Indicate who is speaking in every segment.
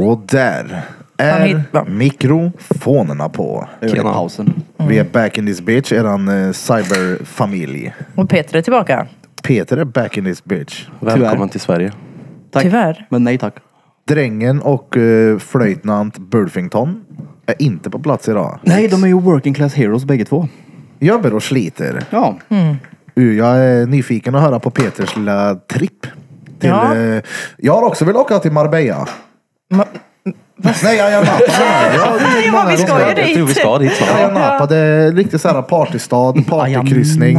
Speaker 1: Och där är
Speaker 2: hittar.
Speaker 1: mikrofonerna på.
Speaker 3: Tjena hausen.
Speaker 1: Vi
Speaker 2: Mm.
Speaker 1: är back in this bitch, eran eh, cyberfamilj.
Speaker 2: Och Peter är tillbaka.
Speaker 1: Peter är back in this bitch.
Speaker 4: Välkommen
Speaker 3: Tyvärr.
Speaker 4: till Sverige.
Speaker 3: Tack.
Speaker 2: Tyvärr.
Speaker 3: Men nej tack.
Speaker 1: Drängen och eh, flöjtnant Bulfington är inte på plats idag.
Speaker 3: Nej, de är ju working class heroes bägge två.
Speaker 1: Jobbar och sliter.
Speaker 3: Ja.
Speaker 1: Uh, Jag är nyfiken att höra på Peters lilla tripp. Till,
Speaker 2: Ja.
Speaker 1: eh, jag har också velat åka till Marbella.
Speaker 2: Ma-
Speaker 1: Nej, jag jag nappade. Jag,
Speaker 2: Ja, vi ska ju
Speaker 4: Jag tror vi
Speaker 2: dit.
Speaker 4: ska dit snart.
Speaker 1: jag nappade. Riktigt såhär partystad, partykryssning.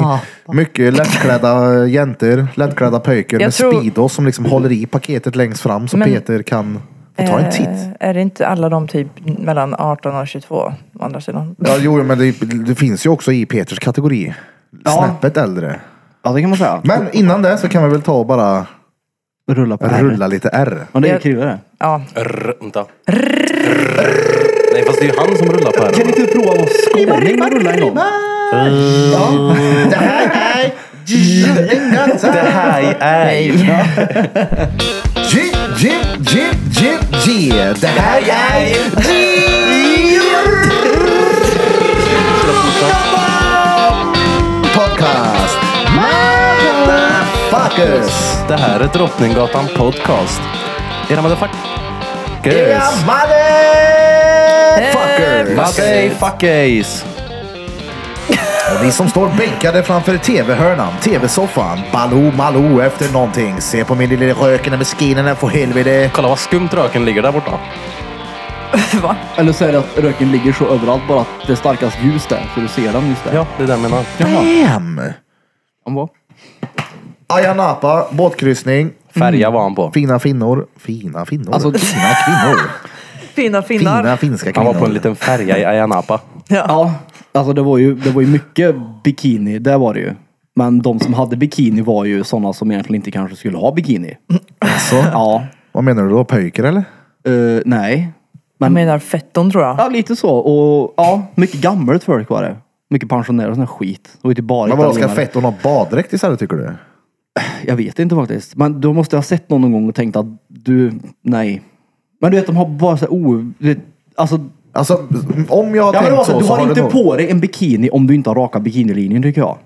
Speaker 1: Mycket lättklädda jäntor, lättklädda pojkar
Speaker 2: Jag
Speaker 1: med
Speaker 2: tror-
Speaker 1: Speedos som liksom håller i paketet längst fram så
Speaker 2: Men-
Speaker 1: Peter kan få ta en titt.
Speaker 2: Eh, Är det inte alla de typ mellan 18 och 22? Å andra sidan.
Speaker 1: Ja, jo, men det, det finns ju också i Peters kategori.
Speaker 3: Ja.
Speaker 1: Snäppet äldre.
Speaker 3: ja, det kan man säga.
Speaker 1: Men innan det så kan vi väl ta och bara
Speaker 3: Rulla på här.
Speaker 1: rulla lite R.
Speaker 3: Men det är ju krydda det.
Speaker 2: Ja.
Speaker 4: Rrr, vänta. Rrr. Nej fast det är ju han som rullar på
Speaker 3: Kan
Speaker 4: här.
Speaker 3: inte du prova att vara skåning och rulla en gång?
Speaker 1: Det här är...
Speaker 4: Det här är ju...
Speaker 2: Nej.
Speaker 1: G, G, G, G, G. Det här är... Podcast. Motherfuckers.
Speaker 4: Det här är Drottninggatan podcast. Era
Speaker 1: Yeah,
Speaker 4: motherfuckers.
Speaker 1: motherfuckers.
Speaker 4: Mother fuckers.
Speaker 1: Och ni som står bänkade framför tv-hörnan, tv-soffan, Baloo Maloo efter någonting. Se på min lilla röken med skinen för helvete.
Speaker 4: Kolla vad skumt röken ligger där borta.
Speaker 2: Va?
Speaker 3: Eller så är det att röken ligger så överallt bara att det är starkast ljus där. Så du ser den just där.
Speaker 4: Ja, det är det jag menar.
Speaker 1: Damn!
Speaker 3: Den var.
Speaker 1: Ayia Napa, båtkryssning,
Speaker 4: Färja var han på.
Speaker 1: fina finnor. Fina finnor?
Speaker 3: Alltså-
Speaker 1: fina kvinnor.
Speaker 2: Fina finnar.
Speaker 1: Fina finska
Speaker 4: Han
Speaker 1: kvinnor.
Speaker 4: var på en liten färja i Ayia Napa.
Speaker 2: Ja.
Speaker 3: Ja, alltså det var ju, det var ju mycket bikini. Det var det ju. Men de som hade bikini var ju sådana som egentligen inte kanske skulle ha bikini.
Speaker 1: Alltså,
Speaker 3: Ja.
Speaker 1: Vad menar du då? Pöjker eller?
Speaker 3: Eh, nej.
Speaker 2: Jag menar fetton tror jag.
Speaker 3: Ja, lite så. Och ja, mycket gammalt folk var det. Mycket pensionärer och sån här skit. Och inte typ bara
Speaker 1: Men vadå, ska
Speaker 3: italienare.
Speaker 1: fetton ha baddräkt istället tycker du?
Speaker 3: Jag vet inte faktiskt. Men då måste jag ha sett någon någon gång och tänkt att du, nej. Men du vet, de har bara så här, o... du vet, Alltså,
Speaker 1: Alltså om jag har
Speaker 3: ja, men det
Speaker 1: tänkt
Speaker 3: var så,
Speaker 1: så,
Speaker 3: du
Speaker 1: så
Speaker 3: har
Speaker 1: det
Speaker 3: inte
Speaker 1: nog-
Speaker 3: på dig en bikini om du inte har raka bikinilinjen tycker jag.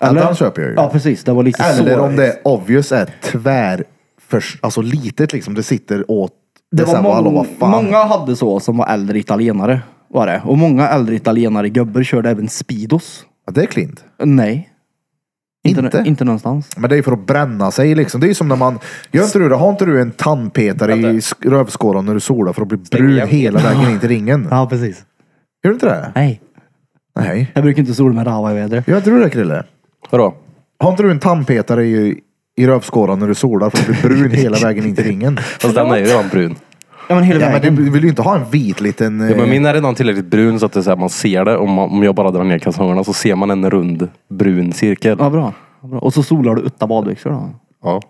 Speaker 1: Ja, den köper jag ju.
Speaker 3: Ja, precis. Det var lite så.
Speaker 1: Eller om det obvious är tvär... För, alltså litet liksom, det sitter åt...
Speaker 3: Det var
Speaker 1: så här,
Speaker 3: mång-
Speaker 1: "Hallå, vad fan?"
Speaker 3: många hade så som var äldre italienare. Var det. Och många äldre italienare gubbar körde även Speedos.
Speaker 1: Ja, det är klint.
Speaker 3: Nej. Inte?
Speaker 1: Inte?
Speaker 3: Inte, någonstans.
Speaker 1: Men det är för att bränna sig liksom. Det är ju som när man... Gör inte du det? Har inte du en tandpetare i sk- rövskåran när du solar för att bli brun
Speaker 4: igen.
Speaker 1: hela vägen in till ringen?
Speaker 3: Ja, precis.
Speaker 1: Gör du inte det?
Speaker 3: Nej.
Speaker 1: Nej.
Speaker 3: Jag brukar inte sola med rava i vädret.
Speaker 1: Gör inte du det Krille?
Speaker 4: Vadå?
Speaker 1: Har inte du en tandpetare i, i rövskåran när du solar för att bli brun hela vägen in till ringen?
Speaker 4: Fast den är ju redan brun.
Speaker 3: Ja, men hela
Speaker 1: Ja, men
Speaker 3: vägen.
Speaker 1: du vill ju inte ha en vit liten...
Speaker 4: Ja, men
Speaker 1: eh,
Speaker 4: min är redan tillräckligt brun så att det är så här, man ser det. Om, man, om jag bara drar ner kalsongerna så ser man en rund brun cirkel.
Speaker 3: Ja, bra. Ja, bra. Och så solar du utan badbyxor då?
Speaker 4: Ja.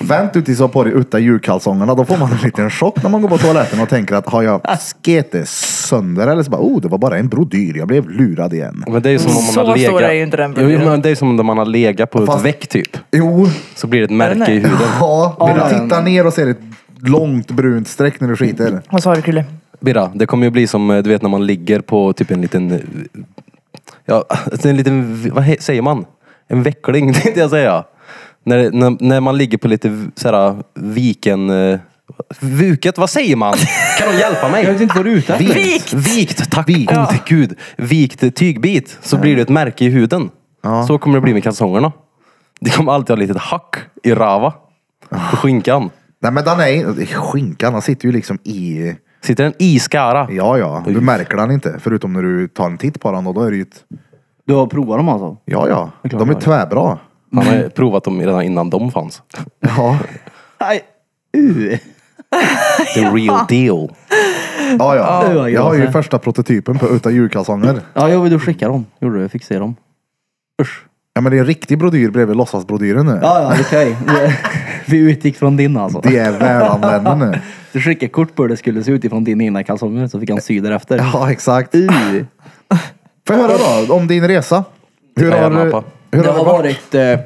Speaker 1: Vänt ut tills du har på dig utta julkalsongerna. Då får man en liten chock när man går på toaletten och tänker att har jag sketet sönder eller så bara oh det var bara en brodyr. Jag blev lurad igen.
Speaker 4: Men det är ju som om man
Speaker 2: Så
Speaker 4: har legat...
Speaker 2: stor är ju inte den
Speaker 4: jo,
Speaker 2: brodyren.
Speaker 4: men Det är som om man har legat på
Speaker 1: Fast-
Speaker 4: ett väck typ.
Speaker 1: Jo,
Speaker 4: Så blir det ett
Speaker 2: den
Speaker 4: märke
Speaker 2: det?
Speaker 4: i huden.
Speaker 1: ja. Vill
Speaker 3: Ja,
Speaker 1: du
Speaker 3: men-
Speaker 1: titta ner och se ett långt brunt streck när du skiter?
Speaker 2: Vad sa du Krille?
Speaker 4: Birra, det kommer ju bli som eh, du vet när man ligger på typ en liten... eh, Ja, alltså en liten... Vad he- säger man? En veckling tänkte jag säga. När, när, när man ligger på lite v- såhär viken... eh, Vuket, vad säger man? Kan de hjälpa mig?
Speaker 3: Jag vet inte vad du är ute efter.
Speaker 2: Vikt!
Speaker 4: Vikt, tack
Speaker 1: Vikt.
Speaker 4: gode gud. Vikt tygbit, så blir det ett märke i huden. Så kommer det bli med kalsongerna. Det kommer alltid ha ett litet hack i rava. På skinkan.
Speaker 1: Nej men den är skinkan. Den sitter ju liksom i.
Speaker 4: Sitter en iskara.
Speaker 1: Ja ja, du märker den inte. Förutom när du tar en titt på den och då är det ju ett...
Speaker 3: Du har provat dem alltså?
Speaker 1: Ja ja,
Speaker 3: är klart
Speaker 1: de är
Speaker 3: det.
Speaker 1: tvärbra.
Speaker 4: Han har ju provat dem redan innan de fanns.
Speaker 1: Ja,
Speaker 3: Nej. Uh.
Speaker 4: The real deal.
Speaker 1: ja, ja.
Speaker 3: Ja.
Speaker 1: Jag har ju första prototypen på utta julkalsonger.
Speaker 3: Ja, jag vill du skicka dem. Gjorde du? Jag fick se dem. Usch.
Speaker 1: Ja men det är en riktig brodyr bredvid låtsasbrodyren nu.
Speaker 3: Ja, ja, okej. Vi utgick från din alltså.
Speaker 1: Det är välanvända nu.
Speaker 3: Du skickade kort på hur det skulle se ut ifrån din ena kalsonger så fick han sy därefter.
Speaker 1: Ja, exakt.
Speaker 3: Uh.
Speaker 1: Får jag höra då om din resa? Hur
Speaker 4: Ja,
Speaker 1: har,
Speaker 4: gärna, pappa.
Speaker 1: hur
Speaker 3: Det
Speaker 1: har
Speaker 3: har
Speaker 1: det varit?
Speaker 3: varit eh,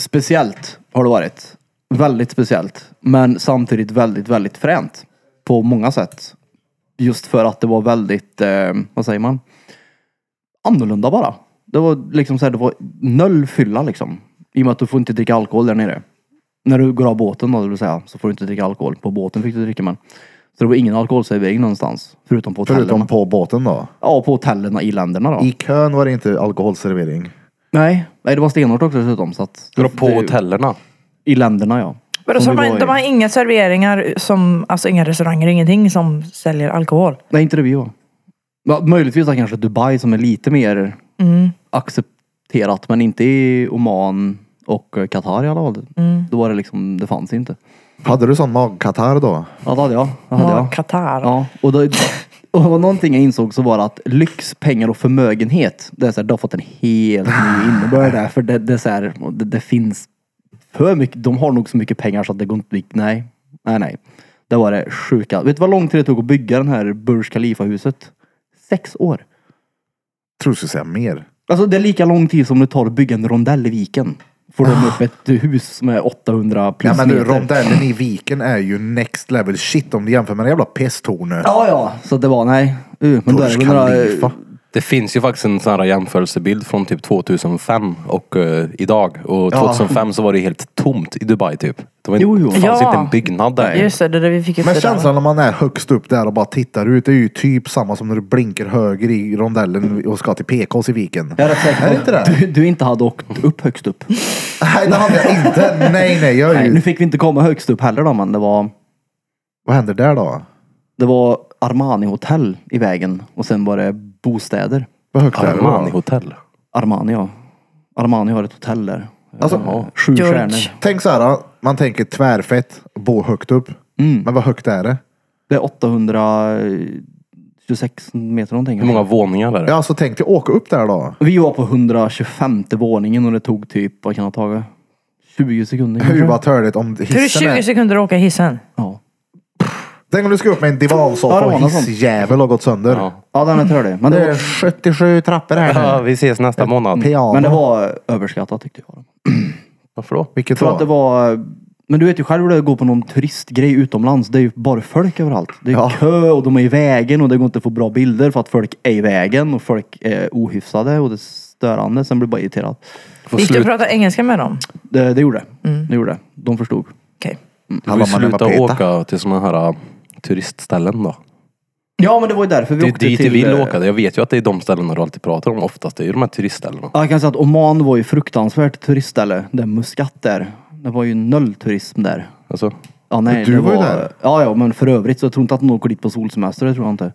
Speaker 3: speciellt har det varit. Väldigt speciellt. Men samtidigt väldigt, väldigt fränt. På många sätt. Just för att det var väldigt, eh, vad säger man? Annorlunda bara. Det var liksom så här, det var noll fylla liksom. I och med att du får inte dricka alkohol där nere. När du går av båten då, det vill säga, så får du inte dricka alkohol. På båten fick du dricka men. Så det var ingen alkoholservering någonstans. Förutom på hotellen.
Speaker 1: Förutom på båten då.
Speaker 3: Ja, på hotellen i länderna då.
Speaker 1: I kön var det inte alkoholservering.
Speaker 3: Nej, nej, det var stenhårt också dessutom. Så att,
Speaker 4: Dra på
Speaker 3: det-
Speaker 4: hotellerna.
Speaker 3: I länderna ja.
Speaker 2: Men då,
Speaker 3: Som
Speaker 2: så
Speaker 3: vi
Speaker 2: har
Speaker 3: var
Speaker 2: man,
Speaker 3: i.
Speaker 2: de har inga serveringar, som, alltså inga restauranger, ingenting som säljer alkohol.
Speaker 3: Nej, inte det vi var. Ja, Möjligtvis då kanske Dubai som är lite mer
Speaker 2: Mm.
Speaker 3: accepterat. Men inte i Oman och eh, Qatar i alla fall.
Speaker 2: Mm.
Speaker 3: Då var det liksom, det fanns inte.
Speaker 1: Hade du sån magkatarr då?
Speaker 3: Ja, det hade jag. Det hade
Speaker 2: Ja,
Speaker 3: jag.
Speaker 2: Qatar.
Speaker 3: Ja, och, då, och det var någonting jag insåg så var det att lyx, pengar och förmögenhet. Det, är så här, det har fått en helt
Speaker 1: Ah.
Speaker 3: ny innebörd där. För det, det, är så här, det, det finns för mycket. De har nog så mycket pengar så att det går inte. Nej, nej, nej. Det var det sjuka. Vet du vad lång tid det tog att bygga den här Burj Khalifa-huset? Sex år.
Speaker 1: Tror du skulle säga mer.
Speaker 3: Alltså det är lika lång tid som det tar att bygga en rondell i viken. Får de upp ett hus som är 800 plus
Speaker 1: Ah. Ja, men du,
Speaker 3: meter.
Speaker 1: rondellen i viken är ju next level shit om du jämför med det jävla pesttornet.
Speaker 3: Ja, ja. Så det var nej. Uh, men då är det väl
Speaker 1: Burj
Speaker 3: några,
Speaker 1: Khalifa.
Speaker 4: Det finns ju faktiskt en sån här jämförelsebild från typ 2005 och eh, idag. Och 2005 så var det helt tomt i Dubai typ. Det var inte,
Speaker 3: Jo, jo.
Speaker 4: fanns
Speaker 2: Ja.
Speaker 4: inte en byggnad där.
Speaker 2: Just det, det är det vi fick upp
Speaker 1: Men
Speaker 2: det där.
Speaker 1: känslan när man är högst upp där och bara tittar ut är ju typ samma som när du blinkar höger i rondellen och ska till PKs i viken.
Speaker 3: Jag är rätt säker
Speaker 1: Är det
Speaker 3: på
Speaker 1: inte
Speaker 3: att
Speaker 1: det?
Speaker 3: Du, du inte hade åkt upp högst upp.
Speaker 1: Nej, det hade jag inte. Nej, nej. Jag är
Speaker 3: Nej, nu
Speaker 1: ju...
Speaker 3: fick vi inte komma högst upp heller då, men det var,
Speaker 1: Vad händer där då?
Speaker 3: det var Armani hotell i vägen och sen var det bostäder.
Speaker 1: Vad högt är det
Speaker 4: Armani
Speaker 1: då?
Speaker 4: hotell.
Speaker 3: Armani ja. Armani har ett hotell där.
Speaker 1: Alltså-
Speaker 3: Ja, Sju
Speaker 2: George.
Speaker 3: stjärnor.
Speaker 1: Tänk så här, man tänker tvärfett, bo högt upp. Men vad högt är det?
Speaker 3: Mm. Det är 826 meter någonting.
Speaker 4: Hur många våningar är det?
Speaker 1: Ja, alltså tänk dig åka upp där då.
Speaker 3: Vi var på 125 våningen och det tog typ, vad kan det ha tagit? 20 sekunder
Speaker 1: Hur
Speaker 3: kanske?
Speaker 1: vad törligt om
Speaker 2: Tror du
Speaker 1: hissen
Speaker 2: 20
Speaker 1: är...
Speaker 2: sekunder att åka hissen?
Speaker 3: Ja.
Speaker 1: Tänk om du ska upp med en divansoffa
Speaker 3: Ja, det var
Speaker 1: och
Speaker 3: något sånt.
Speaker 1: hissjävel har gått sönder.
Speaker 4: Ja.
Speaker 3: ja, den är törlig. Men
Speaker 1: Det
Speaker 3: det
Speaker 1: är
Speaker 3: var,
Speaker 1: 77 trappor
Speaker 4: Ja,
Speaker 1: här nu.
Speaker 4: vi ses nästa månad.
Speaker 1: Piano.
Speaker 3: men det var överskattat tyckte jag.
Speaker 4: Varför då?
Speaker 1: Vilket
Speaker 3: För att det
Speaker 1: var?
Speaker 3: var... Men du vet ju själv hur det är att gå på någon turistgrej utomlands. Det är ju bara folk överallt. Det är
Speaker 1: Ja.
Speaker 3: kö och de är i vägen och det går inte att få bra bilder för att folk är i vägen och folk är ohyfsade och det är störande. Sen blir jag bara irriterad.
Speaker 4: Får
Speaker 2: Gick du och
Speaker 4: slut,
Speaker 2: pratade engelska med dem?
Speaker 3: Det, det gjorde det. Det gjorde det. De förstod.
Speaker 2: Okej.
Speaker 4: du får ju sluta åka till såna här äh, turistställen då.
Speaker 3: Ja men det var ju därför vi
Speaker 4: Det är ju
Speaker 3: åkte
Speaker 4: dit vi
Speaker 3: till...
Speaker 4: vill
Speaker 3: eh,
Speaker 4: åka. Jag vet ju att det är de ställena du alltid pratar om oftast. Det är ju de här turistställena.
Speaker 3: Ja, Jag kan säga att Oman var ju fruktansvärt turistställe. Det är Muscat där. Det var ju noll turism där.
Speaker 4: Alltså,
Speaker 3: Ja, nej,
Speaker 1: Du
Speaker 3: det
Speaker 1: var ju där.
Speaker 3: Ja, ja, men för övrigt så jag tror inte att någon åker dit på solsemester. Det tror jag inte.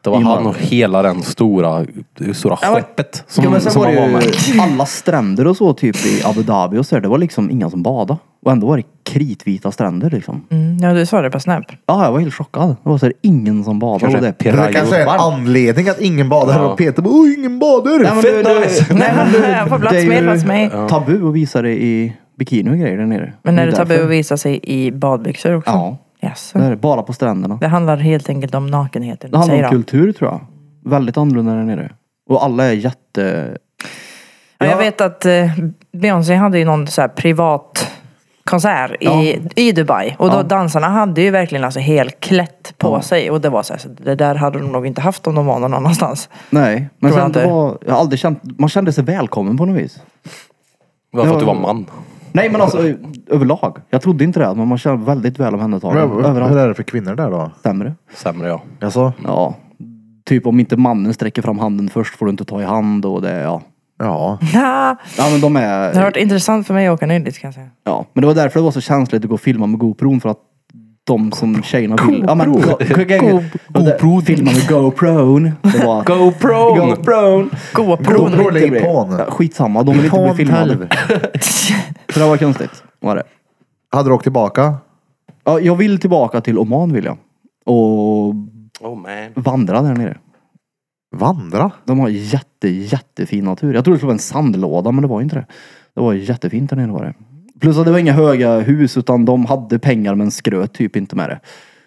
Speaker 4: det var
Speaker 3: I
Speaker 4: han
Speaker 3: Malmö.
Speaker 4: och hela den stora, det stora
Speaker 3: Ja, men-
Speaker 4: skeppet som,
Speaker 3: ja, men sen
Speaker 4: som
Speaker 3: var
Speaker 4: han var
Speaker 3: det
Speaker 4: med.
Speaker 3: ju alla stränder och så typ i Abu Dhabi och så där, Det var liksom inga som badade. Och ändå var det kritvita stränder liksom.
Speaker 2: Mm, ja, du sa det på Snap.
Speaker 3: Ja, jag var helt chockad. Det var så här, ingen som badade.
Speaker 4: Kanske
Speaker 3: och det är
Speaker 1: Det där
Speaker 4: Pirayot.
Speaker 1: kanske är en
Speaker 4: Varmt.
Speaker 1: anledning att ingen badar.
Speaker 4: Ja.
Speaker 1: Och Peter bara, oj ingen badar.
Speaker 3: du- du- nej, men du-
Speaker 2: Jag får plats
Speaker 3: det är
Speaker 2: med,
Speaker 3: ju
Speaker 2: plats med.
Speaker 3: Tabu att visa det i bikini och grejer där nere.
Speaker 2: Men är det
Speaker 3: därför.
Speaker 2: tabu att visa sig i badbyxor också?
Speaker 3: Ja.
Speaker 2: Yes.
Speaker 3: Det är det, bara på stränderna.
Speaker 2: Det handlar helt enkelt om nakenheten.
Speaker 3: Det handlar
Speaker 2: säger
Speaker 3: om
Speaker 2: de.
Speaker 3: kultur tror jag. Väldigt annorlunda där nere. Och alla är jätte...
Speaker 2: Ja,
Speaker 3: Ja.
Speaker 2: jag vet att eh, Beyoncé hade ju någon så här privat konsert i, i Dubai. Och då
Speaker 3: Ja.
Speaker 2: dansarna hade ju verkligen alltså helklätt på sig. Och det var så här, så det där hade de nog inte haft om de var någon annanstans.
Speaker 3: Nej, men
Speaker 2: Tror jag
Speaker 3: sen det
Speaker 2: inte.
Speaker 3: var... Jag har aldrig känt... Man kände sig välkommen på något vis.
Speaker 4: Det var för att du
Speaker 3: Ja.
Speaker 4: var man.
Speaker 3: Nej men alltså ö- överlag. Jag trodde inte det, men man känner väldigt väl omhändertagen.
Speaker 1: Men, hur
Speaker 3: Överallt
Speaker 1: är det för kvinnor där då?
Speaker 3: sämre.
Speaker 4: Sämre ja.
Speaker 1: Alltså,
Speaker 3: Ja. Typ om inte mannen sträcker fram handen först får du inte ta i hand och det, ja.
Speaker 1: ja.
Speaker 2: Nja,
Speaker 3: Ja men de
Speaker 2: det har
Speaker 3: är...
Speaker 2: varit intressant för mig att åka ner dit kan jag säga.
Speaker 3: Ja. Men det var därför det var så känsligt att gå och filma med GoPron för att de som tjejerna vill... Ja, men, go, GoPro. Filma med GoPron. Det var...
Speaker 4: GoPro!
Speaker 3: GoPron!
Speaker 2: GoPron.
Speaker 1: Då blir det
Speaker 3: Ja,
Speaker 1: ipon.
Speaker 3: Skitsamma, de vill inte bli
Speaker 1: Ipon
Speaker 3: filmade.
Speaker 1: tolv.
Speaker 3: Så det var konstigt. Var det.
Speaker 1: Hade du åkt tillbaka?
Speaker 3: Ja, jag vill tillbaka till Oman vill jag. Och
Speaker 4: Oh man.
Speaker 3: vandra där nere.
Speaker 1: Vandra?
Speaker 3: De har jätte, jättefin natur. Jag trodde det skulle vara en sandlåda men det var ju inte det. Det var jättefint där nere var det. Plus att det var inga höga hus utan de hade pengar men skröt typ inte med det.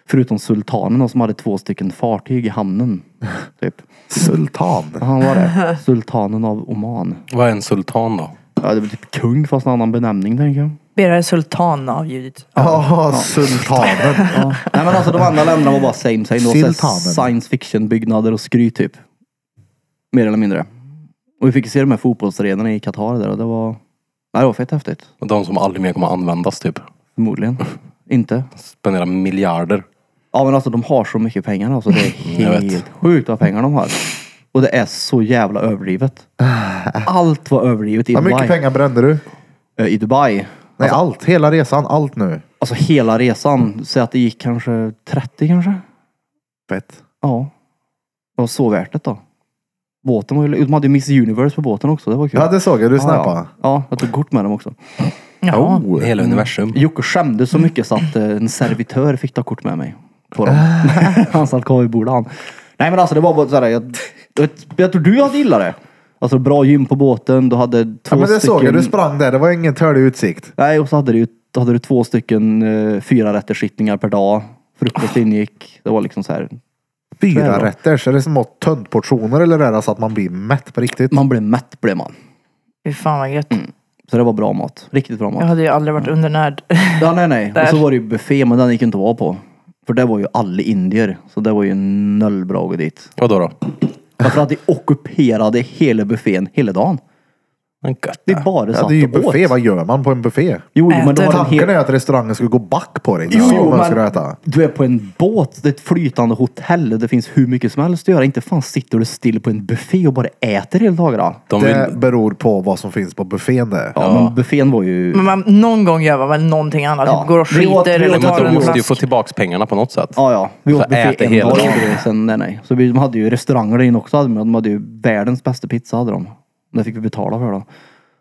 Speaker 3: Förutom sultanen som hade två stycken fartyg i hamnen. Typ.
Speaker 1: Sultan?
Speaker 3: Han var det. Sultanen av Oman.
Speaker 4: Vad är en sultan då?
Speaker 3: Ja, det var typ kung fast en annan benämning tänker jag.
Speaker 2: Birra Sultan avljudit.
Speaker 1: Ja, sultanen.
Speaker 3: Ja. Nej men alltså de andra länderna var bara same same. Det var så här
Speaker 1: Siltanen.
Speaker 3: science fiction byggnader och skryt typ. Mer eller mindre. Och vi fick se de här fotbollsarenorna i Qatar där och det var... Nej, det var fett häftigt.
Speaker 4: De som aldrig mer kommer användas typ.
Speaker 3: Förmodligen. Inte.
Speaker 4: Spenderar miljarder.
Speaker 3: Ja men alltså de har så mycket pengar alltså. Det är
Speaker 4: jag vet.
Speaker 3: helt sjukt vad pengar de har. Och det är så jävla överdrivet. Allt var överdrivet i
Speaker 1: Hur
Speaker 3: Dubai.
Speaker 1: mycket pengar brände du?
Speaker 3: Eh, I Dubai.
Speaker 1: Nej, allt. Hela resan. Allt nu.
Speaker 3: Alltså hela resan. Säg att det gick kanske 30 kanske.
Speaker 1: Fett.
Speaker 3: Ja. Det var så värt det då. Båten var ju... De hade ju Miss Universe på båten också. Det var kul.
Speaker 1: Ja, det såg jag. Du snappade.
Speaker 3: Ja, ja. ja, jag tog kort med dem också.
Speaker 2: Ja.
Speaker 1: Oh.
Speaker 3: Mm.
Speaker 4: Hela universum.
Speaker 3: Jocke skämde så mycket så att eh, en servitör fick ta kort med mig. På dem.
Speaker 1: Ah.
Speaker 3: han satt kvar vid bordet han. Nej men alltså det var bara såhär. Jag, jag, jag tror du hade gillat det. Alltså bra gym på båten. Du hade två
Speaker 1: Ja, men det
Speaker 3: stycken.
Speaker 1: såg jag. Du sprang där. Det var ingen törlig utsikt.
Speaker 3: Nej och så hade du, ju- då hade du två stycken eh, fyra sittningar per dag. Frukost ingick. Det var liksom så här.
Speaker 1: Fyra
Speaker 3: Tvärtom.
Speaker 1: rätter. Så är det små töntportioner eller är det så att man blir mätt på riktigt?
Speaker 3: Man blev mätt blev man.
Speaker 2: Fy fan vad
Speaker 3: Mm.
Speaker 2: gött.
Speaker 3: Så det var bra mat. Riktigt bra mat.
Speaker 2: Jag hade ju aldrig
Speaker 3: Mm.
Speaker 2: varit undernärd.
Speaker 3: Ja, nej, nej.
Speaker 2: Där.
Speaker 3: Och så var det ju buffé, men den gick ju inte att vara på. För det var ju alla indier. Så det var ju noll bra att gå dit.
Speaker 4: Vadå då?
Speaker 3: Därför att de ockuperade hela buffén hela dagen.
Speaker 4: Men gött.
Speaker 3: Vi bara satt
Speaker 1: Ja, det är ju
Speaker 3: och åt.
Speaker 1: buffé. Vad gör man på en buffé?
Speaker 3: Jo, jo, men det
Speaker 2: Äter.
Speaker 3: var en
Speaker 1: Tanken
Speaker 3: hel...
Speaker 1: är att restaurangen skulle gå back på dig.
Speaker 3: Jo,
Speaker 1: Ja,
Speaker 3: jo,
Speaker 1: vad
Speaker 3: men-
Speaker 1: ska du äta?
Speaker 3: Du är på en båt, det är ett flytande hotell och det finns hur mycket som helst att göra. Inte fan sitter du still på en buffé och bara äter hela dagarna.
Speaker 4: De
Speaker 1: Det
Speaker 4: vill...
Speaker 1: beror på vad som finns på buffén där.
Speaker 3: Ja, men buffén var ju...
Speaker 2: Men man, någon gång gör man väl någonting annat.
Speaker 3: Ja.
Speaker 2: Typ går och
Speaker 3: Vi åt- vi
Speaker 2: skiter eller
Speaker 3: åt-
Speaker 2: tar
Speaker 4: Men de
Speaker 2: en
Speaker 4: måste ju
Speaker 2: flaska.
Speaker 4: få tillbaks pengarna på något sätt.
Speaker 3: Ja, ja. Vi
Speaker 4: Så
Speaker 3: åt buffé
Speaker 4: äter
Speaker 3: en
Speaker 4: hela
Speaker 3: dag.
Speaker 4: dagen.
Speaker 3: och Sen, nej, nej. Så vi, de hade ju restauranger där inne också. hade De De hade ju världens bästa pizza hade de. Det fick vi betala för då.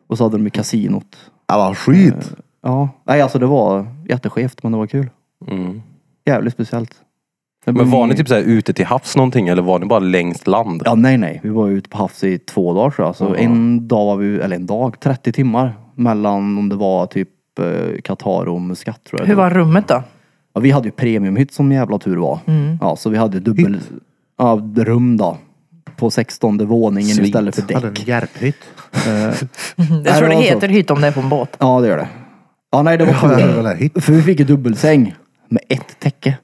Speaker 3: Och så hade de ju kasinot.
Speaker 1: Alla skit.
Speaker 3: Ja, nej alltså det var jätteskevt men det var kul.
Speaker 4: Mm.
Speaker 3: Jävligt speciellt. Det
Speaker 4: Men
Speaker 3: blir-
Speaker 4: var ni typ så här ute till havs någonting eller var ni bara längst land?
Speaker 3: Ja, nej nej. Vi var ute på havs i två dagar tror jag. Så en dag var vi, eller en dag, 30 timmar. Mellan om det var typ eh, Qatar och Muscat tror jag.
Speaker 2: Hur var rummet
Speaker 3: Mm.
Speaker 2: då?
Speaker 3: Ja, vi hade ju premiumhytt som jävla tur var.
Speaker 1: Mm.
Speaker 3: Ja, så vi hade dubbel ja, rum då. På 16 våningen
Speaker 4: Svint.
Speaker 3: istället för
Speaker 1: Hade en
Speaker 3: däck.
Speaker 1: järphytt.
Speaker 2: Jag tror
Speaker 3: det
Speaker 2: det
Speaker 3: var så.
Speaker 2: heter hytt om det är på en båt.
Speaker 3: Ja, det gör det. Ja, nej det var
Speaker 1: Ja, det är väl
Speaker 3: tur.
Speaker 1: en hytt.
Speaker 3: För vi fick ju dubbelsäng. Med ett täcke.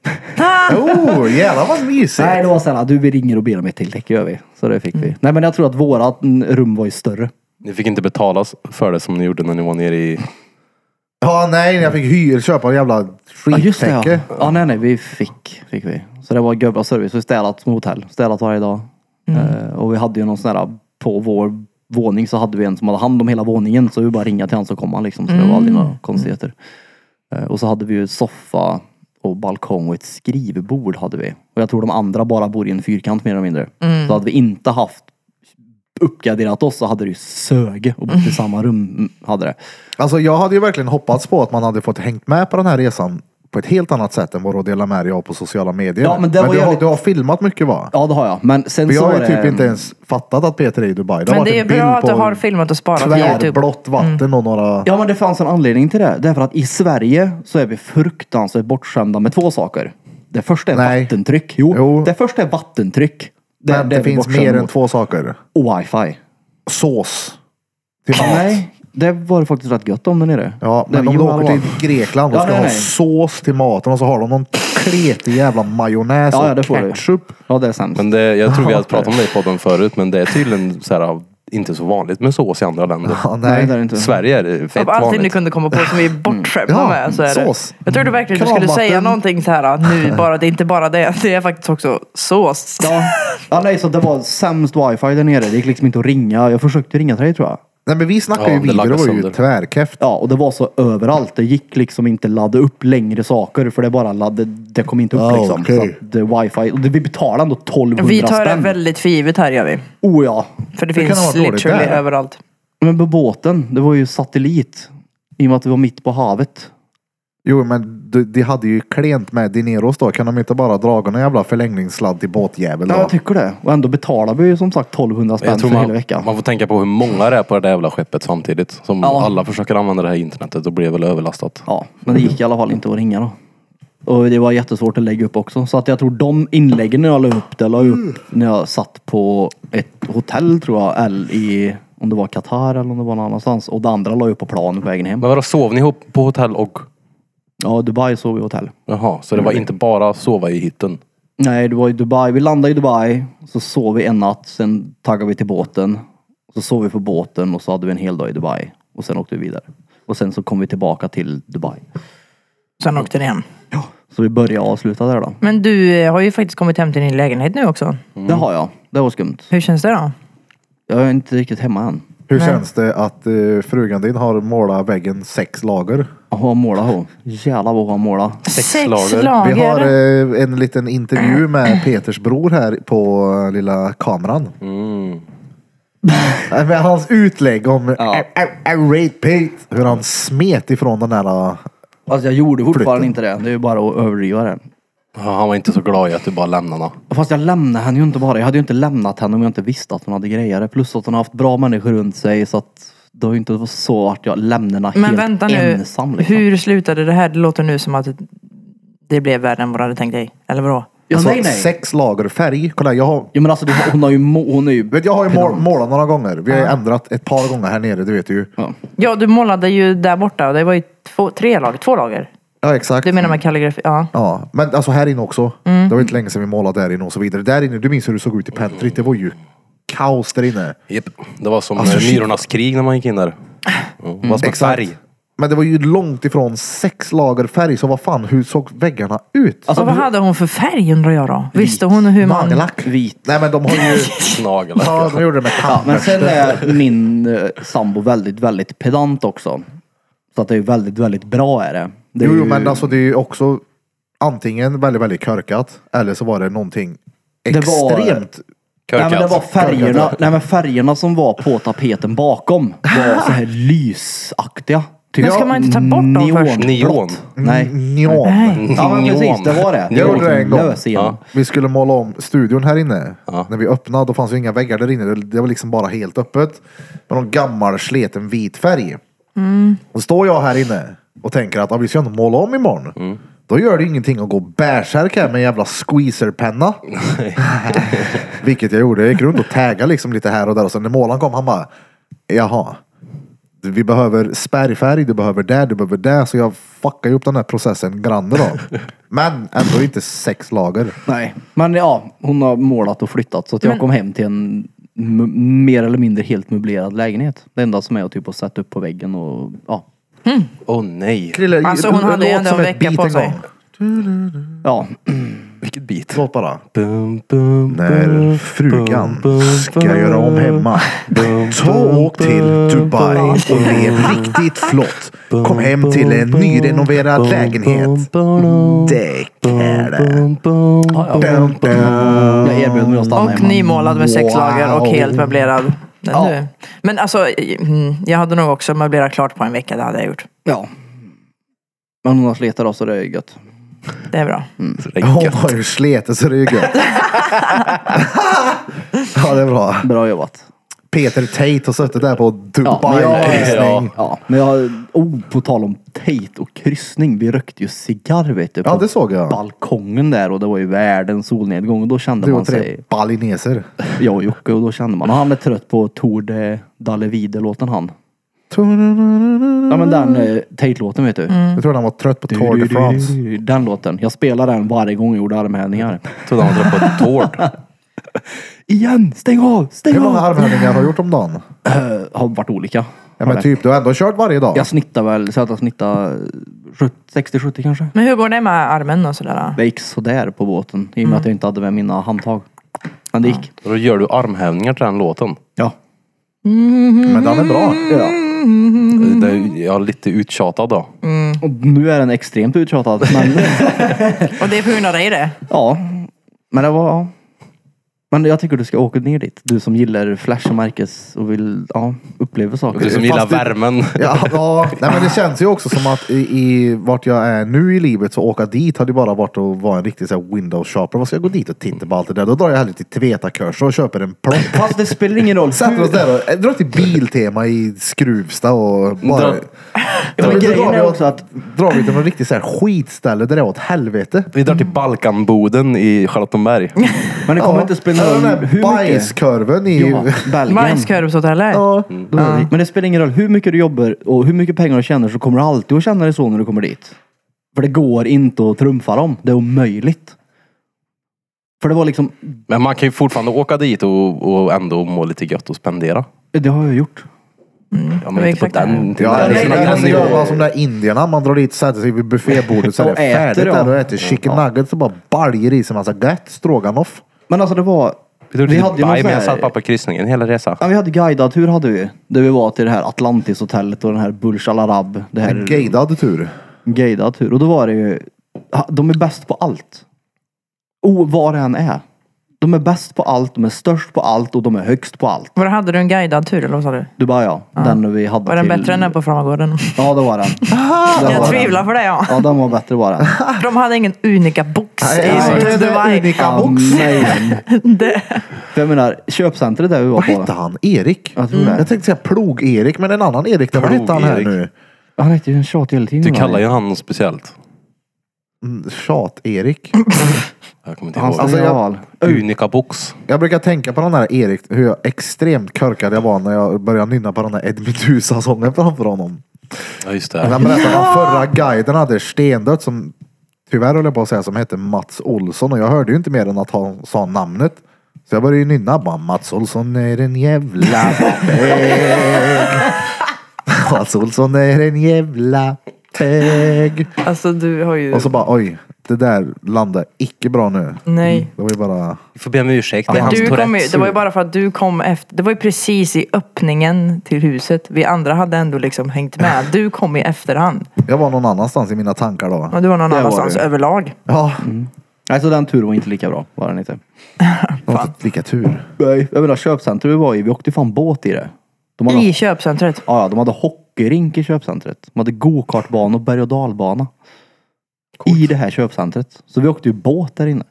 Speaker 1: Oh, jävlar vad mysigt.
Speaker 3: Nej, det var såhär, du vi ringer och ber om ett till täcke gör vi. Så det fick
Speaker 1: Mm.
Speaker 3: vi. Nej men jag tror att vårat mm, rum var ju större.
Speaker 4: Ni fick inte betala för det som ni gjorde när ni var nere i...
Speaker 1: Ja, nej, jag fick hyr, köpa en jävla
Speaker 3: Ja just det ja.
Speaker 1: skittäcke.
Speaker 3: ja. nej nej, vi fick. Fick vi. Så det var göbbla service. Vi städat som hotell. Städat varje dag. Eh, och vi hade ju någon sån här, på vår våning så hade vi en som hade hand om hela våningen. Så vi bara ringa till han så kom han liksom. Så det var aldrig några konstigheter. Eh, och så hade vi ju soffa och balkong och ett skrivbord hade vi. Och jag tror de andra bara bor i en fyrkant mer eller mindre. Så hade vi inte haft uppgraderat oss så hade det ju söge och bott i samma rum. mm, Hade det.
Speaker 1: Alltså jag hade ju verkligen hoppats på att man hade fått hängt med på den här resan på ett helt annat sätt än vad du delar med dig av på sociala medier.
Speaker 3: Ja, men det var
Speaker 1: du, har,
Speaker 3: jävligt-
Speaker 1: du har filmat mycket va?
Speaker 3: Ja det har jag. Men sen
Speaker 1: För jag
Speaker 3: så
Speaker 1: har
Speaker 3: var
Speaker 1: ju
Speaker 3: det...
Speaker 1: typ inte ens fattat att Peter är i Dubai. Det har
Speaker 2: Men
Speaker 1: varit
Speaker 2: det är
Speaker 1: en bild
Speaker 2: bra att du
Speaker 1: på
Speaker 2: har filmat och sparat på Youtube.
Speaker 1: Tvärblått vatten och några...
Speaker 3: Ja men det fanns en anledning till det. Därför att i Sverige så är vi fruktansvärt bortskämda med två saker. Det första är
Speaker 1: Nej.
Speaker 3: vattentryck. Jo,
Speaker 1: Jo.
Speaker 3: det första är vattentryck. Det,
Speaker 1: men det,
Speaker 3: är vi
Speaker 1: finns
Speaker 3: bortskämda
Speaker 1: mer än
Speaker 3: mot.
Speaker 1: två saker.
Speaker 3: Och wifi.
Speaker 1: Sås. Till mat.
Speaker 3: Nej, det var det faktiskt rätt gött om där nere.
Speaker 1: Ja,
Speaker 3: Det
Speaker 1: men om
Speaker 3: gjorde
Speaker 1: du
Speaker 3: man
Speaker 1: åker
Speaker 3: väl.
Speaker 1: till Grekland och
Speaker 3: Ja,
Speaker 1: ska
Speaker 3: nej,
Speaker 1: ha
Speaker 3: nej.
Speaker 1: sås till maten och så har de någon kletig jävla majonnäs
Speaker 3: Ja, ja,
Speaker 1: och
Speaker 3: det får du.
Speaker 1: ketchup.
Speaker 3: Ja det är sämst.
Speaker 4: Men det, jag tror vi hade pratat om det i podden förut men det är tydligen så här, inte så vanligt med sås i andra länder.
Speaker 1: Ja,
Speaker 3: nej.
Speaker 1: nej.
Speaker 3: det är det inte.
Speaker 4: Sverige är det fett
Speaker 2: Av allting du
Speaker 4: vanligt.
Speaker 2: kunde komma på som vi är bortskämda
Speaker 1: Mm. Ja,
Speaker 2: med så är det.
Speaker 1: sås.
Speaker 2: Jag trodde verkligen att du skulle
Speaker 1: Kranvatten.
Speaker 2: säga någonting så här "Ah, nu bara. Det är inte bara det. Det är faktiskt också sås.
Speaker 3: Ja. ja nej så det var sämst wifi där nere. Det gick liksom inte att ringa. Jag försökte ringa till dig tror jag.
Speaker 1: Nej men vi snackar
Speaker 4: Ja,
Speaker 1: ju
Speaker 4: det
Speaker 1: video, det
Speaker 4: laggas
Speaker 1: var ju
Speaker 4: sönder.
Speaker 1: tvärkräft.
Speaker 3: Ja och det var så överallt. Det gick liksom inte ladda upp längre saker. För det bara laddade, det kom inte upp
Speaker 4: Ah,
Speaker 1: Ja,
Speaker 3: liksom.
Speaker 1: okej.
Speaker 3: Så att det, wifi, och det, vi betalade ändå 1200
Speaker 2: Vi tar det
Speaker 3: spänn.
Speaker 2: väldigt för givet här gör vi.
Speaker 3: Oh ja.
Speaker 2: För det,
Speaker 1: Det kan ha
Speaker 2: finns
Speaker 1: varit dåligt
Speaker 2: literally
Speaker 1: där.
Speaker 2: överallt.
Speaker 3: Men på båten, det var ju satellit. I och med att vi var mitt på havet.
Speaker 1: Jo men du, de hade ju klent med Dineros då. Kan de inte bara dra någon jävla förlängningssladd till båtjävel då?
Speaker 3: Ja, typ. jag tycker det. Och ändå betalar vi ju som sagt 1200 spänn
Speaker 4: Jag
Speaker 3: för
Speaker 4: tror
Speaker 3: hela
Speaker 4: man,
Speaker 3: veckan.
Speaker 4: man får tänka på hur många det är på det där jävla skeppet samtidigt. Som
Speaker 3: Ja.
Speaker 4: alla försöker använda det här internetet och blir väl överlastat.
Speaker 3: Ja, men det gick i alla fall inte att ringa då. Och det var jättesvårt att lägga upp också. Så att jag tror de inläggen när jag la upp det, la jag upp när jag satt på ett hotell tror jag, eller i, om Om det var Qatar eller om det var någon annanstans. Och det andra la ju på plan på vägen hem.
Speaker 4: Men vadå, sov ni ihop på hotell och...
Speaker 3: Ja, Dubai sov vi i hotell.
Speaker 4: Jaha, så det
Speaker 3: Mm.
Speaker 4: var inte bara sova i hytten?
Speaker 3: Nej, det var i Dubai. Vi landade i Dubai. Så sov vi en natt. Sen taggade vi till båten. Så sov vi på båten och så hade vi en hel dag i Dubai. Och sen åkte vi vidare. Och sen så kom vi tillbaka till Dubai.
Speaker 2: Sen åkte ni hem.
Speaker 3: Så vi började och avslutade där då.
Speaker 2: Men du eh, har ju faktiskt kommit hem till din lägenhet nu också.
Speaker 3: Det har jag. Det var skumt.
Speaker 2: Hur känns det då?
Speaker 3: Jag är inte riktigt hemma än.
Speaker 1: Hur känns det att eh, frugan din har målat väggen sex lager?
Speaker 3: Hon målar hon. Jävlar vad hon målar.
Speaker 4: Sex lager.
Speaker 1: Vi har eh, en liten intervju med Peters bror här på eh, lilla kameran. Nej, Med hans utlägg om ja. rape Pete, hur han smet ifrån den där. eh,
Speaker 3: Alltså jag gjorde
Speaker 1: Flytten.
Speaker 3: fortfarande inte det. Det är ju bara att överdriva det.
Speaker 4: Ja, Han var inte så glad i att du bara lämnade honom.
Speaker 3: Fast jag lämnade henne ju inte bara. Jag hade ju inte lämnat henne om jag inte visste att hon hade grejer. Plus att hon har haft bra människor runt sig så att det har ju inte varit så att jag lämnade henne
Speaker 2: Men
Speaker 3: helt
Speaker 2: vänta nu.
Speaker 3: ensam. Liksom.
Speaker 2: Hur slutade det här? Det låter nu som att det blev värre än vad du hade tänkt dig. Eller vadå?
Speaker 3: Ja,
Speaker 1: Alltså,
Speaker 3: nej, nej.
Speaker 1: Sex lager färg. Kolla, jag har,
Speaker 3: Ja, men alltså det, hon har ju... må- Hon är ju
Speaker 1: vet, jag har ju mål,
Speaker 3: pedant.
Speaker 1: målat några gånger. Vi har ju ändrat ett par gånger här nere, det vet du ju.
Speaker 3: Ja.
Speaker 2: Ja, du målade ju där borta och det var ju två, tre lager, två lager.
Speaker 1: Ja, exakt.
Speaker 2: Du menar med kalligrafi? Ja.
Speaker 1: Ja, men alltså här inne också.
Speaker 3: Mm.
Speaker 1: Det var inte länge sedan vi målade där inne och så vidare. Där inne, du minns hur du såg ut i pentryt. Det var ju kaos där inne.
Speaker 4: Japp. Det var som
Speaker 1: Alltså,
Speaker 4: eh,
Speaker 1: shit.
Speaker 4: myrornas krig när man gick in där. Mm. Vad som
Speaker 1: Exakt.
Speaker 4: färg.
Speaker 1: Men det var ju långt ifrån sex lager färg, så vad fan, hur såg väggarna ut?
Speaker 2: och
Speaker 3: Alltså,
Speaker 2: vad
Speaker 3: du-
Speaker 2: hade hon för färg undrar jag då? Visste hon hur man...
Speaker 1: Nagellack?
Speaker 3: Vit.
Speaker 1: Nej men de har ju...
Speaker 4: Snagel.
Speaker 1: Ja, de gjorde det med
Speaker 3: Ja, men
Speaker 1: tandbörste.
Speaker 3: sen är min eh, sambo väldigt, väldigt pedant också. Så att det är väldigt, väldigt bra är det. det är
Speaker 1: Jo, jo,
Speaker 3: ju-
Speaker 1: men alltså det är ju också antingen väldigt, väldigt körkat eller så var det någonting
Speaker 3: var-
Speaker 1: extremt...
Speaker 3: Nej, men det var färgerna,
Speaker 1: Körkat.
Speaker 3: nej, men färgerna som var på tapeten bakom var så här lysaktiga. Typ
Speaker 2: Men ska man inte ta bort dem
Speaker 3: neonblått.
Speaker 2: först?
Speaker 4: Neon. Mm.
Speaker 3: Nej.
Speaker 1: Neon.
Speaker 2: Nej.
Speaker 3: Ja men precis,
Speaker 4: Neon.
Speaker 3: det var det.
Speaker 4: Jag
Speaker 1: gjorde det en gång.
Speaker 3: Lös igen.
Speaker 4: Ja.
Speaker 1: Vi skulle måla om studion här inne.
Speaker 4: Ja.
Speaker 1: När vi öppnade, då fanns ju inga väggar där inne. Det- Det var liksom bara helt öppet. Med någon gammal sleten vit färg.
Speaker 3: Mm.
Speaker 1: Då står jag här inne och tänker att ah, vi ska inte måla om imorgon. Då gör det ingenting att gå bärsärk här med en jävla squeezerpenna. Vilket jag gjorde. Jag gick runt och taggade liksom lite här och där. Och sen när målaren kom, han bara, jaha. Vi behöver spärrfärg, du behöver det, du behöver det. Så jag fuckade ju upp den här processen grande då. Men ändå inte sex lager.
Speaker 3: Nej. Men ja, hon har målat och flyttat så att jag kom hem till en m- mer eller mindre helt möblerad lägenhet. Det enda som är att typ att sätta upp på väggen och ja.
Speaker 4: Åh nej.
Speaker 1: Krille,
Speaker 2: Alltså, hon
Speaker 1: det
Speaker 2: hade ju
Speaker 1: låt
Speaker 2: ändå
Speaker 1: som
Speaker 2: en
Speaker 1: ett
Speaker 2: vecka
Speaker 1: beat
Speaker 2: på
Speaker 1: en
Speaker 2: sig.
Speaker 1: gång.
Speaker 3: Ja,
Speaker 4: Vilket bit.
Speaker 1: Låt bara.
Speaker 4: Bum, bum,
Speaker 1: När frugan ska göra om hemma. Ta och åk till Dubai och lev riktigt flott. Kom hem till en nyrenoverad lägenhet. Det är det. Dun, dun.
Speaker 3: jag erbjöd mig att stanna
Speaker 2: Och
Speaker 3: hemma.
Speaker 2: nymålad med sex
Speaker 1: Wow.
Speaker 2: lager och helt möblerad. Den
Speaker 3: Ja.
Speaker 2: du. Men alltså, mm, jag hade nog också möblerat klart på en vecka. Det hade jag gjort.
Speaker 3: Ja. Men hon har sletat då så det är gött.
Speaker 2: Det är bra.
Speaker 1: Hon har ju sletet så det är ju gött. Ja det är bra.
Speaker 3: Bra jobbat.
Speaker 1: Peter Tate har suttit där på
Speaker 3: Ja, men jag-
Speaker 1: Dubai-kryssning.
Speaker 3: Ja, men jag, oh, på tal om tejt och kryssning. Vi rökte ju cigarr vet du. På
Speaker 1: Ja det såg jag.
Speaker 3: balkongen där och det var ju världens solnedgång och då kände
Speaker 1: Du
Speaker 3: man
Speaker 1: och
Speaker 3: sig,
Speaker 1: tre balineser.
Speaker 3: jag och Jocke, och då kände man, "Ah, han är trött på Tour de Dalevide låten han. Ja men den eh, Tate-låten vet du.
Speaker 1: Jag tror han var trött på Tour de France.
Speaker 3: Den låten. Jag spelar den varje gång jag gjorde armhävningar.
Speaker 4: Trodde han hade dragit på tård.
Speaker 3: Igen! Stäng av! Stäng
Speaker 1: Hur många
Speaker 3: av!
Speaker 1: armhävningar har du gjort om dagen?
Speaker 3: Har varit olika.
Speaker 1: Ja men typ, du har ändå kört varje dag.
Speaker 3: Jag snittar väl, så att jag snittar eh, 60-70 kanske.
Speaker 2: Men hur går det med armen och sådär?
Speaker 3: Det gick sådär på båten i och med att jag inte hade med mina handtag. Men det gick.
Speaker 4: Då gör du armhävningar till den låten.
Speaker 3: Ja.
Speaker 1: Men den är bra.
Speaker 3: ja.
Speaker 1: Mm.
Speaker 4: Det är, jag är lite uttjatad då.
Speaker 3: Och nu är den extremt uttjatad. Men
Speaker 2: Och det är på grund av dig det?
Speaker 3: ja. Men det var... ja. Men jag tycker du ska åka ner dit. Du som gillar flash och märkes och vill ja, uppleva saker.
Speaker 4: Du som
Speaker 1: Fast
Speaker 4: gillar
Speaker 1: det-
Speaker 4: värmen.
Speaker 1: Ja, ja. Nej, men det känns ju också som att i, i vart jag är nu i livet så åka dit hade ju bara varit att vara en riktig så här window shopper. Vad ska jag gå dit och titta på allt det där? Då drar jag hellre till Tveta-kurser och köper en plopp.
Speaker 3: Fast det spelar ingen roll.
Speaker 1: Sätter oss där och eh, drar till Biltema i Skruvsta och bara...
Speaker 4: Dra-
Speaker 3: Ja, men
Speaker 1: Då
Speaker 3: grejen
Speaker 1: drar vi
Speaker 3: är
Speaker 1: åt-
Speaker 3: också att-
Speaker 1: Drar vi till något riktigt så här skitställe där det är åt helvete.
Speaker 4: Vi drar till Balkanboden i Charlottenberg.
Speaker 3: Men det kommer inte spela
Speaker 1: Alltså,
Speaker 3: roll
Speaker 1: den där
Speaker 3: hur mycket...
Speaker 1: bajskorven i...
Speaker 3: Ja, Mm. Belgien.
Speaker 2: Majskorvshotellet.
Speaker 1: Ja.
Speaker 3: Då är det- Men det spelar ingen roll hur mycket du jobbar och hur mycket pengar du tjänar så kommer du alltid att känna dig så när du kommer dit. För det går inte att trumfa dem. Det är omöjligt. För det var liksom,
Speaker 4: Men man kan ju fortfarande åka dit och, och ändå må lite gött och spendera.
Speaker 3: det har jag gjort.
Speaker 4: Ja,
Speaker 2: Det
Speaker 4: men
Speaker 2: var
Speaker 4: inte på
Speaker 2: exakt det.
Speaker 4: den, inte
Speaker 1: Ja,
Speaker 4: på
Speaker 1: det
Speaker 4: den,
Speaker 1: är
Speaker 4: den,
Speaker 1: alltså,
Speaker 4: nivån.
Speaker 1: gör man som där indierna. Man drar dit, sätter sig vid buffébbordet så är det
Speaker 3: Och äter,
Speaker 1: färdigt
Speaker 3: ja.
Speaker 1: där och äter chicken nuggets och bara baljer i sig massa gött stroganoff.
Speaker 3: Men alltså det var...
Speaker 4: Vi drog till
Speaker 3: ju någon
Speaker 4: Dubai,
Speaker 3: sån
Speaker 4: men jag
Speaker 3: här-
Speaker 4: satt bara på kryssningen hela resan.
Speaker 3: Ja, vi hade guidad tur hade vi. Där vi var till det här Atlantishotellet och den här Burj Al Arab. Det här
Speaker 1: En gaydad tur.
Speaker 3: guidad tur. Och då var det ju... ha, De är bäst på allt. O, vad det än är. De är bäst på allt, de är störst på allt och de är högst på allt.
Speaker 2: Var hade du en guidad tur eller vad sa du?
Speaker 3: Dubai ja. Den vi hade
Speaker 2: Var den
Speaker 3: till...
Speaker 2: bättre än den på Framgården?
Speaker 3: Ja, det var den. Det var
Speaker 2: Jag
Speaker 3: den.
Speaker 2: tvivlar på det ja.
Speaker 3: Ja, den var bättre var den.
Speaker 2: De hade ingen unika box
Speaker 1: Nej,
Speaker 2: i
Speaker 1: nej, det är
Speaker 2: Dubai.
Speaker 1: unik- Vilka box?
Speaker 3: Amen. För Jag menar, köpcentret där vi var
Speaker 1: Vad
Speaker 3: på.
Speaker 1: hette han? Erik? Mm.
Speaker 3: Jag tror det.
Speaker 1: Jag tänkte säga Plog-Erik, men en annan Erik. där. Vad hette han här
Speaker 4: Plog-Erik.
Speaker 1: nu?
Speaker 3: Han hette ju en tjat hela tiden.
Speaker 4: Du
Speaker 3: va?
Speaker 4: kallar ju han något speciellt.
Speaker 1: Mm, Tjat-Erik.
Speaker 4: Jag kommer inte
Speaker 3: Hans
Speaker 4: ihåg.
Speaker 1: Alltså, jag-
Speaker 3: ideal.
Speaker 4: Unika box.
Speaker 1: Jag brukar tänka på den här Erik, hur jag extremt körkad jag var när jag började nynna på den här Ed Meduza-sången framför honom.
Speaker 4: Ja just
Speaker 1: Men
Speaker 4: det.
Speaker 1: Han berättade att förra guiden hade stendött som, tyvärr höll jag på att säga, som hette Mats Olsson. Och jag hörde ju inte mer än att han sa namnet. Så jag började ju nynna bara, Mats Olsson är en jävla bög. Mats Olsson är en jävla bög.
Speaker 2: Alltså du har ju...
Speaker 1: Och så bara, oj, det där landade icke bra nu.
Speaker 2: Nej.
Speaker 1: Det var ju bara...
Speaker 4: Vi får be om ursäkt. Det är hans
Speaker 2: Du kom ju,
Speaker 4: Tourettes.
Speaker 2: det var ju bara för att du kom efter. Det var ju precis i öppningen till huset. Vi andra hade ändå liksom hängt med. Du kom i efterhand.
Speaker 1: Jag var någon annanstans i mina tankar då.
Speaker 2: Ja, Du var någon
Speaker 3: var
Speaker 2: annanstans
Speaker 3: du.
Speaker 2: överlag.
Speaker 1: Ja,
Speaker 3: Nej, så den turen var inte lika bra. Var den inte.
Speaker 1: det var inte lika tur.
Speaker 3: Nej. Jag menar, köpcentret vi var i, vi åkte ju fan båt i det. De hade,
Speaker 2: I köpcentret.
Speaker 3: ja, ja, de hade hockeyrink i köpcentret. De hade gokartbana och berg och dalbana. I det här köpcentret. Så vi åkte ju båt där inne.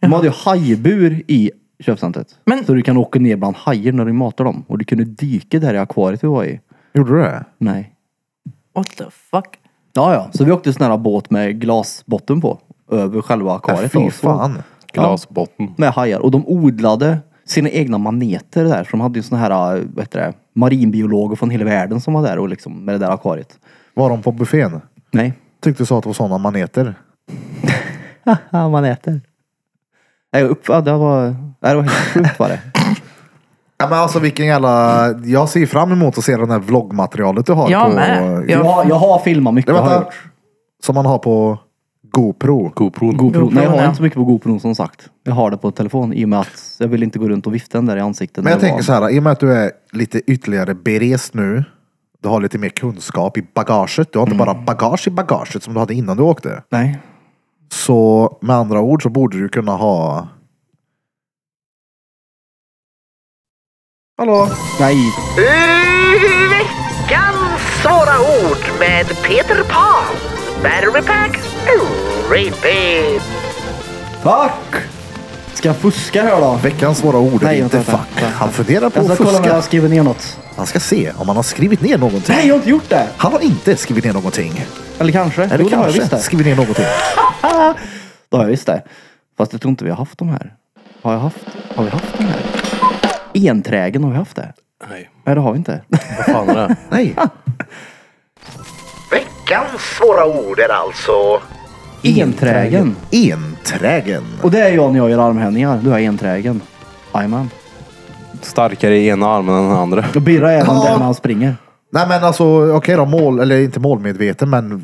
Speaker 3: De hade ju hajbur i köpcentret.
Speaker 2: Men-
Speaker 3: Så du kan åka ner bland hajer när du matar dem. Och du kunde dyka där i akvariet vi var i.
Speaker 1: Gjorde du det?
Speaker 3: Nej.
Speaker 2: What the fuck?
Speaker 3: Ja, ja. Så vi åkte sån här båt med glasbotten på. Över själva
Speaker 1: Ja,
Speaker 3: akvariet.
Speaker 1: fy
Speaker 3: då. Så-
Speaker 1: fan.
Speaker 4: Glasbotten.
Speaker 3: Med hajar. Och de odlade sina egna maneter där. Så de hade ju såna här, äh, vad heter det, marinbiologer från hela världen som var där och liksom med det där akvariet.
Speaker 1: Var de på buffén?
Speaker 3: Nej.
Speaker 1: Tyckte du sa att det var sådana maneter.
Speaker 3: Haha, maneter. Nej, upp, ja, det var, nej, det var helt sjukt var det.
Speaker 1: Ja, men alltså vilken jävla... Jag ser fram emot att se det här vloggmaterialet du har.
Speaker 2: Jag
Speaker 1: på...
Speaker 2: med.
Speaker 3: Jag, har- jag har filmat mycket.
Speaker 1: Nej,
Speaker 3: har jag
Speaker 1: vänta.
Speaker 3: gjort.
Speaker 1: Som man har på GoPro.
Speaker 4: GoPro.
Speaker 3: GoPro.
Speaker 2: GoPro,
Speaker 3: Nej, jag har
Speaker 2: ja.
Speaker 3: inte så mycket på GoPro som sagt. Jag har det på telefon i och med att jag vill inte gå runt och vifta den där i ansiktet.
Speaker 1: Men jag
Speaker 3: när det
Speaker 1: tänker så här, i och med att du är lite ytterligare berest nu. Du har lite mer kunskap i bagaget. Du har inte bara bagage i bagaget som du hade innan du åkte.
Speaker 3: var- Nej.
Speaker 1: Så med andra ord så borde du kunna ha... Hallå?
Speaker 3: Nej.
Speaker 5: Veckans svåra ord med Peter Pan. Battery pack, repeat.
Speaker 3: Fuck! Ska jag fuska här då?
Speaker 1: Veckans svåra ord är
Speaker 3: Nej,
Speaker 1: inte
Speaker 3: vänta,
Speaker 1: fuck.
Speaker 3: vänta, vänta.
Speaker 1: Han funderar på
Speaker 3: Jag ska
Speaker 1: att
Speaker 3: kolla om jag har
Speaker 1: fuska.
Speaker 3: skrivit ner något.
Speaker 1: Han ska se om han har skrivit ner någonting.
Speaker 3: Nej, jag har inte gjort det!
Speaker 1: Han har inte skrivit ner någonting.
Speaker 3: Eller kanske.
Speaker 1: Eller
Speaker 3: jo, det har jag visst
Speaker 1: kanske
Speaker 3: det.
Speaker 1: skrivit ner någonting.
Speaker 3: Det har jag visst det. Fast jag tror inte vi har haft de här. Har jag haft? Har vi haft de här? Enträgen har vi haft det.
Speaker 4: Nej,
Speaker 3: Nej, det har vi inte.
Speaker 4: vad fan är det?
Speaker 1: Nej.
Speaker 3: Ah.
Speaker 5: Veckans svåra ord är alltså
Speaker 3: Enträgen.
Speaker 1: Enträgen.
Speaker 3: Och det är jag när jag gör armhävningar. Då är jag enträgen. Jajamän.
Speaker 4: Starkare i ena armen än den andra.
Speaker 3: Och Birra är även
Speaker 1: Ja.
Speaker 3: där när han springer.
Speaker 1: Nej men alltså okej då, mål, eller inte målmedveten men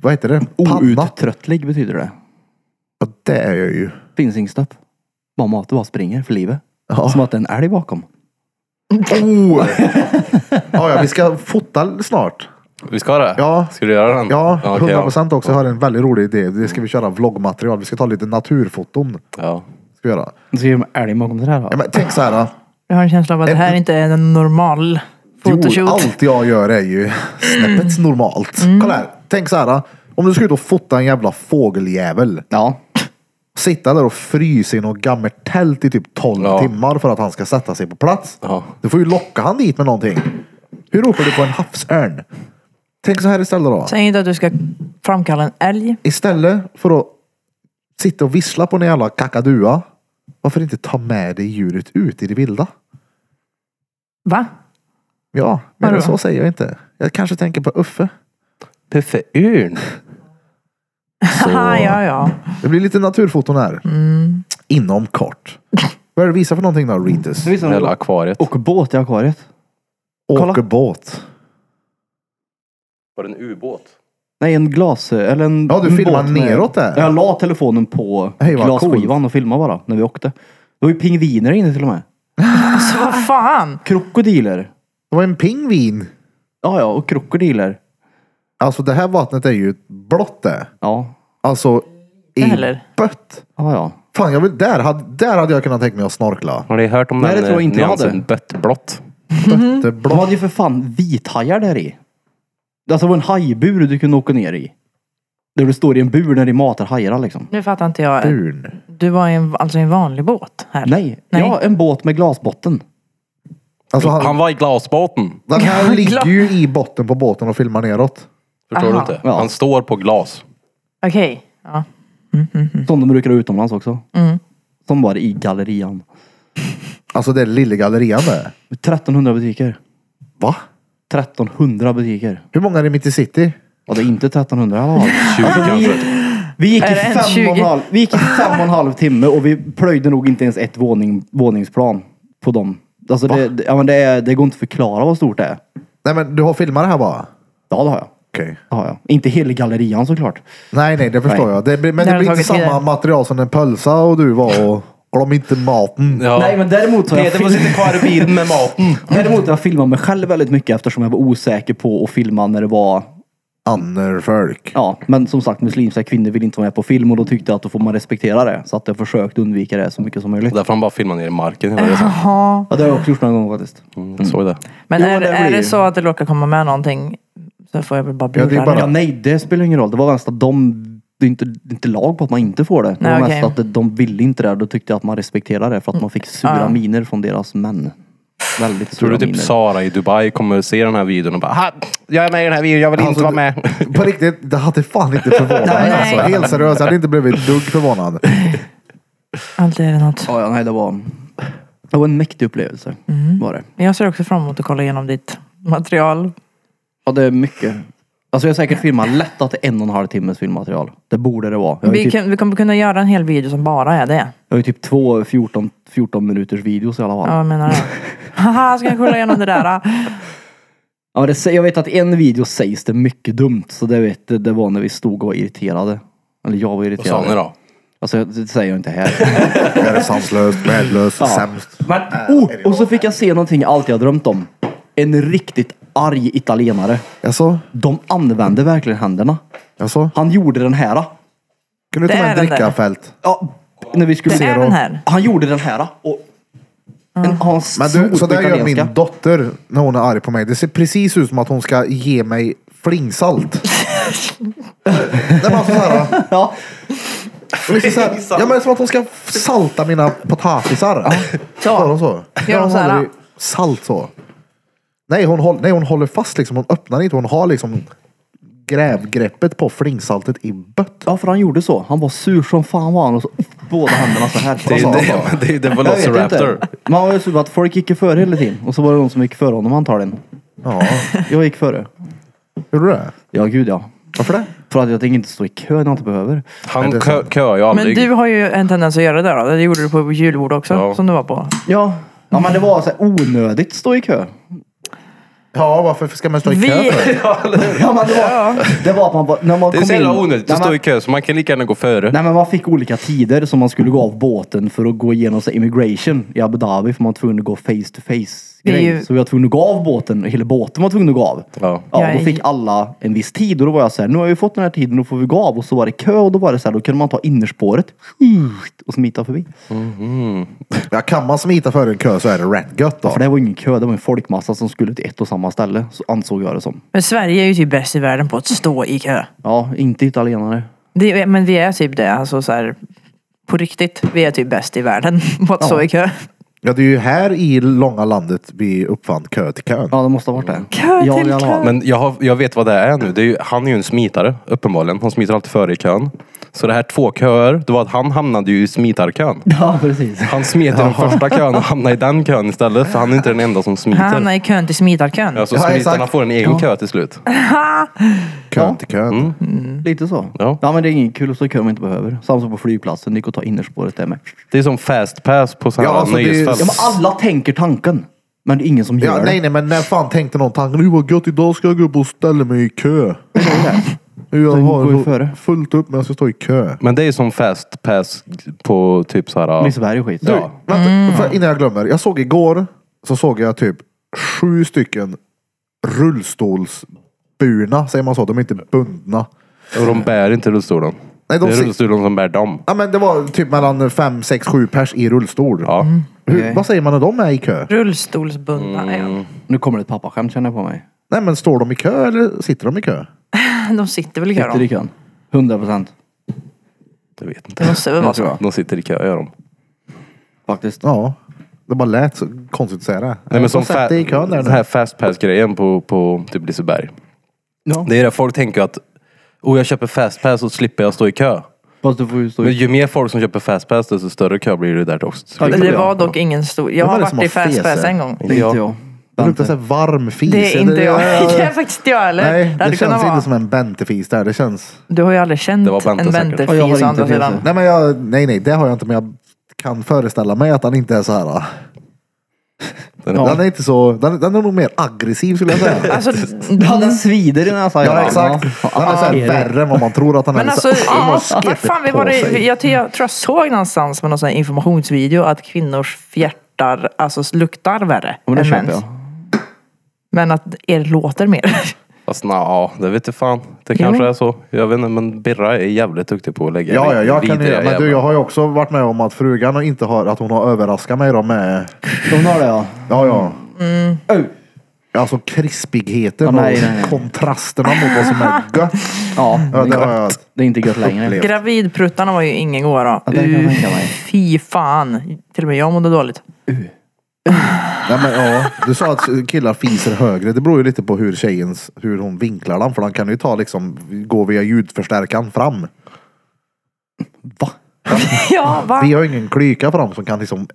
Speaker 1: vad heter det? Panna.
Speaker 3: Outtröttlig betyder det.
Speaker 1: Ja, det är jag ju.
Speaker 3: Finns inget stopp. Bara maten bara springer för livet.
Speaker 1: Ja.
Speaker 3: Som att det är en älg bakom.
Speaker 1: Oh. ja, ja, vi ska fota snart.
Speaker 4: Vi ska det?
Speaker 1: Ja.
Speaker 4: Ska du göra den?
Speaker 1: Ja,
Speaker 4: okej,
Speaker 1: 100% procent också. Jag har en väldigt rolig idé. Det ska vi köra vloggmaterial. Vi ska ta lite naturfoton.
Speaker 4: Ja.
Speaker 1: Ska vi göra.
Speaker 3: Nu ser jag en älg bakom det här
Speaker 1: Ja,
Speaker 3: då.
Speaker 1: men tänk så här.
Speaker 2: Jag har en känsla av att det här inte är en normal
Speaker 1: Jo,
Speaker 2: fotoshoot.
Speaker 1: allt jag gör är ju snäppet normalt. Kolla här. Tänk så här. Om du ska ut och fota en jävla fågeljävel.
Speaker 3: Ja.
Speaker 1: Sitta där och frysa i något gammalt tält i typ 12
Speaker 4: Ja.
Speaker 1: timmar för att han ska sätta sig på plats.
Speaker 4: Ja.
Speaker 1: Du får ju locka han dit med någonting. Hur ropar du på en havsörn? Tänk så här istället då.
Speaker 2: Säg inte att du ska framkalla en älg.
Speaker 1: Istället för att sitta och vissla på en jävla kakadua Varför inte ta med dig djuret ut i det vilda?
Speaker 2: Va?
Speaker 1: Ja, men
Speaker 2: Vadå?
Speaker 1: så säger jag inte. Jag kanske tänker på Uffe.
Speaker 4: Puffe Urn. Så.
Speaker 2: Haha, ja, ja.
Speaker 1: Det blir lite naturfoton här.
Speaker 4: Mm.
Speaker 1: Inom kort. Vad är det du visar för någonting då, Ritus?
Speaker 3: Nu visar
Speaker 4: Eller
Speaker 3: de
Speaker 4: akvariet.
Speaker 3: och båt i akvariet. kolla.
Speaker 1: Åker båt.
Speaker 4: Var det en ubåt?
Speaker 3: Nej, en glas... Eller en,
Speaker 1: Ja, du
Speaker 3: en
Speaker 1: filmar
Speaker 3: båt med-
Speaker 1: neråt där.
Speaker 3: Jag la telefonen på
Speaker 1: Hej, vad
Speaker 3: glasskivan och filmade bara när vi åkte. Det var ju pingviner inne till och med.
Speaker 2: Så vad fan?
Speaker 3: Krokodiler.
Speaker 1: Det var en pingvin.
Speaker 3: Ja, ja, och krokodiler.
Speaker 1: Alltså det här vattnet är ju blått det.
Speaker 3: Ja,
Speaker 1: Alltså i
Speaker 2: Eller?
Speaker 1: bött.
Speaker 3: ja, ja.
Speaker 1: Fan, jag vill, där, hade, där hade jag kunnat tänka mig att snorkla.
Speaker 4: Har ni hört om
Speaker 3: Nej,
Speaker 4: den
Speaker 3: det tror jag
Speaker 4: eh,
Speaker 3: inte jag
Speaker 4: nyansen
Speaker 3: hade.
Speaker 4: böttblått? Mm.
Speaker 1: Det är
Speaker 3: De
Speaker 1: blått.
Speaker 3: hade ju för fan vithajar där i. Alltså det var en hajbur du kunde åka ner i. Där du står i en bur när de matar hajarna liksom.
Speaker 2: Nu fattar inte jag.
Speaker 1: Burn.
Speaker 2: Du var i en, alltså i en vanlig båt här?
Speaker 3: Nej,
Speaker 2: Nej.
Speaker 3: ja en båt med glasbotten.
Speaker 1: Alltså han,
Speaker 4: Han var i glasbåten.
Speaker 1: den här
Speaker 2: Ja,
Speaker 1: ligger
Speaker 2: klart.
Speaker 1: ju i botten på båten och filmar neråt.
Speaker 4: Förstår
Speaker 2: Aha.
Speaker 4: du inte?
Speaker 3: Ja.
Speaker 4: Han står på glas.
Speaker 2: Okej. Ja.
Speaker 3: Som de brukar ha utomlands också. Som var i gallerian.
Speaker 1: Alltså det är lilla gallerian det.
Speaker 3: 1300 butiker.
Speaker 1: Va?
Speaker 3: 1300 butiker.
Speaker 1: Hur många är det mitt i city?
Speaker 3: Ja det är inte 1300 jag har.
Speaker 4: 20 kanske.
Speaker 3: Vi gick, i
Speaker 2: Är det ens
Speaker 3: fem och en
Speaker 2: 20?
Speaker 3: halv, vi gick i fem och en halv timme och vi plöjde nog inte ens ett våning, våningsplan på dem. Alltså det, det- ja, men det, är, det går inte att förklara vad stort det är.
Speaker 1: Nej men du har filmat det här bara?
Speaker 3: Ja det har jag.
Speaker 1: Okej.
Speaker 3: Det har jag. Inte hela gallerian såklart.
Speaker 1: Nej nej, det förstår
Speaker 3: Nej.
Speaker 1: jag. Det blir, men
Speaker 2: Det
Speaker 1: det,
Speaker 2: har
Speaker 1: blir inte
Speaker 2: tagit
Speaker 1: samma
Speaker 2: tid.
Speaker 1: material som en pölsa och du var och glöm inte maten.
Speaker 4: Ja.
Speaker 3: Nej men däremot har jag,
Speaker 4: Peter får
Speaker 3: film...
Speaker 4: sitta kvar i bilen med maten.
Speaker 3: däremot har jag filmat mig själv väldigt mycket eftersom jag var osäker på att filma när det var
Speaker 1: Annerfolk.
Speaker 3: Ja, men som sagt muslimska kvinnor vill inte vara med på film och då tyckte jag att då får man respektera det. Så att jag försökt undvika det så mycket som möjligt.
Speaker 4: Därför han bara filmar ner i marken hela resan.
Speaker 2: Jaha.
Speaker 3: Ja, det har jag också gjort några gånger faktiskt.
Speaker 4: Mm, jag såg det.
Speaker 2: Men
Speaker 3: Jo,
Speaker 2: är,
Speaker 3: det
Speaker 2: det är
Speaker 3: blir-
Speaker 2: det så att det råkar komma med någonting så får jag väl bara
Speaker 1: Ja, det är
Speaker 2: blurra
Speaker 1: bara-
Speaker 3: Ja, nej, det spelar ingen roll. Det var mest att de... Det är inte, det är inte lag på att man inte får det. Det
Speaker 2: Nej,
Speaker 3: var
Speaker 2: okej. Mm.
Speaker 3: mest att de ville inte det. Då tyckte jag att man respekterade det för att man fick sura
Speaker 2: Ja.
Speaker 3: miner från deras män. Väldigt
Speaker 4: Tror
Speaker 3: sura
Speaker 4: du typ
Speaker 3: miner.
Speaker 4: Sara i Dubai kommer se den här videon och bara "Ha, Jag är med i den här videon, jag vill inte
Speaker 1: Alltså,
Speaker 4: vara med.
Speaker 1: På riktigt, det hade fan inte förvånat mig.
Speaker 2: Nej.
Speaker 1: Alltså, helt seriöst, jag hade inte blivit ett dugg förvånad.
Speaker 2: Alltid är det något.
Speaker 3: Ja, ja, nej, det var... Det var en mäktig upplevelse.
Speaker 2: Mm.
Speaker 3: Var det.
Speaker 2: Men jag ser också fram emot att kolla igenom ditt material.
Speaker 3: Ja, det är mycket. Alltså jag har säkert filmat lätt att det är en och en halv timmes filmmaterial. Det borde det vara. Jag har ju
Speaker 2: Vi,
Speaker 3: typ,
Speaker 2: kan, vi kommer kunna göra en hel video som bara är det.
Speaker 3: jag har ju typ två 14, 14 minuters videos i alla fall.
Speaker 2: Ja,
Speaker 3: Ja.
Speaker 2: jag menar det. Haha, ska jag kolla igenom det där? då?
Speaker 3: det, sä- jag vet att i en video sägs det mycket dumt. Så det, vet, det, det var när vi stod och var irriterade. Eller jag var
Speaker 4: Vad sa
Speaker 3: irriterad.
Speaker 4: ni då?
Speaker 3: Alltså det säger jag inte här.
Speaker 1: Det är sanslöst, värdelöst, sämst.
Speaker 3: Men, oh, och så fick jag se någonting jag alltid har drömt om. En riktigt arg italienare.
Speaker 1: Jaså?
Speaker 3: De använde verkligen händerna.
Speaker 1: Jaså?
Speaker 3: Han gjorde den här.
Speaker 1: Kan du ta
Speaker 2: Det
Speaker 1: med
Speaker 2: är den
Speaker 1: en
Speaker 2: där.
Speaker 1: drickafält?
Speaker 3: Ja, när vi skulle
Speaker 2: Det är
Speaker 3: då.
Speaker 2: den här.
Speaker 3: Han gjorde den här och... En, han
Speaker 1: Men
Speaker 3: svor
Speaker 1: du, så
Speaker 3: på
Speaker 1: där gör
Speaker 3: italienska.
Speaker 1: min dotter när hon är arg på mig. Det ser precis ut som att hon ska ge mig flingsalt. Nej, men alltså så här,
Speaker 3: Ja,
Speaker 1: liksom så här, ja, men som att hon ska salta mina potatisar.
Speaker 2: Så.
Speaker 1: Gör hon så?
Speaker 2: Gör hon så här,
Speaker 1: håller
Speaker 2: ja.
Speaker 1: i salt så. Nej hon, håller, nej, hon håller fast liksom. Hon öppnar inte. Hon har liksom grävgreppet på flingsaltet i bött.
Speaker 3: ja, för han gjorde så. Han var sur som fan var han och så, båda händerna så här.
Speaker 4: Det är ju
Speaker 3: Vad sa han då?
Speaker 4: det, det, är ju det
Speaker 3: Jag vet
Speaker 4: Velociraptor.
Speaker 3: inte. Man var ju så att folk gick ju före hela tiden. Och så var det någon som gick före honom antagligen.
Speaker 1: Ja,
Speaker 3: Jag gick före.
Speaker 1: gjorde du det?
Speaker 3: Ja, gud ja.
Speaker 1: Varför det?
Speaker 3: För att jag tänker inte stå i kö när jag inte behöver.
Speaker 1: Nej,
Speaker 4: Han
Speaker 1: det är
Speaker 4: kö,
Speaker 1: sant.
Speaker 4: köar ju
Speaker 2: Men
Speaker 4: aldrig.
Speaker 2: du har ju en tendens att göra det då. Det gjorde du på julbord också.
Speaker 4: Ja.
Speaker 2: Som du var på.
Speaker 3: Ja. Ja men det var så här onödigt stå i kö.
Speaker 1: Ja, varför ska man stå i
Speaker 2: Vi,
Speaker 1: kö för?
Speaker 3: Ja, men det, var, det var att man bara, när man
Speaker 4: Det är
Speaker 3: kom
Speaker 4: så jävla
Speaker 3: in-
Speaker 4: onödigt
Speaker 3: Nej,
Speaker 4: att
Speaker 3: men-
Speaker 4: stå i kö så man kan lika gärna gå före.
Speaker 3: Nej men man fick olika tider som man skulle gå av båten för att gå igenom så här, immigration i Abu Dhabi för man var tvungen att gå face to face.
Speaker 2: Det är
Speaker 3: grej.
Speaker 2: ju-
Speaker 3: Så vi var tvungna att gå av båten, hela båten var tvungen att gå av.
Speaker 4: Ja.
Speaker 3: Ja,
Speaker 2: Jag
Speaker 3: då
Speaker 2: är-
Speaker 3: fick alla en viss tid och då var jag så här, nu har vi fått den här tiden, då får vi gå av. Och så var det kö och då var det så här, då kunde man ta innerspåret och smita förbi.
Speaker 1: Ja, kan man smita före en kö så är det rätt gött då.
Speaker 3: För det var ingen kö, det var en folkmassa som skulle till ett och samma ställe, så ansåg jag det som.
Speaker 2: men Sverige är ju typ bäst i världen på att stå i kö.
Speaker 3: Ja, inte italienare.
Speaker 2: Det, men vi är typ det. Alltså så här, på riktigt. Vi är typ bäst i världen på att stå i kö.
Speaker 1: Ja, det är ju här i långa landet vi uppfann kö till kön.
Speaker 3: Ja, det måste ha varit
Speaker 1: Mm.
Speaker 3: det.
Speaker 2: Kö
Speaker 3: ja,
Speaker 2: till
Speaker 3: i alla fall.
Speaker 2: kö.
Speaker 4: Men jag, har, jag vet vad det är nu. Det är ju, han är ju en smitare, uppenbarligen. Han smiter alltid före i kön. Så det här två köer, det var att han hamnade ju i smitarkön.
Speaker 3: Ja, precis.
Speaker 4: Han smet i den första kön och hamnade i den kön istället. För han är inte den enda som
Speaker 2: Han
Speaker 4: smiter.
Speaker 2: hamnar i kön till smitarkön.
Speaker 4: Ja, så
Speaker 1: Ja,
Speaker 4: smitarna
Speaker 1: exakt.
Speaker 4: får en egen kö till slut.
Speaker 1: Kön till kön. Mm.
Speaker 3: Lite så.
Speaker 4: Ja.
Speaker 3: men det är ingen kul att stå i kö om man inte behöver. Samma som på flygplatsen, det gick att ta innerspåret där med.
Speaker 4: Det är som fast pass på sådana
Speaker 1: Ja,
Speaker 4: här
Speaker 1: alltså det är-
Speaker 4: nöjesfält.
Speaker 3: Ja, men alla tänker tanken. Men det är ingen som gör
Speaker 1: Ja,
Speaker 3: det.
Speaker 1: nej, nej, men när fan tänkte någon tanken, "Oj, vad gött, idag ska jag gå upp och ställa mig i kö. Jag
Speaker 3: går ju
Speaker 1: har
Speaker 3: före.
Speaker 1: fullt upp men jag ska stå i kö.
Speaker 4: Men det är som fast pass på typ så här.
Speaker 3: Liseberg och skit.
Speaker 4: Du-
Speaker 3: Ja.
Speaker 1: Vänta,
Speaker 4: Mm.
Speaker 1: för, innan jag glömmer. Jag såg igår, så såg jag typ sju stycken rullstolsburna, säger man så? De är inte bundna.
Speaker 4: Och de bär inte rullstolen.
Speaker 1: Nej, de
Speaker 4: det är
Speaker 1: sit-
Speaker 4: rullstolen som bär dem.
Speaker 1: Ja, men det var typ mellan fem, sex, sju pers i rullstol.
Speaker 4: Ja.
Speaker 1: Hur,
Speaker 3: Okej.
Speaker 1: Vad säger man när de är i kö?
Speaker 2: Rullstolsbundna. Mm.
Speaker 3: Nu kommer det ett pappaskämt känner jag på mig.
Speaker 1: Nej, men står de i kö eller sitter de i kö?
Speaker 2: De sitter väl i kö
Speaker 3: Sitter i
Speaker 2: då?
Speaker 3: kön. 100 procent.
Speaker 4: Det vet inte.
Speaker 2: Det måste väl vara
Speaker 3: Jag tror
Speaker 2: så.
Speaker 3: jag.
Speaker 4: De sitter i kö, gör de.
Speaker 3: Faktiskt.
Speaker 1: Ja. Det bara lät så konstigt att säga det.
Speaker 4: Nej, men som
Speaker 1: de satt
Speaker 4: fa-
Speaker 1: i kön där
Speaker 4: den
Speaker 1: nu.
Speaker 4: här fast pass-grejen på, på typ Liseberg.
Speaker 3: Ja.
Speaker 4: Det är det folk tänker att oh, jag köper fast pass och slipper jag stå i kö.
Speaker 3: Fast du får ju stå
Speaker 4: Men
Speaker 3: i...
Speaker 4: ju mer folk som köper fast pass desto större kö blir det där också.
Speaker 3: Ja,
Speaker 4: Ja,
Speaker 3: det-
Speaker 2: Det var dock ingen stor... Jag
Speaker 1: Vem
Speaker 2: har
Speaker 1: är det som
Speaker 2: varit i
Speaker 1: har
Speaker 2: fast pass
Speaker 1: feser?
Speaker 2: en gång.
Speaker 3: Det är inte jag.
Speaker 1: Det luktar
Speaker 3: Vänta.
Speaker 1: såhär varm fis.
Speaker 2: Det är inte jag. Det är faktiskt inte jag heller.
Speaker 1: Nej,
Speaker 2: hade
Speaker 1: det
Speaker 2: kunnat
Speaker 1: känns inte
Speaker 2: vara.
Speaker 1: som en bentefis där. Det känns...
Speaker 2: Du har ju aldrig känt
Speaker 4: Det var Bente
Speaker 2: en
Speaker 4: säkert.
Speaker 2: Bente
Speaker 3: Och jag har
Speaker 2: fis å
Speaker 3: inte
Speaker 2: andra
Speaker 3: feser.
Speaker 2: sidan.
Speaker 1: Nej, men jag, nej, nej, det har jag inte, men jag kan föreställa mig att han inte är så här. ah.
Speaker 3: Ja.
Speaker 1: Den är inte så, den, den är nog mer aggressiv skulle jag säga.
Speaker 2: Alltså,
Speaker 3: Ja, den svider i näsan.
Speaker 1: ja, exakt. Den är så här värre än vad man tror att han
Speaker 2: men
Speaker 1: är.
Speaker 2: alltså,
Speaker 1: Så- han har
Speaker 2: vad
Speaker 1: sketet
Speaker 2: fan, vi
Speaker 1: på
Speaker 2: var det,
Speaker 1: sig.
Speaker 2: jag, jag tror jag såg någonstans med någon sån här informationsvideo att kvinnors fjärtar alltså, luktar värre
Speaker 3: Ja, men det
Speaker 2: än
Speaker 3: köper
Speaker 2: mäns.
Speaker 3: jag.
Speaker 2: Men att er låter mer.
Speaker 4: Fast na, ja, det vet jag fan. Det kanske är så. Jag vet inte, men Birra är jävligt duktig på att lägga
Speaker 1: Ja, ja, jag kan ju
Speaker 4: vidriga
Speaker 1: det. Men du,
Speaker 4: jävlar.
Speaker 1: jag har ju också varit med om att frugan inte har, att hon har överraskat mig då med,
Speaker 3: Hon har det ja.
Speaker 1: ja, ja.
Speaker 3: Au.
Speaker 1: Alltså krispigheten
Speaker 3: Ja, nej, nej, nej.
Speaker 1: och kontrasterna mot vad som är gött.
Speaker 3: Ja,
Speaker 1: Ja, det har jag.
Speaker 3: det är inte gött längre.
Speaker 1: Upplevt.
Speaker 2: Gravidpruttarna var ju ingen gåva
Speaker 3: Ja,
Speaker 2: då.
Speaker 3: det kan jag
Speaker 2: Uh,
Speaker 3: tänka mig.
Speaker 2: Fy fan. Till och med jag mådde dåligt.
Speaker 1: Nej, men, ja. Du sa att killar fiser högre. Det beror ju lite på hur tjejens, hur hon vinklar den. För den kan ju ta liksom, gå via ljudförstärkan fram.
Speaker 3: Va?
Speaker 2: ja, va?
Speaker 1: Vi har ju ingen klyka fram som kan liksom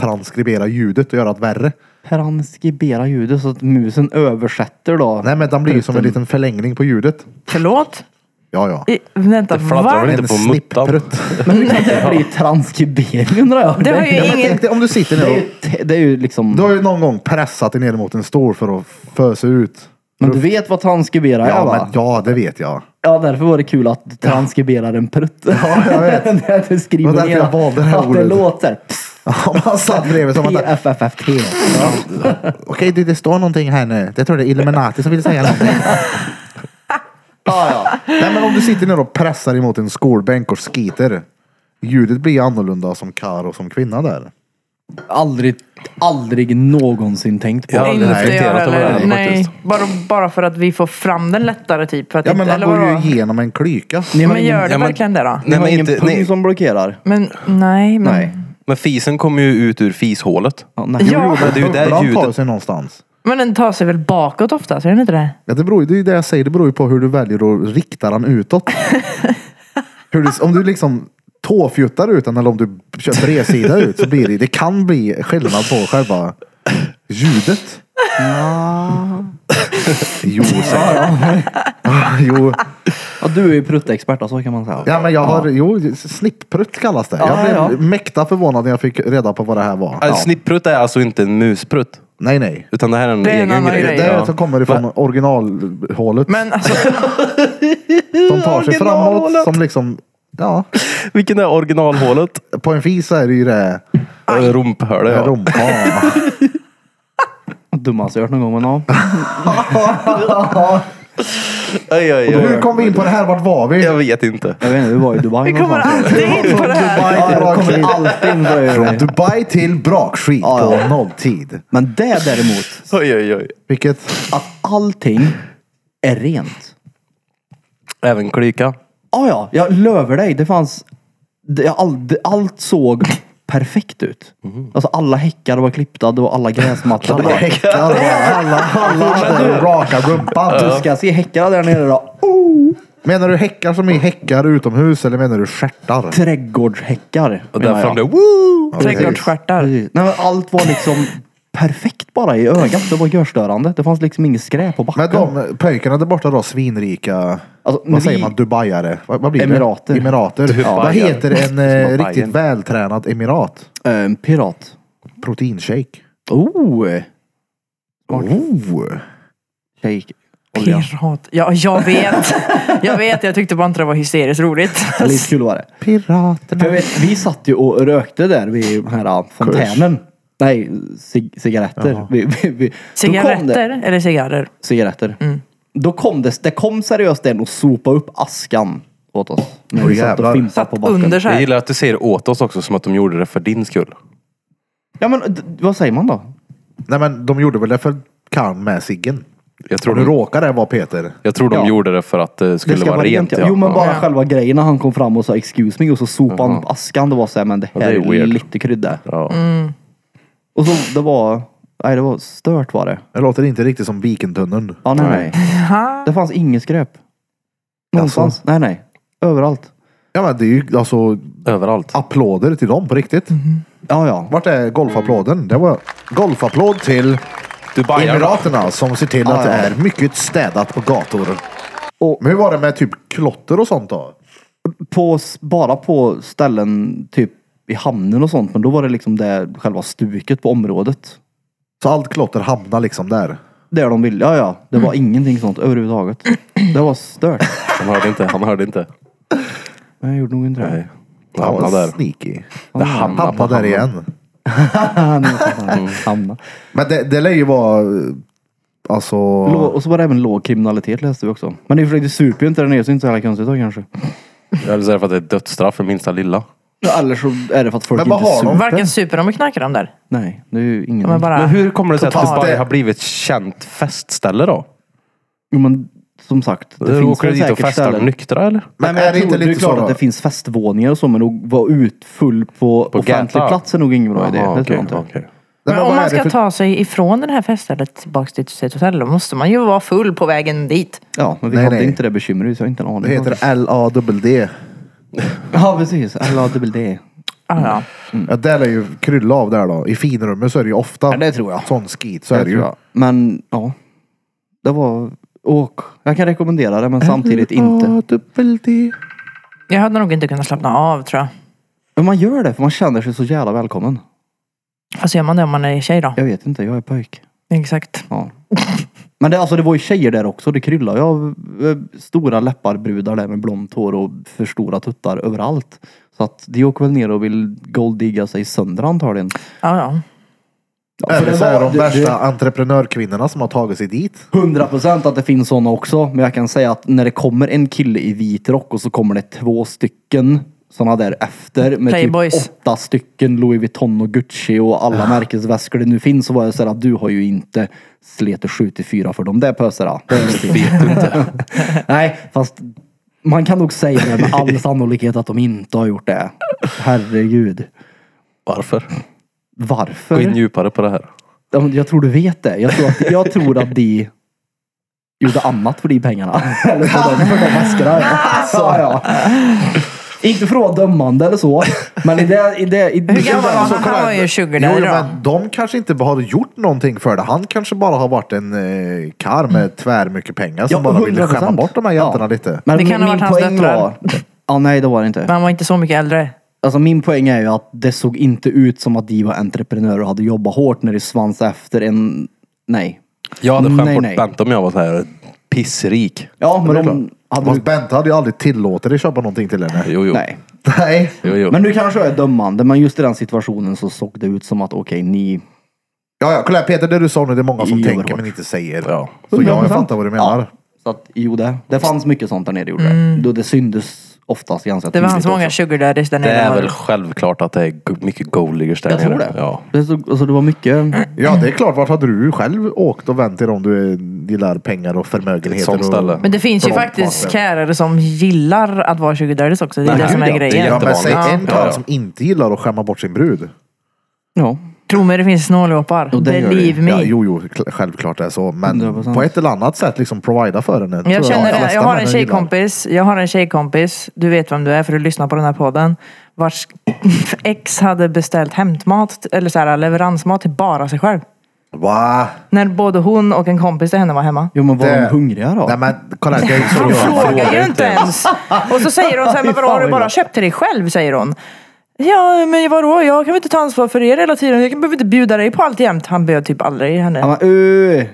Speaker 1: transkribera ljudet och göra det värre.
Speaker 3: Transkribera ljudet så att musen översätter då.
Speaker 1: Nej men den blir ju som en liten förlängning på ljudet.
Speaker 2: Förlåt?
Speaker 1: Ja ja.
Speaker 2: I, vänta,
Speaker 4: Det fladdrar
Speaker 2: va?
Speaker 4: väl inte
Speaker 1: En
Speaker 4: på muttan?
Speaker 1: snipprutt.
Speaker 3: Men hur kan det bli transkribering undrar jag?
Speaker 2: Det har
Speaker 3: är-
Speaker 2: ju
Speaker 1: Ja, men
Speaker 2: ingen...
Speaker 1: tänk dig om du sitter
Speaker 3: det, är
Speaker 1: ner och...
Speaker 3: ju, te- det är ju liksom...
Speaker 1: Du har ju någon gång pressat dig ner mot en stol för att fösa ut.
Speaker 3: Men du vet vad transkribera är
Speaker 1: Ja,
Speaker 3: va?
Speaker 1: men, ja det vet jag.
Speaker 3: Ja, därför var det kul att du transkriberar en prutt. Ja,
Speaker 1: jag vet.
Speaker 3: När du skriver
Speaker 1: Det var därför jag valde det här
Speaker 3: att
Speaker 1: ordet.
Speaker 3: det låter.
Speaker 1: Ja, man satt bredvid som att...
Speaker 3: PFFFT.
Speaker 1: Okej du, det står någonting här nu. Jag tror det är Illuminati som vill säga någonting.
Speaker 3: Ja, ja.
Speaker 1: Nej men om du sitter ner och pressar emot en skolbänk och skiter. Ljudet blir ju annorlunda som kar och som kvinna där.
Speaker 3: Aldrig, aldrig någonsin tänkt på.
Speaker 4: Jag har
Speaker 3: det.
Speaker 4: aldrig
Speaker 1: Nej,
Speaker 2: Inte jag
Speaker 4: reflekterat över det här
Speaker 2: heller. Nej,
Speaker 4: faktiskt.
Speaker 2: bara, bara för att vi får fram den lättare typ. För att
Speaker 1: Ja men
Speaker 2: inte,
Speaker 1: den
Speaker 2: eller
Speaker 1: går ju
Speaker 2: vadå?
Speaker 1: igenom en klyka.
Speaker 3: Ni har
Speaker 2: Men
Speaker 3: ingen,
Speaker 2: gör det Mm.
Speaker 4: Ja, men-
Speaker 2: verkligen det då?
Speaker 3: ni har
Speaker 4: Nej, men,
Speaker 3: ingen
Speaker 4: inte,
Speaker 3: pung
Speaker 4: nej,
Speaker 3: som blockerar?
Speaker 2: Men nej, men...
Speaker 3: Nej.
Speaker 4: men fisen kommer ju ut ur fishålet.
Speaker 3: Ja, nej.
Speaker 2: Ja.
Speaker 3: Jo, jo,
Speaker 4: Men det är ju där
Speaker 1: Bubblan tar
Speaker 4: ljudet...
Speaker 1: sig någonstans.
Speaker 2: Men den tar sig väl bakåt ofta, så är den inte det?
Speaker 1: Ja, det, beror, ju- det är ju det jag säger, det beror ju på hur du väljer att rikta den utåt. hur du, om du liksom tåfjuttar ut den eller om du kör bredsida ut så blir det, det kan bli skillnad på själva ljudet. jo, säger jag. Ah, jo.
Speaker 3: Ja, du är ju pruttexpert då, så kan man säga.
Speaker 1: Ja, men jag har, jo, snipprutt kallas det.
Speaker 3: Ja,
Speaker 1: Jag blev
Speaker 3: ja.
Speaker 1: mäkta förvånad när jag fick reda på vad det här var.
Speaker 4: Ja. Snipprutt är alltså inte en musprutt.
Speaker 1: Nej, nej.
Speaker 4: Utan det här är en
Speaker 2: Det är en
Speaker 4: egen
Speaker 2: annan
Speaker 4: grej.
Speaker 2: grej.
Speaker 1: Det är
Speaker 4: Ja.
Speaker 1: som kommer ifrån originalhålet.
Speaker 2: Men alltså,
Speaker 1: som tar sig framåt.
Speaker 4: originalhålet.
Speaker 1: Som liksom, ja.
Speaker 4: Vilken är originalhålet?
Speaker 1: På en fis så är det ju det
Speaker 4: Rumphålet
Speaker 1: ja.
Speaker 4: ja.
Speaker 1: rumpan.
Speaker 3: Dummaste jag hört någon gång, men ja.
Speaker 4: Aj, aj, aj.
Speaker 1: Hur kom vi in på det här? Vart var vi?
Speaker 4: Jag vet inte.
Speaker 3: Jag vet inte, du var i Dubai
Speaker 2: vi kommer
Speaker 3: någonstans.
Speaker 2: alltid in på det här.
Speaker 1: Dubai
Speaker 3: Ja,
Speaker 1: till
Speaker 3: jag kommer
Speaker 1: brakskit.
Speaker 3: alltid in på
Speaker 1: Från
Speaker 3: det.
Speaker 1: Dubai till brakskit
Speaker 3: Ja, ja.
Speaker 1: på nolltid.
Speaker 3: Men det däremot,
Speaker 4: Oj, oj, oj.
Speaker 1: Vilket?
Speaker 3: att allting är rent.
Speaker 4: Även klyka.
Speaker 3: Ja, ja, jag löver dig. Det fanns... Det, jag all, det, allt såg perfekt ut. Alltså alla häckar var klippta, det var alla gräsmattor. Det
Speaker 1: Mhm. Alla
Speaker 3: var-
Speaker 1: häckar. Alla, alla hade raka rumpan.
Speaker 3: Du ska se häckarna där nere då.
Speaker 1: Menar du häckar som i häckar utomhus eller menar du stjärtar?
Speaker 3: Trädgårdshäckar.
Speaker 4: Och
Speaker 3: menar
Speaker 4: där fram
Speaker 3: jag.
Speaker 4: det, woo!
Speaker 1: precis.
Speaker 2: Trädgårdsstjärtar.
Speaker 3: Precis. Nej, men allt var liksom perfekt bara i ögat. Det var görstörande. Det fanns liksom inget skräp på backen.
Speaker 1: Men de pojkarna där borta då, svinrika,
Speaker 3: Alltså, när
Speaker 1: vad säger
Speaker 3: vi-
Speaker 1: man, dubaiare? Vad, vad blir
Speaker 3: Emirater.
Speaker 1: det? Emirater.
Speaker 4: Dubai,
Speaker 1: Vad
Speaker 4: ja.
Speaker 1: heter
Speaker 4: Som
Speaker 1: en eh,
Speaker 4: Bajen.
Speaker 1: riktigt vältränad emirat?
Speaker 3: Eh, en pirat.
Speaker 1: Proteinshake.
Speaker 3: Oh!
Speaker 1: Oh.
Speaker 3: Shake. Olja.
Speaker 2: Pirat. Ja, jag vet. Jag vet, jag tyckte bara inte det var hysteriskt roligt.
Speaker 3: Lite kul var det.
Speaker 1: Piraterna.
Speaker 3: För jag vet, vi satt ju och rökte där vid den här ah, fontänen. Nej, cig- cigaretter. Vi, vi, vi. då Kom det,
Speaker 2: Cigaretter Mm. eller cigarrer?
Speaker 3: cigaretter. Då kom det, det kom seriöst en och sopa upp askan åt oss. När vi satt
Speaker 1: jävlar.
Speaker 3: och fimpade
Speaker 2: Satt
Speaker 3: på backen.
Speaker 2: under så
Speaker 4: Jag
Speaker 2: här.
Speaker 4: gillar att du säger åt oss också som att de gjorde det för din skull.
Speaker 3: Ja men d- vad säger man då?
Speaker 1: Nej men de gjorde väl det för kan med ciggen.
Speaker 4: Jag tror
Speaker 1: Och nu
Speaker 4: de,
Speaker 1: råkar det vara Peter.
Speaker 4: jag tror de
Speaker 3: Ja.
Speaker 4: gjorde det för att det skulle
Speaker 3: Det ska
Speaker 4: vara rent. ja.
Speaker 3: Jo men
Speaker 4: Ja.
Speaker 3: bara
Speaker 2: Ja.
Speaker 3: själva grejen när han kom fram och sa excuse me och så sopade han upp askan. Det var så här, men det här
Speaker 4: det är
Speaker 3: är,
Speaker 4: weird.
Speaker 3: lite krydda.
Speaker 4: Ja.
Speaker 3: Och så det var, nej det var stört var det.
Speaker 1: Det låter inte riktigt som Vikentunneln.
Speaker 3: Ja nej nej. Det fanns inget skräp. Någonstans. Nej nej. Överallt.
Speaker 1: Ja men det är ju alltså
Speaker 4: Överallt.
Speaker 1: applåder till dem på riktigt.
Speaker 3: Ja ja.
Speaker 1: Vart är golfapplåden? Det var golfapplåd till
Speaker 4: Dubai.
Speaker 1: Emiraterna som ser till att det är mycket städat på gator.
Speaker 3: Och-
Speaker 1: Men hur var det med typ klotter och sånt då?
Speaker 3: På, s- bara på ställen typ i hamnen och sånt. Men då var det liksom det själva stuket på området.
Speaker 1: Så allt klotter hamnar liksom där.
Speaker 3: Där de ville. Ja ja. Det var ingenting sånt överhuvudtaget. Det var stört.
Speaker 4: Han hörde inte. Han hörde inte.
Speaker 3: Men jag gjorde nog inte det.
Speaker 4: Nej. Han hamnade där.
Speaker 1: sneaky.
Speaker 4: Det hamnade på
Speaker 1: Hamnade där
Speaker 4: hamnen.
Speaker 1: igen.
Speaker 3: Hamna.
Speaker 1: Men det, det lär ju vara eh, alltså.
Speaker 3: Lå- Och så var det även låg kriminalitet läste vi också. Men i och för sig, det super ju inte där nere så det är inte så jävla konstigt då kanske.
Speaker 4: Eller så är det för att det är dödsstraff för minsta lilla.
Speaker 3: Eller så är det för att folk
Speaker 1: Men vad
Speaker 3: inte
Speaker 1: har de?
Speaker 3: super.
Speaker 2: Varken super de knackar de där.
Speaker 3: Nej, det är ju ingen...
Speaker 2: De är bara...
Speaker 4: Mm. Men hur kommer det sig att
Speaker 2: Totalt.
Speaker 4: Dubai har blivit känt festställe då?
Speaker 3: Jo, men som sagt, det
Speaker 4: Det
Speaker 3: finns
Speaker 4: åker
Speaker 3: väl
Speaker 4: dit och
Speaker 3: säkert
Speaker 4: festar
Speaker 3: ställen.
Speaker 4: nyktra eller?
Speaker 1: Men
Speaker 3: Nej, men
Speaker 1: är
Speaker 3: jag
Speaker 1: det
Speaker 3: tror,
Speaker 1: inte
Speaker 3: det är
Speaker 1: lite så
Speaker 3: klart att
Speaker 1: då?
Speaker 3: det finns festvåningar och så, men att vara utfull på, offentlig
Speaker 4: gatan?
Speaker 3: plats är nog ingen bra idé.
Speaker 4: Jaha,
Speaker 3: Det tror jag
Speaker 4: okej,
Speaker 3: inte.
Speaker 4: okej.
Speaker 1: Nej,
Speaker 2: Men
Speaker 1: men
Speaker 2: om
Speaker 1: vad
Speaker 2: man
Speaker 1: är det
Speaker 2: ska
Speaker 1: för-
Speaker 2: ta sig ifrån det här feststället tillbaks till sitt hotell då måste man ju vara full på vägen dit.
Speaker 3: Ja, men vi
Speaker 1: Nej,
Speaker 3: hade
Speaker 1: nej.
Speaker 3: inte det bekymret så jag har inte en aning.
Speaker 1: Det heter LADD.
Speaker 3: Ja, precis. LADD.
Speaker 2: Ah, ja.
Speaker 1: Ja, det lär ju krylla av där då. I finrummet så är det ju ofta
Speaker 3: Mm. Ja, det tror jag.
Speaker 1: sån skit. Så är det ju.
Speaker 3: Men ja, det var... Och, jag kan rekommendera det, men samtidigt inte.
Speaker 1: LADD.
Speaker 2: Jag hade nog inte kunnat slappna av tror jag.
Speaker 3: Men man gör det, för man känner sig så jävla välkommen.
Speaker 2: Fast gör man det om man är tjej då?
Speaker 3: Jag vet inte, jag är pojk.
Speaker 2: Exakt.
Speaker 3: Ja. Men det, alltså, det var ju tjejer där också, det kryllade. Jag har eh, stora läppar, brudar där med blont hår och för stora tuttar överallt. Så att de åker väl ner och vill golddigga sig sönder antagligen.
Speaker 2: Ja, ja.
Speaker 3: Ja, för
Speaker 1: Eller
Speaker 3: det
Speaker 1: så är
Speaker 3: var-
Speaker 1: de
Speaker 3: det-
Speaker 1: värsta entreprenörkvinnorna som har tagit sig dit.
Speaker 3: det- 100 procent att det finns sådana också. Men jag kan säga att när det kommer en kille i vit rock och så kommer det två stycken sådana där efter med
Speaker 2: Playboys.
Speaker 3: typ åtta stycken Louis Vuitton och Gucci och alla märkesväskor det nu finns så var jag såhär att du har ju inte slitit 7-4 för de där pösarna. Det är ingenting.
Speaker 4: Vet du inte.
Speaker 3: Nej, fast man kan nog säga det med all sannolikhet att de inte har gjort det. Herregud.
Speaker 4: Varför? Gå in
Speaker 3: Varför?
Speaker 4: djupare på det här.
Speaker 3: Ja, men Jag tror du vet det. Jag tror att, jag tror att de gjorde annat för de pengarna. Eller för de, för de maskerna. Ja. Ja, ja. Inte för att vara dömande eller så. Men i det... I det, i
Speaker 2: Hur gammal var han? Han var ju 20
Speaker 1: Jo,
Speaker 2: där
Speaker 1: jo,
Speaker 2: då.
Speaker 1: men de kanske inte har gjort någonting för det. Han kanske bara har varit en eh, karl med tvär mycket pengar som bara ville
Speaker 3: 100%.
Speaker 1: skämma bort de här jäntorna
Speaker 3: Ja.
Speaker 1: lite.
Speaker 3: Men
Speaker 2: Det kan ha
Speaker 3: min
Speaker 2: varit hans
Speaker 3: poäng
Speaker 2: döttrar.
Speaker 3: var- Ja, nej det var det inte.
Speaker 2: Men han var inte så mycket äldre.
Speaker 3: Alltså min poäng är ju att det såg inte ut som att de var entreprenörer och hade jobbat hårt när de svansade efter en... Nej.
Speaker 4: Jag hade
Speaker 3: Nej,
Speaker 4: skämt
Speaker 3: nej.
Speaker 4: bort Bente om jag var så här pissrik.
Speaker 3: Ja, men de hade...
Speaker 1: Fast Bente hade ju aldrig tillåtit dig köpa någonting till henne.
Speaker 4: Jo, jo.
Speaker 3: Nej.
Speaker 1: Nej.
Speaker 4: Jo, jo.
Speaker 3: Men nu kanske jag är dömande, men just i den situationen så såg det ut som att okej, ni...
Speaker 1: Ja, ja, kolla här, Peter, det du sa nu, det är många som
Speaker 3: Jo,
Speaker 1: tänker
Speaker 3: hårt.
Speaker 1: men inte säger.
Speaker 4: Ja.
Speaker 1: Så ja, jag
Speaker 3: 100%.
Speaker 1: fattar vad du menar.
Speaker 3: Så att, jo det. Det fanns mycket sånt där nere gjorde det. Då det syndes oftast ganska
Speaker 2: Mm. Det
Speaker 4: Mm,
Speaker 2: var hans
Speaker 3: tydligt
Speaker 2: många
Speaker 3: också.
Speaker 2: 20 där där
Speaker 4: Det är
Speaker 2: nere.
Speaker 4: väl självklart att det är go- mycket goaliggers där
Speaker 3: Jag tror det.
Speaker 4: Ja.
Speaker 3: det såg, alltså det var mycket...
Speaker 1: Ja, det är klart. Vart hade du själv åkt och vänt till om du eh, gillar pengar och förmögenheter?
Speaker 4: Sånt
Speaker 1: och-
Speaker 4: ställe.
Speaker 2: Men det finns ju
Speaker 1: Blond
Speaker 2: faktiskt
Speaker 1: partner.
Speaker 2: kärare som gillar att vara 20 där också. Det är
Speaker 4: Nej,
Speaker 2: det som
Speaker 4: gud,
Speaker 2: är
Speaker 4: ja. Det är
Speaker 2: grejen.
Speaker 1: Ja, men
Speaker 4: Jättevanligt.
Speaker 1: säg en
Speaker 4: Ja,
Speaker 1: karl
Speaker 4: ja.
Speaker 1: som inte gillar att skämma bort sin brud.
Speaker 3: Ja.
Speaker 2: Tro mig, det finns snåljåpar.
Speaker 3: Och det gör det.
Speaker 2: Believe me.
Speaker 1: Ja, jo, jo, kl- självklart det är så. Men
Speaker 3: 100%.
Speaker 1: på ett eller annat sätt liksom provida för henne. tror
Speaker 2: Jag känner
Speaker 1: de
Speaker 2: det.
Speaker 1: flesta
Speaker 2: Jag har en
Speaker 1: männen gillar.
Speaker 2: tjejkompis. Jag har en tjejkompis. Du vet vem du är för du lyssnar på den här podden. Vars ex hade beställt hämtmat eller så här, leveransmat till bara sig själv.
Speaker 1: Va?
Speaker 2: När både hon och en kompis till henne var hemma.
Speaker 3: Jo men var
Speaker 1: Det-
Speaker 3: de hungriga då?
Speaker 1: Nej men kolla här, det är ju så
Speaker 2: Han
Speaker 1: jag-
Speaker 2: frågar ju inte ens. Och så säger hon så här, men vadå har du bara köpt till dig själv? Säger hon. Ja, men vadå? Jag kan väl inte ta ansvar för er hela tiden. Jag behöver inte bjuda dig på allt jämt. Han bjöd typ aldrig
Speaker 3: Ja,
Speaker 2: henne.
Speaker 3: men, uh.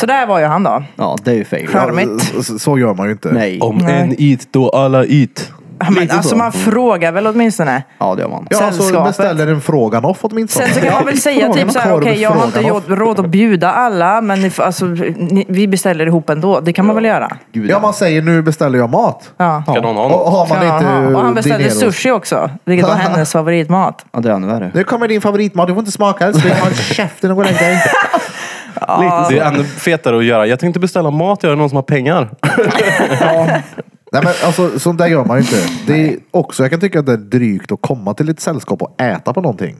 Speaker 2: Så där var ju han då.
Speaker 3: ja det är ju fejk.
Speaker 2: Ja. Charmigt.
Speaker 1: Så- Så, så gör man ju inte.
Speaker 3: Nej.
Speaker 4: Om en it, då alla it.
Speaker 2: Ja, Men, alltså man frågar väl åtminstone.
Speaker 3: Ja det gör man.
Speaker 1: Ja, så
Speaker 2: Sällskapet.
Speaker 1: beställer en frågan off åtminstone.
Speaker 2: Sen så kan man väl säga
Speaker 1: Frågan
Speaker 2: typ
Speaker 1: om
Speaker 2: såhär,
Speaker 1: korv,
Speaker 2: okej jag har inte
Speaker 1: frågan om-
Speaker 2: råd- råd att bjuda alla men ni, får- alltså, ni, vi beställer ihop ändå. Det kan man väl göra?
Speaker 3: Gud,
Speaker 1: Ja, man säger nu beställer jag mat.
Speaker 2: Ja.
Speaker 4: Kan någon ha
Speaker 1: Och
Speaker 4: någon?
Speaker 1: har man
Speaker 2: Ja,
Speaker 1: inte
Speaker 2: aha. och han beställde
Speaker 1: dinero-
Speaker 2: sushi också, vilket var hennes favoritmat.
Speaker 3: ja det är ännu värre.
Speaker 1: Nu kommer din favoritmat, du får inte smaka. älskling. Håll käften och gå och lägg dig.
Speaker 4: Det är ännu fetare att göra. Jag tänkte beställa mat, jag är någon som har pengar.
Speaker 1: Nej men alltså sånt där gör man ju inte. Det är också, jag kan tycka att det är drygt att komma till ett sällskap och äta på någonting.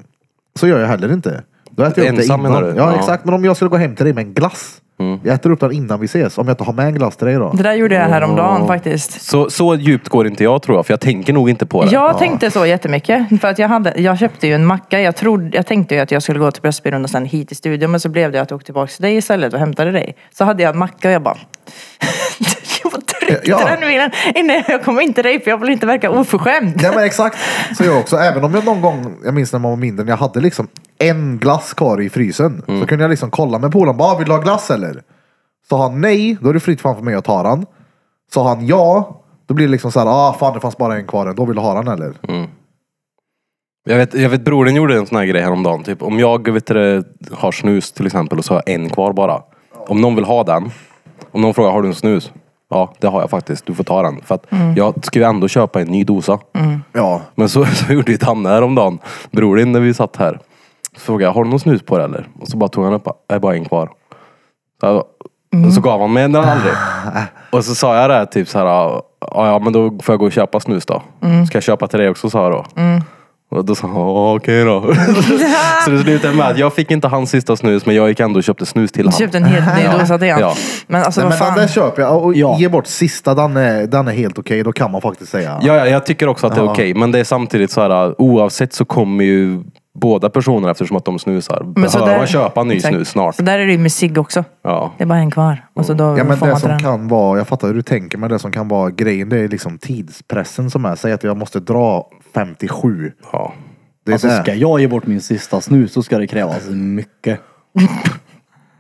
Speaker 1: Så gör jag heller inte. Då äter jag upp
Speaker 4: Ensam
Speaker 1: det innan.
Speaker 4: menar du?
Speaker 1: Ja,
Speaker 4: Ja. Mm.
Speaker 1: exakt, men om jag skulle gå hem till dig med en glass. Jag äter upp den innan vi ses. Om jag inte har med en glass till dig då.
Speaker 2: Det där gjorde jag häromdagen faktiskt.
Speaker 4: Så, så djupt går inte jag tror jag, för jag tänker nog inte på det.
Speaker 2: Jag tänkte så jättemycket. För att jag, hade, jag köpte ju en macka. Jag, trodde, jag tänkte ju att jag skulle gå till Pressbyrån och sen hit till studion. Men så blev det att jag åkte tillbaka till dig istället och hämtade dig. Så hade jag en macka och jag bara... jag bara tryckte
Speaker 1: Ja.
Speaker 2: den bilen innan jag kom in till dig för jag vill inte verka oförskämd.
Speaker 1: Nej men exakt, så gör jag också. Även om jag någon gång, jag minns när man var mindre, när jag hade liksom en glass kvar i frysen. Så kunde jag liksom kolla med polaren, bara "Ah, vill du ha glass eller? Sa han nej, då är det fritt fram för mig att ta den. Sa han ja, då blir det liksom så här, ah fan det fanns bara en kvar, då vill du ha den eller?
Speaker 4: Jag vet, jag vet brodern gjorde en sån här grej häromdagen. Typ, om jag vet du, har snus till exempel och så har jag en kvar bara. Om någon vill ha den. Om någon frågar, har du en snus? Ja, det har jag faktiskt. Du får ta den. För att jag ska ju ändå köpa en ny dosa.
Speaker 1: Ja,
Speaker 2: Alltså,
Speaker 4: Men så, så gjorde ju Danne häromdagen. Brodern när vi satt här. Så frågade jag, har du någon snus på dig eller? Och så bara tog han upp, det är bara en kvar. Så, jag,
Speaker 2: Mm.
Speaker 4: och så gav han mig den aldrig. Och så sa jag det här, typ så här, ja ja, men då får jag gå och köpa snus då.
Speaker 2: Mm.
Speaker 4: Ska jag köpa till dig också sa jag då. Och då sa han, "Ja, okej då. så det slutade med att jag fick inte hans sista snus men jag gick ändå och köpte snus till
Speaker 2: Du
Speaker 4: honom.
Speaker 2: köpte en helt ny dosa till
Speaker 4: Ja.
Speaker 2: honom. Men alltså
Speaker 1: Nej,
Speaker 2: vad
Speaker 1: men den där
Speaker 2: fan.
Speaker 1: köper jag. Och
Speaker 3: Ja.
Speaker 1: ge bort sista, den är, den är helt okej. Då kan man faktiskt säga.
Speaker 4: Ja, ja, jag tycker också att det är
Speaker 1: Ja.
Speaker 4: okej. Men det är samtidigt så här, äh, oavsett så kommer ju båda personerna eftersom att de snusar
Speaker 2: Men så
Speaker 4: behöva
Speaker 2: där-
Speaker 4: Alltså, köpa ny
Speaker 2: Exakt.
Speaker 4: snus snart.
Speaker 2: Så där är det ju med cigg också.
Speaker 4: Ja.
Speaker 2: Det är bara en kvar. Och så då
Speaker 1: Ja men
Speaker 2: får
Speaker 1: det
Speaker 2: man till
Speaker 1: som
Speaker 2: den.
Speaker 1: kan vara, jag fattar hur du tänker, men det som kan vara grejen det är liksom tidspressen som är. Säg att jag måste dra 57.
Speaker 4: Ja.
Speaker 1: Det är
Speaker 3: Alltså
Speaker 1: det.
Speaker 3: ska jag ge bort min sista snus så ska det krävas mycket.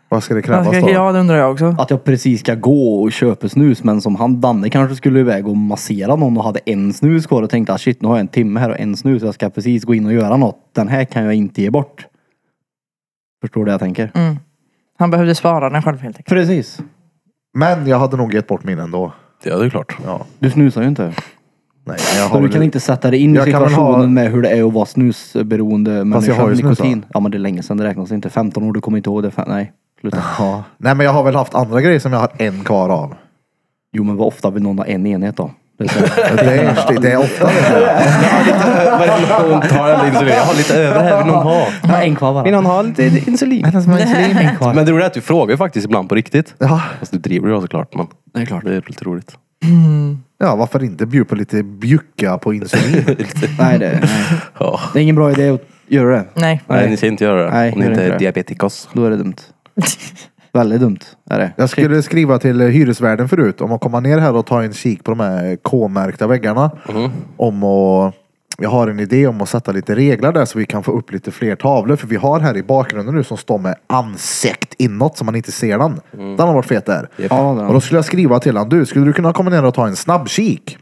Speaker 1: Vad ska det krävas då?
Speaker 2: Ja det undrar jag också.
Speaker 3: Att jag precis ska gå och köpa snus men som han Danne kanske skulle iväg och massera någon och hade en snus kvar och tänkte att shit nu har jag en timme här och en snus jag ska precis gå in och göra något. Den här kan jag inte ge bort. Förstår du det jag tänker?
Speaker 2: Han behövde spara den själv helt enkelt.
Speaker 3: Precis.
Speaker 1: Men jag hade nog gett bort min ändå.
Speaker 4: ja, det är klart.
Speaker 1: Ja.
Speaker 3: Du snusar ju inte.
Speaker 1: Nej, jag
Speaker 3: Så
Speaker 1: har
Speaker 3: du kan
Speaker 1: väl-
Speaker 3: inte sätta dig in i
Speaker 1: Jag kan väl
Speaker 3: situationen
Speaker 1: ha-
Speaker 3: med hur det är att vara snusberoende
Speaker 1: Fast jag
Speaker 3: människa
Speaker 1: har ju
Speaker 3: med
Speaker 1: snusat.
Speaker 3: nikotin. Ja men det är länge sedan, det räknas inte. 15 år, du kommer inte ihåg det. Fan, Nej, sluta.
Speaker 1: Ja. Nej men jag har väl haft andra grejer som jag har en kvar av.
Speaker 3: Jo men vad ofta vill någon ha en enhet då? Det är så här.
Speaker 1: Det är, det är ofta det.
Speaker 4: Vad är det för person tar jag insulin? Jag har lite över här, vill någon ha?
Speaker 3: Ja, en kvar bara. Mm.
Speaker 4: Vill någon ha lite insulin?
Speaker 3: En kvar.
Speaker 4: Men det roliga är att du frågar ju faktiskt ibland på riktigt.
Speaker 1: Ja.
Speaker 4: Fast du driver ju såklart. Men
Speaker 3: Det är klart.
Speaker 4: det är lite roligt.
Speaker 1: ja, varför inte bjuda på lite bjucka på insulin?
Speaker 3: Nej, det, nej.
Speaker 4: Ja.
Speaker 3: det är ingen bra idé att göra det.
Speaker 2: Nej.
Speaker 4: Nej,
Speaker 3: Nej.
Speaker 4: ni ska inte göra det.
Speaker 3: Nej,
Speaker 4: om ni
Speaker 3: gör
Speaker 4: inte
Speaker 3: inte det.
Speaker 4: är diabetikos.
Speaker 3: Då är det dumt. Väldigt dumt är det.
Speaker 1: Jag skulle skriva till hyresvärden förut om att komma ner här och ta en kik på de här K-märkta väggarna.
Speaker 3: Mm.
Speaker 1: Om att, jag har en idé om att sätta lite regler där så vi kan få upp lite fler tavlor. För vi har här i bakgrunden nu som står med ansikt inåt så man inte ser den. Den har varit fet där.
Speaker 3: Mm. Ja, det är
Speaker 1: Och då skulle jag skriva till honom. Du, skulle du kunna komma ner och ta en snabb kik?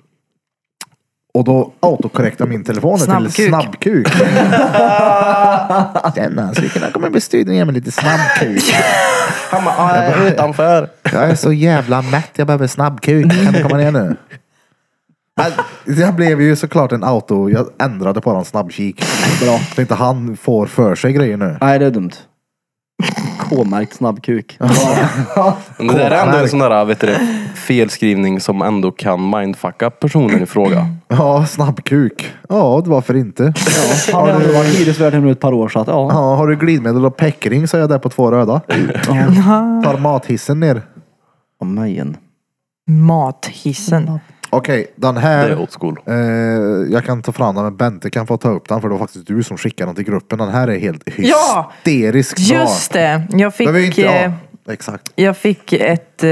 Speaker 1: Och då autokorrektar min telefon till
Speaker 2: Snabbkuk.
Speaker 1: snabbkuk. Denna skulle kunna komma upp i studion och ge mig lite snabbkuk.
Speaker 4: Han bara, ah, jag är utanför.
Speaker 1: Jag är så jävla mätt, jag behöver snabbkuk. Kan du komma ner nu? Men Jag blev ju såklart en auto, jag ändrade på den snabbkik. Bra. Så inte han får för sig grejer nu.
Speaker 3: Nej, det är dumt. K-märkt snabbkuk.
Speaker 4: Men det där är ändå en
Speaker 1: Kolknark.
Speaker 4: sån där vet du, det, felskrivning som ändå kan mindfucka personen i fråga.
Speaker 1: Ja, snabbkuk. Ja, varför inte?
Speaker 3: Ja, har du varit hyresvärd nu ett par år så att ja.
Speaker 1: Ja, har du glidmedel och peckring så är jag där på två röda. Tar mathissen ner.
Speaker 3: Åh möjen.
Speaker 2: Mathissen.
Speaker 1: Okej, den
Speaker 4: Det
Speaker 1: här.
Speaker 4: är old school.
Speaker 1: Eh, jag kan ta fram den men Bente kan få ta upp den för det var faktiskt du som skickade den till gruppen. Den här är helt
Speaker 2: Ja!
Speaker 1: hysteriskt
Speaker 2: Just det! Jag
Speaker 1: bra. Det var ju
Speaker 2: fick,
Speaker 1: inte,
Speaker 2: eh,
Speaker 1: ja, exakt.
Speaker 2: jag fick ett, eh,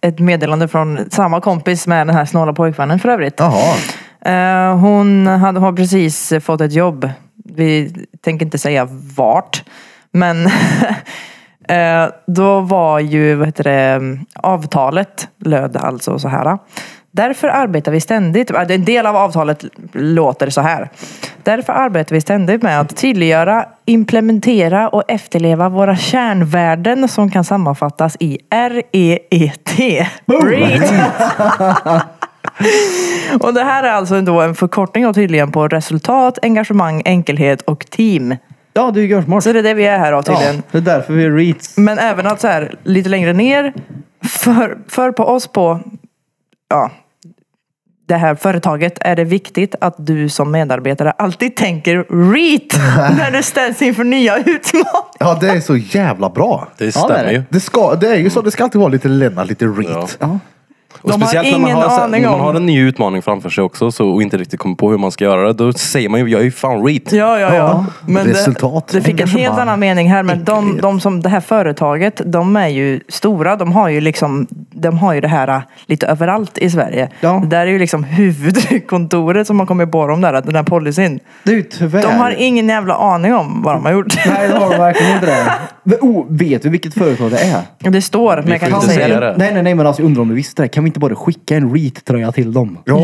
Speaker 2: ett meddelande från samma kompis med den här snåla pojkvännen för övrigt.
Speaker 1: Jaha.
Speaker 2: Eh, Hon hade, har precis fått ett jobb. Vi tänker inte säga vart. Men eh, då var ju vad heter det, avtalet löd alltså så här. Därför arbetar vi ständigt, eh, en del av avtalet låter så här. Därför arbetar vi ständigt med att tydliggöra, implementera och efterleva våra kärnvärden som kan sammanfattas i E REET. Read. Och det här är alltså då en förkortning av tydligen på resultat, engagemang, enkelhet och team.
Speaker 3: Ja, det är ju görsmart.
Speaker 2: Så det är det vi är här av
Speaker 3: Ja,
Speaker 2: tydligen.
Speaker 3: det är därför vi är reats.
Speaker 2: Men även att så här lite längre ner, för, för på oss på ja, det här företaget är det viktigt att du som medarbetare alltid tänker REAT när du ställs inför nya utmaningar.
Speaker 1: Ja, det är så jävla bra.
Speaker 4: Det
Speaker 3: Ja, det är
Speaker 4: stämmer
Speaker 3: det.
Speaker 4: ju.
Speaker 1: Det, ska, det är ju så, det ska alltid vara lite Lennart, lite reet.
Speaker 4: Ja.
Speaker 3: Ja.
Speaker 4: Och
Speaker 2: De har
Speaker 4: speciellt när man,
Speaker 2: ingen
Speaker 4: har, så-
Speaker 2: aning
Speaker 4: när man
Speaker 2: om-
Speaker 4: har en ny utmaning framför sig också så, och inte riktigt kommer på hur man ska göra det. Då säger man ju, jag är ju fan reet.
Speaker 2: Ja, ja, ja.
Speaker 1: Ja,
Speaker 2: Men
Speaker 1: resultat,
Speaker 2: Det, det fick en helt
Speaker 1: engagemang,
Speaker 2: annan mening här. Men de, de som, det här företaget, de är ju stora. De har ju liksom, de har ju det här äh, lite överallt i Sverige.
Speaker 3: Ja.
Speaker 2: Det där är ju liksom huvudkontoret som har kommit på dem där, att den här policyn.
Speaker 3: Det är ju tyvärr.
Speaker 2: De har ingen jävla aning om vad de har gjort.
Speaker 3: Nej, det har de verkligen inte det. Men, oh, vet du vilket företag det är?
Speaker 2: Det står, men jag kan
Speaker 4: får
Speaker 2: inte
Speaker 4: inte
Speaker 2: säga
Speaker 4: säga
Speaker 2: det.
Speaker 4: det.
Speaker 3: Nej, nej, nej, men alltså jag undrar om du visste det. Kan vi inte bara skicka en reat-tröja till dem?
Speaker 1: Ja,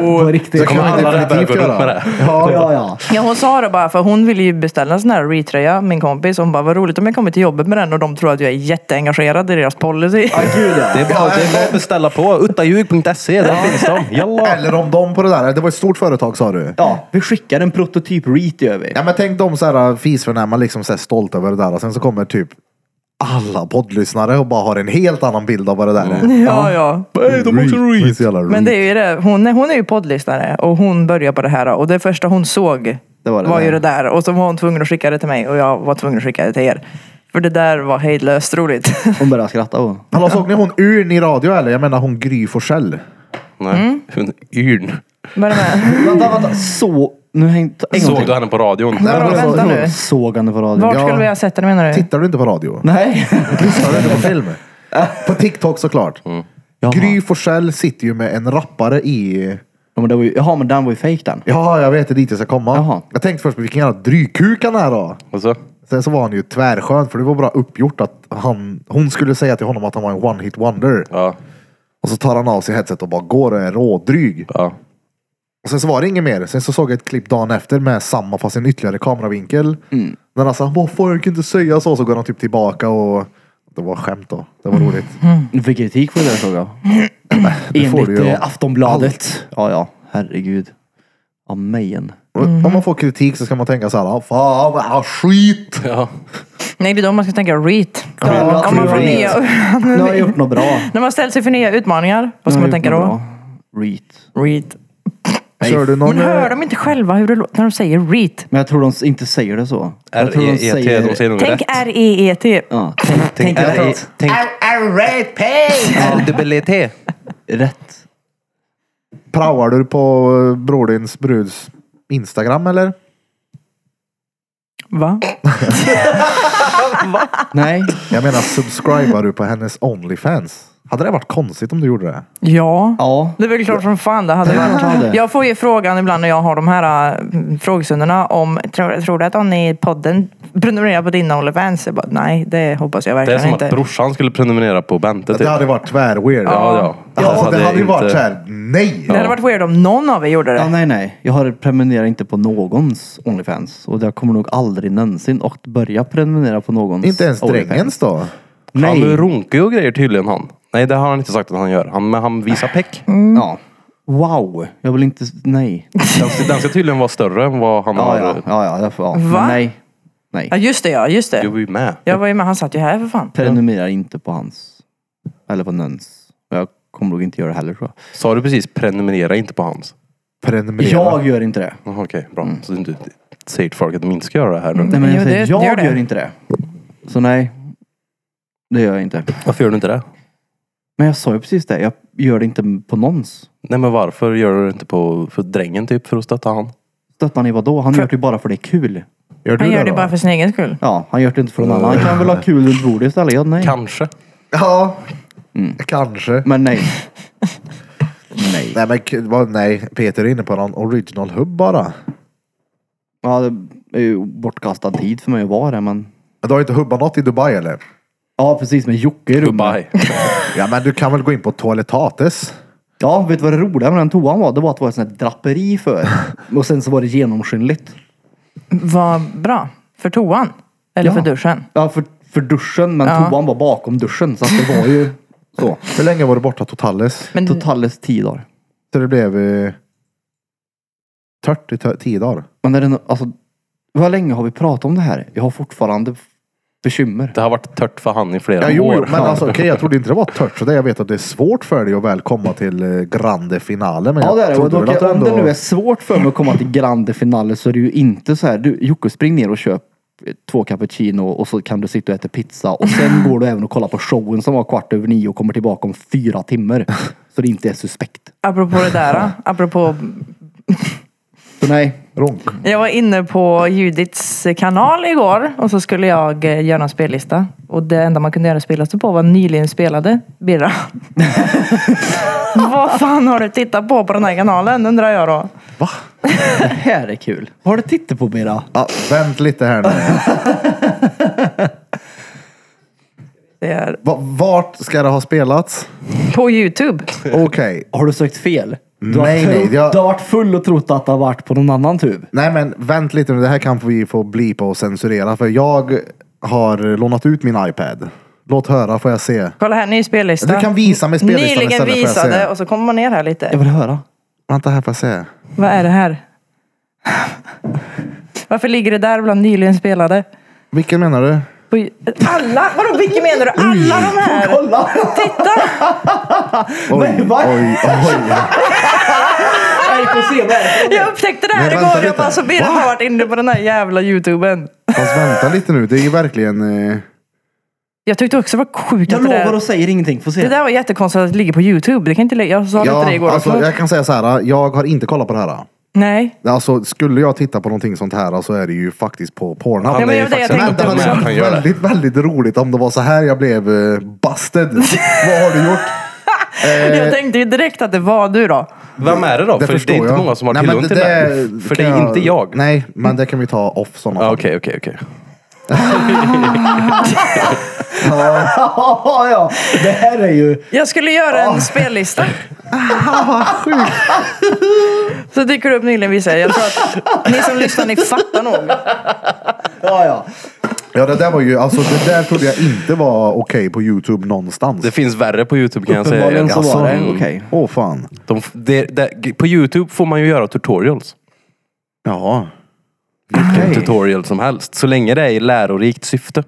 Speaker 3: På riktigt.
Speaker 1: Det kan
Speaker 4: Kommer
Speaker 1: man
Speaker 4: alla
Speaker 1: definitivt
Speaker 4: rappare gå
Speaker 1: göra.
Speaker 4: runt med det?
Speaker 3: Ja, ja, ja.
Speaker 2: Ja, hon sa det bara, för hon ville ju beställa en sån här retröja, min kompis. Hon bara, vad roligt om jag kommer till jobbet med den och de tror att jag är jätteengagerad i deras policy.
Speaker 3: Ja, gud ja.
Speaker 4: Det är bara, det är bara att beställa på uttaljug.se. Där finns de. Jalla.
Speaker 1: Eller om de på det där, det var ett stort företag sa du.
Speaker 3: Ja, vi skickar en prototyp reat gör vi.
Speaker 1: Ja men tänk de så här fisförnäma liksom så här stolta över det där och sen så kommer typ alla poddlyssnare och bara har en helt annan bild av vad det där är.
Speaker 2: Ja, ja.
Speaker 4: Mm. Nej, de har också
Speaker 1: Det är
Speaker 4: reet.
Speaker 1: så jävla
Speaker 2: Men det
Speaker 1: reet.
Speaker 2: är ju det. Hon, är- hon är ju poddlyssnare och hon börjar på det här och det första hon såg
Speaker 3: Det
Speaker 2: var,
Speaker 3: var det
Speaker 2: ju
Speaker 3: där.
Speaker 2: det där och så var hon tvungen att skicka det till mig och jag var tvungen att skicka det till er. För det där var hejdlöst roligt.
Speaker 3: Hon börjar skratta och...
Speaker 1: Hallå, såg ni hon Urn i radio eller? Jag menar hon Gry Forssell.
Speaker 4: Nej, en yrn.
Speaker 2: Var det med?
Speaker 3: Vänta, vänta. Så... Nu hängde...
Speaker 4: Såg du henne på radion?
Speaker 1: Nej,
Speaker 2: Vadå,
Speaker 1: men alltså,
Speaker 2: vänta nu.
Speaker 3: Såg han det på radion?
Speaker 2: Vart
Speaker 1: Ja.
Speaker 2: skulle vi ha sett den menar du?
Speaker 1: Tittar du inte på radio?
Speaker 3: Nej.
Speaker 1: Lyssnar du inte på film? På TikTok såklart.
Speaker 3: Jaha.
Speaker 1: Gry Forssell sitter ju med en rappare i...
Speaker 3: Ja, men det var ju... Jaha, men den var ju fejk den.
Speaker 1: Ja, jag vet det är dit jag ska komma.
Speaker 3: Jaha.
Speaker 1: Jag tänkte först på vilken jävla drygkuk han är då.
Speaker 4: Och så?
Speaker 1: Sen så var han ju tvärskön för det var bra uppgjort att han, hon skulle säga till honom att han var en one hit wonder.
Speaker 4: Ja.
Speaker 1: Och så tar han av sig headset och bara går och är rådryg.
Speaker 4: ja.
Speaker 1: Och sen så var det inget mer. Sen så såg jag ett klipp dagen efter med samma fast i en ytterligare kameravinkel. Mm. När han sa vad fan jag kan inte säga så. Så går han typ tillbaka och det var skämt då. Det var roligt.
Speaker 3: Du fick kritik för det där såg jag.
Speaker 1: får du
Speaker 3: Enligt
Speaker 1: ju.
Speaker 3: eh, Aftonbladet. Ja, ja. Herregud. Ja, mejen.
Speaker 1: Och Om man får kritik så ska man tänka så här. "Ah, Fan vad skit.
Speaker 4: ja.
Speaker 2: Nej det är då man ska tänka reat.
Speaker 3: Ja,
Speaker 2: Om man får
Speaker 3: reat.
Speaker 2: nya,
Speaker 3: Nu har jag gjort något bra.
Speaker 2: när man ställs inför nya utmaningar, vad ska man
Speaker 3: Nu har jag
Speaker 2: tänka
Speaker 3: gjort något
Speaker 2: då?
Speaker 3: bra. Reat.
Speaker 2: Reat.
Speaker 1: Kör du någon...
Speaker 2: Men hör
Speaker 1: eh,
Speaker 2: de inte själva hur det låter när de säger reat?
Speaker 3: Men jag tror de inte säger det så. Jag tror de
Speaker 4: R-E-E-T. E De säger nog rätt.
Speaker 2: Tänk E R-E-E-T.
Speaker 3: Ja, tänk, E- tänk rätt.
Speaker 4: Tänk E R-E-P!
Speaker 3: rätt.
Speaker 1: Praoar du på eh, Bror dins bruds Instagram eller?
Speaker 2: Va?
Speaker 3: Nej.
Speaker 1: Jag menar subscribar du på hennes Onlyfans? Hade det varit konstigt om du gjorde det?
Speaker 2: Ja.
Speaker 3: Ja.
Speaker 2: Det är väl klart som fan det hade
Speaker 3: klart det
Speaker 2: varit.
Speaker 3: hade.
Speaker 2: Jag får ju frågan ibland när jag har de här äh, frågestunderna om, tror, tror du att någon i podden prenumererar på din Onlyfans? Jag bara, nej, det hoppas jag
Speaker 4: Det är
Speaker 2: verkligen
Speaker 4: som att
Speaker 2: inte.
Speaker 4: brorsan skulle prenumerera på Bente typ.
Speaker 1: Det hade varit tvär-weird.
Speaker 4: Ja, ja.
Speaker 1: Ja, det hade ju
Speaker 4: Alltså, inte-
Speaker 1: varit såhär, nej!
Speaker 2: det hade varit weird om någon av er gjorde det.
Speaker 3: ja. Nej, nej. Jag har prenumererat inte på någons Onlyfans. Och jag kommer nog aldrig någonsin att börja prenumerera på någons
Speaker 1: Inte ens
Speaker 3: Onlyfans.
Speaker 1: drängens då?
Speaker 4: Han
Speaker 3: Nej.
Speaker 4: runkar ju och grejer tydligen han. Nej, det har han inte sagt att han gör. Han, men han visar peck.
Speaker 3: Mm. Ja. Wow. Jag vill inte... Nej.
Speaker 4: Alltså, Den, ska- den ska tydligen vara större än vad han
Speaker 3: Ja,
Speaker 4: har. eh,
Speaker 3: ja. Ja, ja. Därför, ja.
Speaker 2: Va?
Speaker 3: Men nej. Nej.
Speaker 2: Ja just det ja, just
Speaker 4: Du
Speaker 2: det.
Speaker 4: var ju med.
Speaker 2: Jag var ju med, han satt ju här för fan.
Speaker 3: Prenumerera inte på hans. Eller på Nuns. Jag kommer nog inte göra det heller tror jag.
Speaker 4: Sa du precis prenumerera inte på hans?
Speaker 1: Prenumerera.
Speaker 3: Jag gör inte det.
Speaker 4: Jaha okej, bra.
Speaker 1: Mm.
Speaker 4: Så du inte säger till folk att de inte ska göra det här nu.
Speaker 3: Nej, men
Speaker 2: Jo,
Speaker 3: jag, säger,
Speaker 2: det-
Speaker 3: jag
Speaker 2: gör
Speaker 3: gör,
Speaker 2: det.
Speaker 3: inte det. Så nej. Det gör jag inte.
Speaker 4: Varför gör du inte det?
Speaker 3: Men jag sa ju precis det. Jag gör det inte på någons.
Speaker 4: Nej men varför gör du det inte på för drängen typ för att stötta han?
Speaker 3: Stöttar ni vadå? Han gör det ju bara för det är kul.
Speaker 1: Gör du
Speaker 2: Han gör det
Speaker 1: då?
Speaker 2: bara för sin egen skull.
Speaker 3: Ja, han gör det inte för någon annan. Han kan väl ha kul runt bordet istället? Ja, nej.
Speaker 4: Kanske.
Speaker 1: Ja, kanske.
Speaker 3: Men nej. nej.
Speaker 1: Nej, men k- vad, nej, Peter är inne på någon original hub bara.
Speaker 3: Ja, det är ju bortkastad tid för mig att vara det, men...
Speaker 1: Men du har ju inte hubbat något i Dubai eller?
Speaker 3: Ja, precis. Med Jocke i rummet.
Speaker 4: Dubai.
Speaker 1: Ja, men du kan väl gå in på Toaletates?
Speaker 3: Ja, vet du vad det roliga med den toan var? Det var att det var ett sånt här draperi för. Och sen så var det genomskinligt.
Speaker 2: Vad bra. För toan. Eller
Speaker 3: Ja.
Speaker 2: för duschen.
Speaker 3: Ja, för, för duschen, men
Speaker 2: Ja.
Speaker 3: toan var bakom duschen. Så att det var ju så.
Speaker 1: Hur länge var du borta totales?
Speaker 2: Men
Speaker 3: Totalt tio dagar.
Speaker 1: Så det blev eh, tört i tö- tio dagar.
Speaker 3: Men är det no- alltså, hur länge har vi pratat om det här? Jag har fortfarande f- bekymmer.
Speaker 4: Det har varit tört för han i flera
Speaker 1: Ja, jo,
Speaker 4: år.
Speaker 1: jo, men alltså okej, jag trodde inte det var tört. Så det, jag vet att det är svårt för dig att väl komma till eh, grande finale. Men
Speaker 3: Ja
Speaker 1: jag
Speaker 3: det är det. Och
Speaker 1: trodde väl
Speaker 3: då,
Speaker 1: att du
Speaker 3: kan- om
Speaker 1: ändå...
Speaker 3: det nu är svårt för mig att komma till grande finale så är det ju inte så här. Du Jocke spring ner och köp eh, två cappuccino och så kan du sitta och äta pizza. Och sen går du även och kollar på showen som var kvart över nio och kommer tillbaka om fyra timmar. Så det inte är suspekt.
Speaker 2: apropå det där. apropå
Speaker 3: Så nej.
Speaker 1: Ronk.
Speaker 2: Jag var inne på Judiths kanal igår och så skulle jag eh, göra en spellista. Och det enda man kunde göra en spellista på var nyligen spelade Birra. Vad fan har du tittat på på den här kanalen undrar jag då.
Speaker 3: Det här är kul. Vad har du tittat på Bira?
Speaker 1: Ja, vänt lite här nu.
Speaker 2: Det är
Speaker 1: Va- Vart ska det ha spelats?
Speaker 2: på Youtube.
Speaker 1: Okej.
Speaker 3: Har du sökt fel? Du har,
Speaker 1: Nej,
Speaker 3: trott-
Speaker 1: nej, jag-
Speaker 3: du har varit full och trott att det har varit på någon annan tub.
Speaker 1: Nej men vänt lite nu, det här kan vi få blipa och censurera för jag har lånat ut min iPad. Låt höra får jag se.
Speaker 2: Kolla här, ny spellista.
Speaker 1: Du kan visa mig spellistan istället
Speaker 2: Nyligen
Speaker 1: får jag
Speaker 2: visade
Speaker 1: se.
Speaker 2: och så kommer man ner här
Speaker 3: Jag
Speaker 2: lite.
Speaker 3: vill höra.
Speaker 1: Vänta här får jag se.
Speaker 2: Vad är det här? Varför ligger det där bland nyligen spelade?
Speaker 1: Vilken menar du?
Speaker 2: På Ju- Alla? Vadå vilken menar du? Alla de här?
Speaker 3: Kolla!
Speaker 2: Titta!
Speaker 1: Oj,
Speaker 3: Men vad-
Speaker 1: oj, oj.
Speaker 3: Nej, får se. Vad är det?
Speaker 2: Jag upptäckte det
Speaker 1: Men
Speaker 2: här
Speaker 1: vänta
Speaker 2: igår. Jag
Speaker 1: lite.
Speaker 2: bara, så Birra har varit inne på den här jävla youtuben.
Speaker 1: Fast vänta lite nu, det är ju verkligen... Eh...
Speaker 2: Jag tyckte också det var sjukt
Speaker 3: Jag
Speaker 2: att det
Speaker 3: lovar
Speaker 2: där,
Speaker 3: och säger ingenting. Får
Speaker 2: det
Speaker 3: se.
Speaker 2: där var jättekonstigt att det ligger på youtube. Det kan inte, ligga- jag sa inte det igår
Speaker 1: Ja, alltså,
Speaker 2: också.
Speaker 1: jag kan säga så här, jag har inte kollat på det här.
Speaker 2: Nej.
Speaker 1: Alltså skulle jag titta på någonting sånt här så är det ju faktiskt på Pornhub.
Speaker 2: men det var det jag
Speaker 1: Men det
Speaker 2: tänkte
Speaker 1: hade
Speaker 2: också.
Speaker 1: varit
Speaker 4: han gör det.
Speaker 1: väldigt, väldigt roligt om det var så här jag blev eh, busted. Vad har du gjort? Eh,
Speaker 2: Jag tänkte ju direkt att det var du då.
Speaker 4: Vem är det då?
Speaker 1: Det
Speaker 4: för det
Speaker 1: förstår
Speaker 4: är inte
Speaker 1: jag.
Speaker 4: många som har
Speaker 1: Nej,
Speaker 4: tillgång
Speaker 1: men
Speaker 4: till det.
Speaker 1: där
Speaker 4: För det
Speaker 1: kan
Speaker 4: är inte jag.
Speaker 1: Nej, men det kan vi ta off sådana
Speaker 4: Ja,
Speaker 1: fall.
Speaker 4: Okej, okej, okej.
Speaker 3: Ja, ja. Det här är ju...
Speaker 2: Jag skulle göra
Speaker 1: Ah.
Speaker 2: en spellista. så dyker det upp nyligen visar jag. jag tror att ni som lyssnar ni fattar nog.
Speaker 3: Ja, ja.
Speaker 1: Ja, det där var ju, alltså det där trodde jag inte var okej på YouTube någonstans.
Speaker 4: Det finns värre på Youtube kan jag säga.
Speaker 3: Uppenbarligen så
Speaker 1: Alltså,
Speaker 3: var det.
Speaker 1: mm.
Speaker 3: Okej.
Speaker 1: Åh fan.
Speaker 4: De, f- det, det, på Youtube får man ju göra tutorials.
Speaker 1: Ja.
Speaker 4: Vilken tutorial som helst. Så länge det är i lärorikt syfte.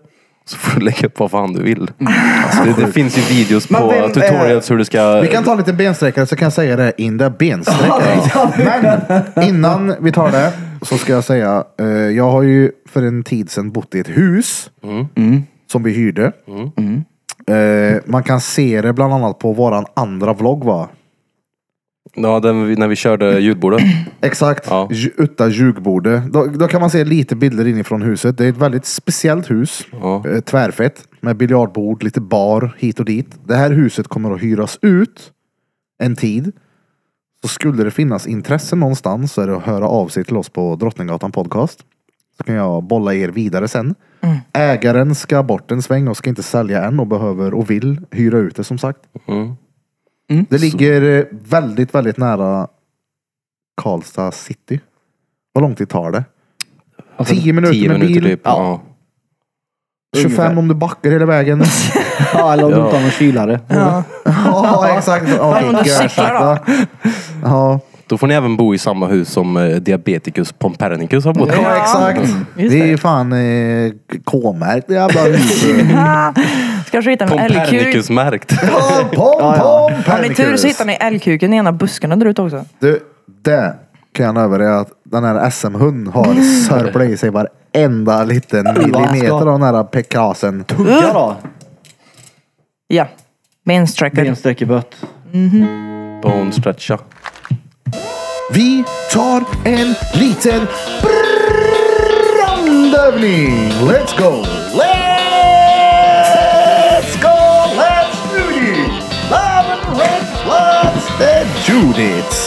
Speaker 4: Så får du lägga upp vad fan du vill.
Speaker 1: Mm.
Speaker 4: Alltså, det, det finns ju videos
Speaker 3: Men
Speaker 4: på
Speaker 3: vem är-
Speaker 4: tutorials hur du ska...
Speaker 1: eh, Vi kan ta en liten bensträckare så kan jag säga det in the bensträckare. Men innan vi tar det så ska jag säga, eh, jag har ju för en tid sedan bott i ett hus som vi hyrde. Eh, man kan se det bland annat på våran andra vlogg va?
Speaker 4: Ja, den, vi- när vi körde ljudbordet.
Speaker 1: Exakt,
Speaker 4: Ja.
Speaker 1: Ju- Utta Ljugbordet. Då, då kan man se lite bilder inifrån huset. Det är ett väldigt speciellt hus.
Speaker 4: Ja.
Speaker 1: Eh, Tvärfett. Med biljardbord, lite bar hit och dit. Det här huset kommer att hyras ut en tid. Så skulle det finnas intresse någonstans så är det att höra av sig till oss på Drottninggatan podcast. Så kan jag bolla er vidare sen. Ägaren ska bort en sväng och ska inte sälja än och behöver och vill hyra ut det som sagt.
Speaker 4: Mm.
Speaker 1: Det ligger eh, väldigt, väldigt nära Karlstad city. Vad lång tid tar det? 10 minuter
Speaker 4: Alltså, Tio
Speaker 1: med
Speaker 4: minuter
Speaker 1: bil.
Speaker 4: typ. Ja.
Speaker 1: 25 om du backar hela vägen.
Speaker 3: Ja, eller om du
Speaker 4: Ja.
Speaker 3: inte har någon kylare.
Speaker 2: Ja.
Speaker 1: ja, exakt. Ja,
Speaker 2: Om du
Speaker 1: gör
Speaker 2: cyklar
Speaker 1: sakta. Ja,
Speaker 4: Då Då får ni även bo i samma hus som eh, diabeticus pompernicus har bott i.
Speaker 1: Ja, exakt.
Speaker 2: just
Speaker 1: Det är ju fan eh, K-märkt det jävla huset.
Speaker 2: Ah. Ska försöka hitta en älgkuk.
Speaker 4: Pompernicus-märkt.
Speaker 1: Pom, pom, pom,
Speaker 2: Har ni tur så hittar ni älgkuken i ena buskarna där ute också.
Speaker 1: Du, det kan jag lova dig att den här SM-hunden har sörplat i sig varenda liten millimeter av den här pekrasen.
Speaker 3: Tugga då!
Speaker 2: Ja. Bensträckare.
Speaker 3: Bensträck i bött.
Speaker 4: Bone stretcha.
Speaker 1: Vi tar en liten brandövning. Let's go! Let's go! Let's do this! Love and red floods and Judiths!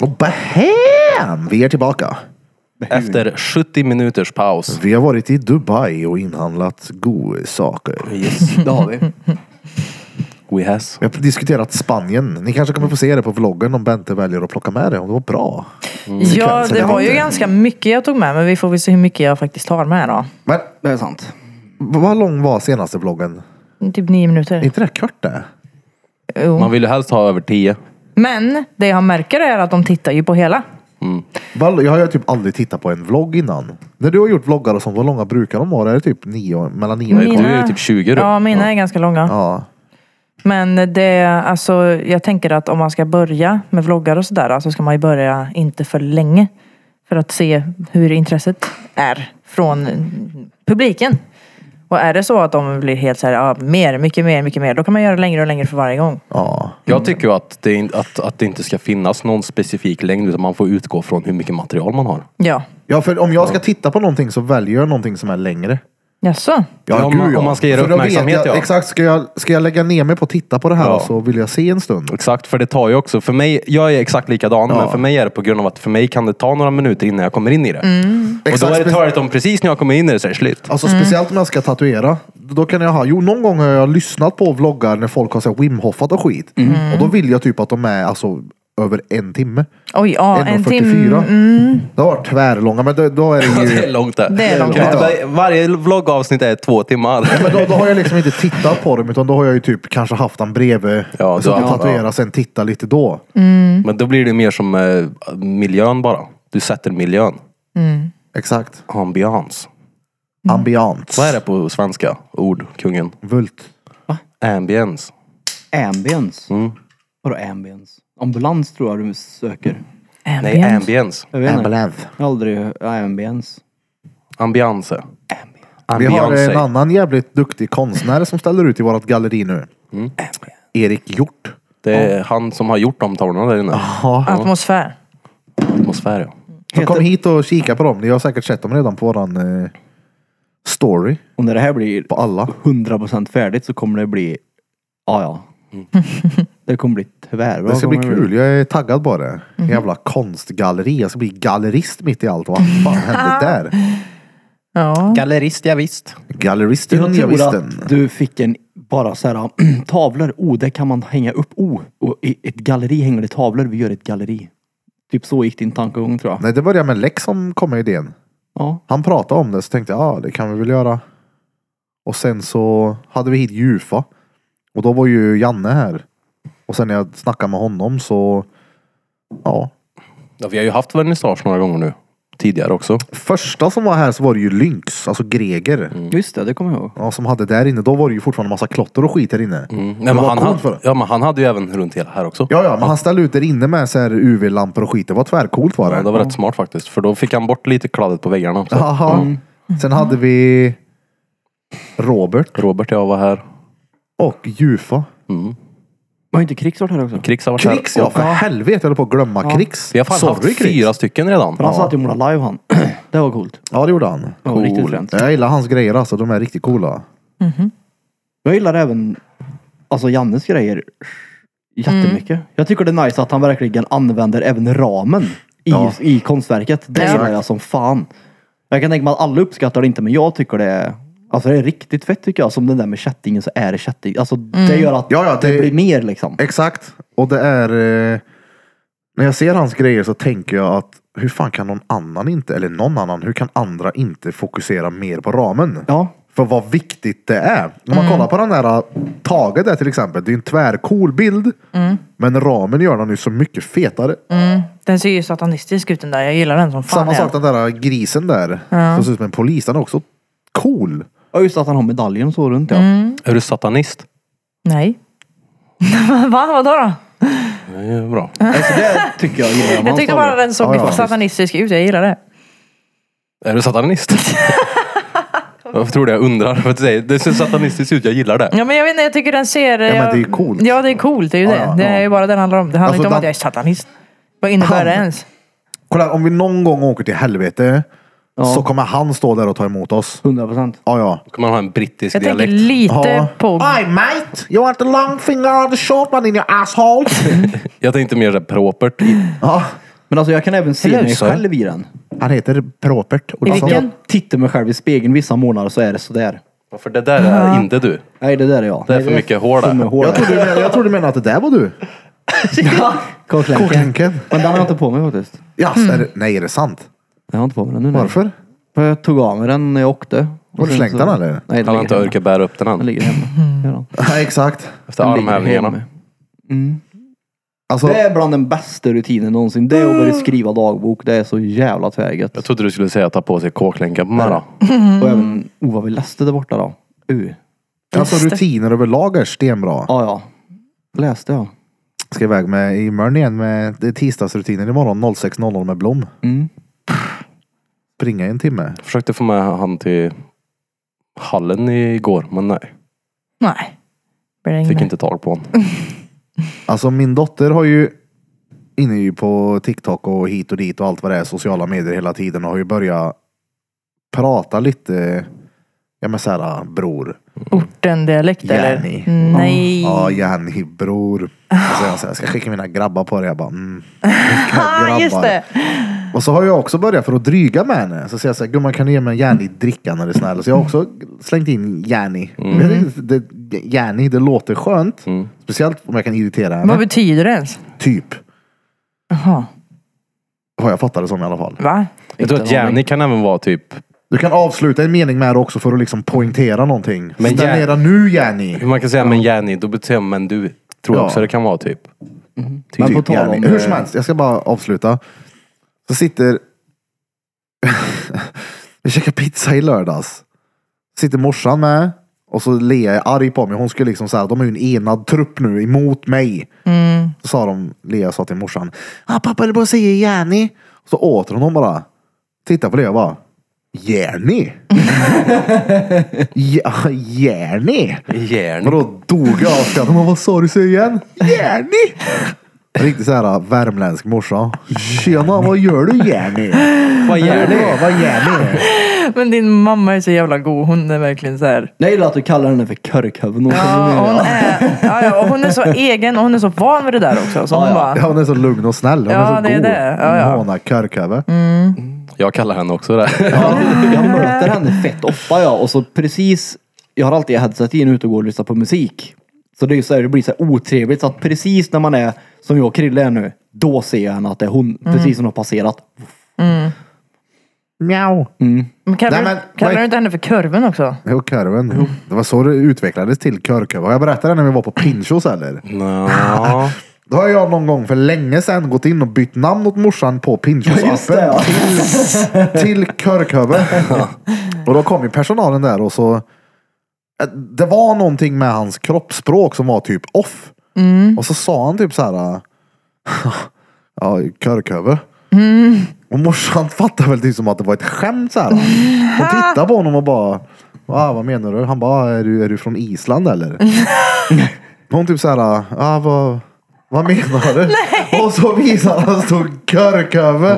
Speaker 1: Och bam! Vi är tillbaka.
Speaker 4: Efter 70 minuters paus.
Speaker 1: Vi har varit i Dubai och inhandlat goda saker.
Speaker 3: Det har vi.
Speaker 4: We has.
Speaker 1: Vi har diskuterat Spanien. Ni kanske kommer få se det på vloggen om Bente väljer att plocka med det. Om det var bra.
Speaker 2: Ja, det
Speaker 1: jag
Speaker 2: var ju
Speaker 1: hade.
Speaker 2: ganska mycket jag tog med, men vi får väl se hur mycket jag faktiskt tar med då.
Speaker 1: Men
Speaker 3: Det är sant.
Speaker 1: vad lång var senaste vloggen?
Speaker 2: Typ nio minuter.
Speaker 1: Är inte det kort det?
Speaker 2: Jo.
Speaker 4: Man vill ju helst ha över 10.
Speaker 2: Men det jag märker är att de tittar ju på hela.
Speaker 1: Vad- Jag har ju typ aldrig tittat på en vlogg innan. När du har gjort vloggar och sånt, vad långa brukar de vara? Är det typ nio, mellan nio och
Speaker 4: Mina-
Speaker 1: tolv?
Speaker 4: Du är ju typ 20 då.
Speaker 2: Ja, mina är ganska långa.
Speaker 1: Ja.
Speaker 2: Men det, alltså, jag tänker att om man ska börja med vloggar och sådär så ska man ju börja inte för länge. För att se hur intresset är från publiken. Och är det så att de blir helt så här, ja, mer, mycket mer, mycket mer. Då kan man göra längre och längre för varje gång.
Speaker 1: ja.
Speaker 4: Jag tycker ju att det, in- att, att det inte ska finnas någon specifik längd utan man får utgå från hur mycket material man har.
Speaker 2: Ja.
Speaker 1: Ja, för om jag ska titta på någonting så väljer jag någonting som är längre.
Speaker 2: Jaså?
Speaker 4: Ja, om man- om man ska ge det
Speaker 1: För då vet
Speaker 4: uppmärksamhet,
Speaker 1: jag,
Speaker 4: ja.
Speaker 1: Exakt, ska jag, ska jag lägga ner mig på att titta på det här
Speaker 4: Ja.
Speaker 1: så vill jag se en stund.
Speaker 4: Exakt, för det tar ju också, för mig, jag är exakt likadan, men för mig är det på grund av att för mig kan det ta några minuter innan jag kommer in i det.
Speaker 2: Mm.
Speaker 4: Och då
Speaker 1: Exakt,
Speaker 4: är det
Speaker 1: spec-
Speaker 4: törligt om precis när jag kommer in i det så är det slut.
Speaker 1: Alltså speciellt om jag ska tatuera. Då kan jag ha, jo någon gång har jag lyssnat på vloggar när folk har så här Wim Hoffat och skit.
Speaker 2: Mm.
Speaker 1: Och då vill jag typ att de är alltså över en timme.
Speaker 2: Oj, ja, en
Speaker 1: 1.44.
Speaker 2: timme. mm.
Speaker 1: Det har varit tvärlånga, men då, då är det
Speaker 4: Det
Speaker 1: ju...
Speaker 4: är långt det.
Speaker 2: Det är långt,
Speaker 4: Kan
Speaker 1: ja.
Speaker 4: vi inte bara- Varje vloggavsnitt är två timmar.
Speaker 1: Men då, då har jag liksom inte tittat på dem, utan då har jag ju typ kanske haft den bredvid.
Speaker 4: Ja,
Speaker 1: så
Speaker 4: då-
Speaker 1: att jag
Speaker 4: ja,
Speaker 1: tatuerar, sen titta lite då.
Speaker 2: Mm.
Speaker 4: Men då blir det mer som eh, miljön bara. Du sätter miljön.
Speaker 1: Exakt.
Speaker 4: Ambiance.
Speaker 2: Mm.
Speaker 1: Ambiance.
Speaker 4: Vad är det på svenska? Ord, kungen.
Speaker 1: Vult.
Speaker 4: Ambience.
Speaker 3: Ambience.
Speaker 4: Mm.
Speaker 3: Vadå ambience? Ambulans tror jag du söker.
Speaker 4: Nej,
Speaker 2: Ambient.
Speaker 4: ambience.
Speaker 3: Jag vet inte.
Speaker 1: Ambulance.
Speaker 3: Jag har aldrig hört ambience.
Speaker 4: Ambiance.
Speaker 1: Vi har
Speaker 4: Ambiance.
Speaker 1: en annan jävligt duktig konstnär som ställer ut i vårt galleri nu.
Speaker 4: Mm.
Speaker 1: Erik Hjort.
Speaker 4: Det är han som har gjort de tavlorna där inne.
Speaker 1: Ah.
Speaker 2: Atmosfär.
Speaker 4: Atmosfär ja.
Speaker 1: Så kom hit och kika på dem. Ni har säkert sett dem redan på våran eh, story.
Speaker 3: Och när det här blir
Speaker 1: På alla.
Speaker 3: 100% färdigt så kommer det bli... Ja, ja. Det kommer bli tvärbra.
Speaker 1: Det ska bli
Speaker 3: kommer
Speaker 1: kul. Jag är taggad på det.
Speaker 3: Mhm.
Speaker 1: Jävla konstgalleri. Jag ska bli gallerist mitt i allt. Vad fan hände där?
Speaker 2: Ja.
Speaker 4: Gallerist, ja, visst.
Speaker 1: Galleristen,
Speaker 3: Jag
Speaker 1: jag
Speaker 3: tror
Speaker 1: visste.
Speaker 3: att du fick en bara så här tavlor. Oh, det kan man hänga upp. Oh, och i ett galleri hänger det tavlor. Vi gör ett galleri. Typ så gick din tankegång tror jag.
Speaker 1: Nej, det började med Lex som kom med idén.
Speaker 3: Ja.
Speaker 1: Han pratade om det så tänkte jag, ja det kan vi väl göra. Och sen så hade vi hit Jufa. Och då var ju Janne här. Och sen när jag snackade med honom så, ja.
Speaker 4: Ja, vi har ju haft vernissage några gånger nu. Tidigare också.
Speaker 1: Första som var här så var det ju Lynx, alltså Greger.
Speaker 3: Just det, det kommer jag ihåg.
Speaker 1: Ja, som hade där inne. Då var det ju fortfarande massa klotter och skit där inne.
Speaker 4: Mm.
Speaker 1: det
Speaker 4: Nej, men
Speaker 1: var
Speaker 4: han,
Speaker 1: coolt för
Speaker 4: hade,
Speaker 1: det.
Speaker 4: ja, men han hade ju även runt hela här också.
Speaker 1: Ja, ja, men han ställde ut där inne med så här UV-lampor och skit. Det var tvärcoolt var det.
Speaker 4: Ja, det var rätt smart faktiskt. För då fick han bort lite kladdet på väggarna också.
Speaker 1: Jaha. Sen hade vi Robert
Speaker 4: Robert och jag var här.
Speaker 1: och Jufa.
Speaker 3: Var inte krigsvart här också?
Speaker 4: Krix har varit
Speaker 1: Krix
Speaker 4: här.
Speaker 1: ja, för helvete. Jag höll på att glömma Krix.
Speaker 4: Vi har fan
Speaker 1: Sorry,
Speaker 4: haft
Speaker 1: Krix.
Speaker 4: fyra stycken redan.
Speaker 3: För han satt ju och målade live han. det var coolt.
Speaker 1: Ja, det gjorde han.
Speaker 3: Ja, riktigt fränt.
Speaker 1: Jag gillar hans grejer alltså. De är riktigt coola.
Speaker 2: Mhm.
Speaker 3: Jag gillar även alltså Jannes grejer jättemycket.
Speaker 2: Mm.
Speaker 3: Jag tycker det är nice att han verkligen använder även ramen i,
Speaker 1: Ja.
Speaker 3: i konstverket. Det
Speaker 2: Ja.
Speaker 3: gillar jag som fan. Jag kan tänka mig att alla uppskattar det inte men jag tycker det är Alltså det är riktigt fett tycker jag. Som den där med kättingen så är det kätting. Alltså
Speaker 2: Mm.
Speaker 3: det gör att
Speaker 1: Ja, ja,
Speaker 3: det...
Speaker 1: det-
Speaker 3: blir mer liksom.
Speaker 1: Exakt. Och det är... Eh, när jag ser hans grejer så tänker jag att hur fan kan någon annan inte, eller någon annan, hur kan andra inte fokusera mer på ramen?
Speaker 3: Ja.
Speaker 1: för vad viktigt det är. Om man kollar på den där äh, taget där till exempel. Det är ju en tvärcool bild. Men ramen gör den ju så mycket fetare.
Speaker 2: Mm. Den ser ju satanistisk ut den där. Jag gillar den som fan.
Speaker 1: Samma
Speaker 2: ja.
Speaker 1: sak den där äh, grisen där. Som ser ut som en polis. Den är också cool.
Speaker 3: Ja just att han har medaljen så runt ja.
Speaker 2: Mm.
Speaker 4: Är du satanist?
Speaker 2: Nej. Va? Vadå då?
Speaker 4: Det är bra.
Speaker 3: Alltså, det tycker jag gillar om
Speaker 2: Jag
Speaker 3: hans
Speaker 2: tyckte
Speaker 3: tavlor.
Speaker 2: bara den såg
Speaker 1: Ja, ja.
Speaker 2: satanistisk ut. Jag gillar det.
Speaker 4: Är du satanist? Varför tror du jag undrar? För att säga, det ser satanistiskt ut, jag gillar
Speaker 3: Mm.
Speaker 4: det.
Speaker 2: Ja men jag vet inte, jag tycker den ser... Ja
Speaker 1: men det är ju coolt.
Speaker 2: Ja det är coolt, det är ju
Speaker 1: Ja,
Speaker 2: det.
Speaker 1: ja,
Speaker 2: det
Speaker 1: ja.
Speaker 2: är ju bara det det handlar om. Det handlar
Speaker 1: Alltså,
Speaker 2: inte om
Speaker 1: den-
Speaker 2: att jag är satanist. Vad innebär
Speaker 1: Han-
Speaker 2: det ens?
Speaker 1: Kolla, om vi någon gång åker till helvete. Så kommer han stå där och ta emot oss.
Speaker 3: 100 procent.
Speaker 1: Ja, ja.
Speaker 4: Då kan man ha en brittisk
Speaker 2: Jag
Speaker 4: dialekt.
Speaker 2: tänker lite
Speaker 1: Ja. Ah!
Speaker 2: på...
Speaker 1: Oi mate! You want the long finger or the short one in your asshole?
Speaker 4: Jag tänkte mer så här propert.
Speaker 3: Mm.
Speaker 1: ja,
Speaker 3: Men alltså jag kan även se
Speaker 4: Eller
Speaker 3: mig
Speaker 4: så.
Speaker 3: själv i den. Alltså,
Speaker 1: han heter Propert.
Speaker 2: Vilken?
Speaker 1: Olsson.
Speaker 3: Jag tittar mig själv i spegeln vissa månader så är det sådär.
Speaker 4: För det där är inte du.
Speaker 3: Nej det där är jag.
Speaker 4: Det är för mycket hår
Speaker 3: För mycket
Speaker 4: där.
Speaker 3: hår
Speaker 1: Jag trodde, du menade, jag trodde du menade att det där var du.
Speaker 3: Koklänken.
Speaker 1: Koklänken.
Speaker 3: Men den har jag inte på mig faktiskt.
Speaker 1: Yes, är det, nej, är det sant?
Speaker 3: Jag har inte på mig den nu. nej.
Speaker 1: Varför?
Speaker 3: För jag tog av mig den när jag åkte.
Speaker 1: Har du
Speaker 3: Och sen
Speaker 1: slängt
Speaker 3: så-
Speaker 1: den, eller? Mm.
Speaker 3: Nej, den
Speaker 4: Han
Speaker 3: ligger
Speaker 4: har inte
Speaker 3: hemma.
Speaker 4: orkat bära upp den
Speaker 3: Den
Speaker 4: än.
Speaker 3: Mm. ligger hemma. Gör den.
Speaker 1: Ja, exakt.
Speaker 4: Efter
Speaker 3: Den ligger
Speaker 4: armhävningarna.
Speaker 3: hemma.
Speaker 1: Alltså,
Speaker 3: Det är bland den bästa rutinen någonsin. Det är att börja skriva dagbok. Det är så jävla tvärgött.
Speaker 4: Jag trodde du skulle säga att ta på sig kåklänka på morgonen.
Speaker 1: Mm.
Speaker 3: Och även, oh vad vi läste där borta då. Uh.
Speaker 1: alltså rutiner överlag är stenbra.
Speaker 3: Ja, ja. Läste jag.
Speaker 1: Ska iväg med imorgon igen med det är tisdagsrutinen imorgon 06.00 med Blom.
Speaker 3: Mm.
Speaker 1: Springa i en timme.
Speaker 4: Jag försökte få med han till hallen igår, men nej.
Speaker 2: Nej. Blir det
Speaker 4: Fick
Speaker 2: ingen-
Speaker 4: inte tag på honom.
Speaker 1: Alltså min dotter har ju inne ju på TikTok och hit och dit och allt vad det är sociala medier hela tiden och har ju börjat prata lite Ja men såhär ah, bror.
Speaker 2: Orten-dialekt
Speaker 1: Jenny.
Speaker 2: eller? Nej.
Speaker 1: Ja Jenny bror. Och så är jag såhär, ska jag skicka mina grabbar på det? Jag bara mm. vilka
Speaker 2: Ah, just
Speaker 1: grabbar?"
Speaker 2: det.
Speaker 1: Och så har jag också börjat för att dryga med henne. Så säger jag såhär, gumman kan du ge mig en järnig dricka när du är snäll? Så jag har också slängt in järnig. Mm. Det, det, järnig, det låter skönt.
Speaker 4: Mm.
Speaker 1: Speciellt om jag kan irritera henne.
Speaker 2: Vad betyder det ens?
Speaker 1: typ.
Speaker 2: Jaha.
Speaker 1: Vad jag fattar det som i alla fall.
Speaker 2: Va?
Speaker 4: Jag tror att Jenny kan även vara typ...
Speaker 1: Du kan avsluta en mening med det också för att liksom poängtera någonting.
Speaker 4: Men
Speaker 1: Ställ
Speaker 4: Jan-
Speaker 1: ner den nu Jenny!
Speaker 4: Hur man kan säga men Jenny, då betyder jag men du. Tror jag
Speaker 1: Ja.
Speaker 4: också det kan vara typ.
Speaker 3: Men på
Speaker 1: Typ
Speaker 3: tal om... eh,
Speaker 1: Jenny. Hur som helst, jag ska bara avsluta. Så sitter... Vi käkar pizza i lördags. Sitter morsan med. Och så Lea är arg på mig. Hon skulle liksom säga, de är ju en enad trupp nu emot mig.
Speaker 2: Mm.
Speaker 1: Så sa de, Lea sa till morsan. Ah, pappa eller på att säga Jenny. Så åt hon, hon bara. Titta på Lea och bara. Jenny? ja, Jenny?
Speaker 4: Jenny.
Speaker 1: Men då dog jag av skratt. Hon bara, vad sa du så igen? Jenny! Riktigt såhär värmländsk morsa. Tjena, vad gör du Jenny?
Speaker 4: Vad
Speaker 1: Jenny,
Speaker 4: Jenny?
Speaker 1: vad Jenny?
Speaker 2: Men din mamma är så jävla god. Hon är verkligen så här.
Speaker 3: Jag gillar att du kallar henne för körkhuvud.
Speaker 2: Ja, hon är, ja, ja, och hon är så egen och hon är så van vid det där också. Så hon bara,
Speaker 1: Ja, hon är så lugn och snäll. Hon
Speaker 2: Ja,
Speaker 1: är så
Speaker 2: det är
Speaker 1: god.
Speaker 2: det. Ja, Mm. ja.
Speaker 1: Hon hånar körköve.
Speaker 4: Jag kallar henne också det.
Speaker 3: Jag möter henne fett ofta ja. Och så precis, jag har alltid headset in ute och går och lyssnar på musik. Så det, är ju så här, det blir så här otrevligt. Så att precis när man är som jag och Krille är nu, då ser jag henne att det är hon. Precis som hon har passerat.
Speaker 1: Mjau.
Speaker 2: men
Speaker 1: Nej,
Speaker 2: kallar,
Speaker 1: men-
Speaker 2: du, kallar du inte henne för kurven också?
Speaker 1: Jo, körven. Det var så det utvecklades till körköve. Har jag berättat det när vi var på Pinchos eller?
Speaker 4: Nå.
Speaker 1: Då har jag någon gång för länge sedan gått in och bytt namn åt morsan på Pinchos-appen. till Körkhöve. Och då kom ju personalen där och så. eh, Det var någonting med hans kroppsspråk som var typ off. Och så sa han typ så här. Ja, Körkhöve.
Speaker 2: Mm.
Speaker 1: Och morsan fattade väl typ som att det var ett skämt så här. Hon tittade på honom och bara. Ah, vad menar du? Han bara, är du, är du från Island eller? Hon typ så här. Ah, vad, vad menar du? Och så visade han att det stod Körkhöve.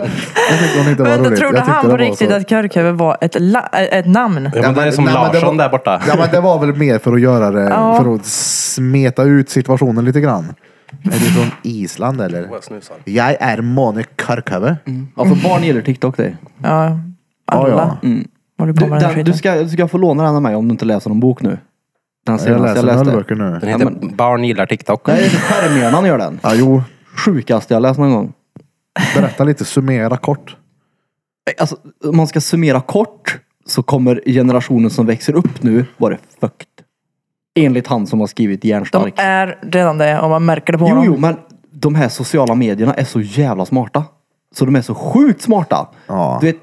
Speaker 1: Jag tyckte hon inte var
Speaker 2: Vänta,
Speaker 1: roligt.
Speaker 2: trodde
Speaker 1: Jag tyckte
Speaker 2: han på
Speaker 1: det var
Speaker 2: riktigt
Speaker 1: så-
Speaker 2: att körkuvud var ett, la- ett namn?
Speaker 4: Ja, men det är som
Speaker 1: nej, men det
Speaker 4: Larsson
Speaker 1: var-
Speaker 4: där borta.
Speaker 1: Ja men det var väl mer för att göra det, för att smeta ut situationen lite grann. Är du från Island eller?
Speaker 4: Jag snusar.
Speaker 1: Jag är Mane Karkave.
Speaker 3: Ja, för barn gillar TikTok det.
Speaker 2: Ja, Mm. alla.
Speaker 1: Ja, ja.
Speaker 2: Håller på
Speaker 3: Du,
Speaker 2: med den,
Speaker 3: den,
Speaker 2: skiten.
Speaker 3: du, ska, du ska få låna den av mig om du inte läser någon bok nu. Den
Speaker 1: Jag
Speaker 3: senaste
Speaker 1: läser
Speaker 3: jag
Speaker 1: några
Speaker 3: läste.
Speaker 1: böcker nu.
Speaker 4: Den heter Barn gillar TikTok.
Speaker 3: Nej, Skärmhjärnan gör den.
Speaker 1: Ja, jo,
Speaker 3: Sjukaste jag läst någon gång.
Speaker 1: berätta lite, summera kort.
Speaker 3: Alltså, om man ska summera kort så kommer generationen som växer upp nu vara fucked. Enligt han som har skrivit
Speaker 2: De
Speaker 3: Järnstark.
Speaker 2: är redan det och man märker det på
Speaker 3: Jo,
Speaker 2: dem.
Speaker 3: jo, men de här sociala medierna är så jävla smarta. Så de är så sjukt smarta.
Speaker 1: Ja.
Speaker 3: Du vet,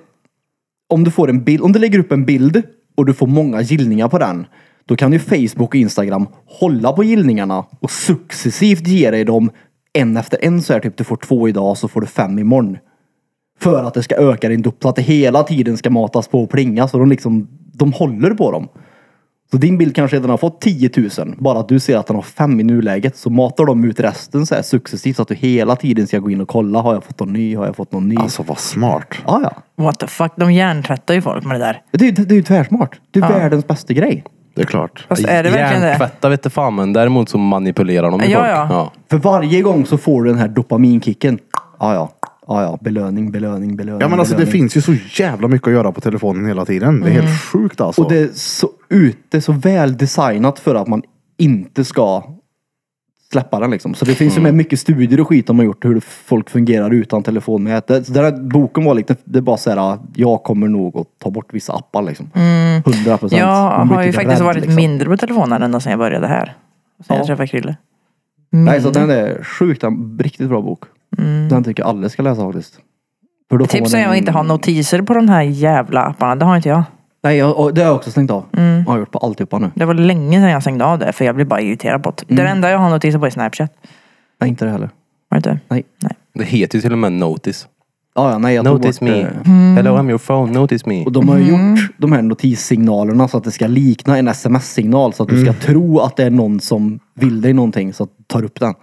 Speaker 3: om du får en bild, om du lägger upp en bild och du får många gillningar på den. Då kan ju Facebook och Instagram hålla på gillningarna och successivt ge dig dem en efter en så här typ. Du får två idag så får du fem imorgon. För att det ska öka din dop, så att det hela tiden ska matas på och plinga. Så de liksom, de håller på dem. Så din bild kanske redan har fått 10 000. Bara att du ser att den har 5 i nuläget så matar de ut resten så här successivt så att du hela tiden ska gå in och kolla. Har jag fått någon ny? Har jag fått någon ny?
Speaker 1: Alltså vad smart.
Speaker 3: Ah, ja.
Speaker 2: What the fuck, de hjärntvättar ju folk med det där.
Speaker 3: Det är ju det är ju tvärsmart. Det är världens bästa grej.
Speaker 1: Det är klart.
Speaker 2: Fast är det verkligen det?
Speaker 4: Hjärntvätta vete fan men däremot så manipulerar de ju
Speaker 2: Ja,
Speaker 4: folk.
Speaker 2: ja.
Speaker 3: För varje gång så får du den här dopaminkicken. Ah, ja, ah, ja. Belöning, belöning, belöning.
Speaker 1: Ja men alltså det
Speaker 3: belöning.
Speaker 1: finns ju så jävla mycket att göra på telefonen hela tiden. Det är helt sjukt alltså.
Speaker 3: Och det är så ute, så väl designat för att man inte ska släppa den liksom. Så det finns
Speaker 2: Mm.
Speaker 3: ju med mycket studier och skit de har gjort hur folk fungerar utan telefonmätet. Så den här boken var lite, det är bara så här, "Ah, jag kommer nog att ta bort vissa appar liksom. Hundra procent.
Speaker 2: Jag
Speaker 3: Man blir
Speaker 2: Mm. har ju
Speaker 3: typ
Speaker 2: faktiskt
Speaker 3: rädd,
Speaker 2: varit
Speaker 3: liksom.
Speaker 2: mindre på telefonen ända sedan jag började här. Sen jag
Speaker 3: Ja.
Speaker 2: träffade Krille.
Speaker 3: Nej, så den är sjukt, en riktigt bra bok. Den tycker jag alla ska läsa faktiskt. För då får
Speaker 2: Mm. Tips
Speaker 3: man
Speaker 2: är att
Speaker 3: en-
Speaker 2: Typ inte ha notiser på de här jävla apparna. Det har inte jag.
Speaker 3: Nej, jag, och det har jag också stängt av.
Speaker 2: Mm.
Speaker 3: Jag har gjort på alltihopa nu.
Speaker 2: Det var länge sedan jag stängde av det för jag blev bara irriterad på det.
Speaker 3: Mm.
Speaker 2: Det enda jag har notiser på är Snapchat.
Speaker 3: Nej, inte det heller.
Speaker 2: Var det inte?
Speaker 3: Nej.
Speaker 4: Det heter ju till och med notice.
Speaker 3: Ah, ja, nej, jag tog
Speaker 4: Notice
Speaker 3: bort,
Speaker 4: me.
Speaker 3: eh,
Speaker 4: Hello I'm your phone, notice me.
Speaker 3: Och de har ju gjort de här notissignalerna så att det ska likna en sms-signal så att du ska tro att det är någon som vill dig någonting så att du tar upp den.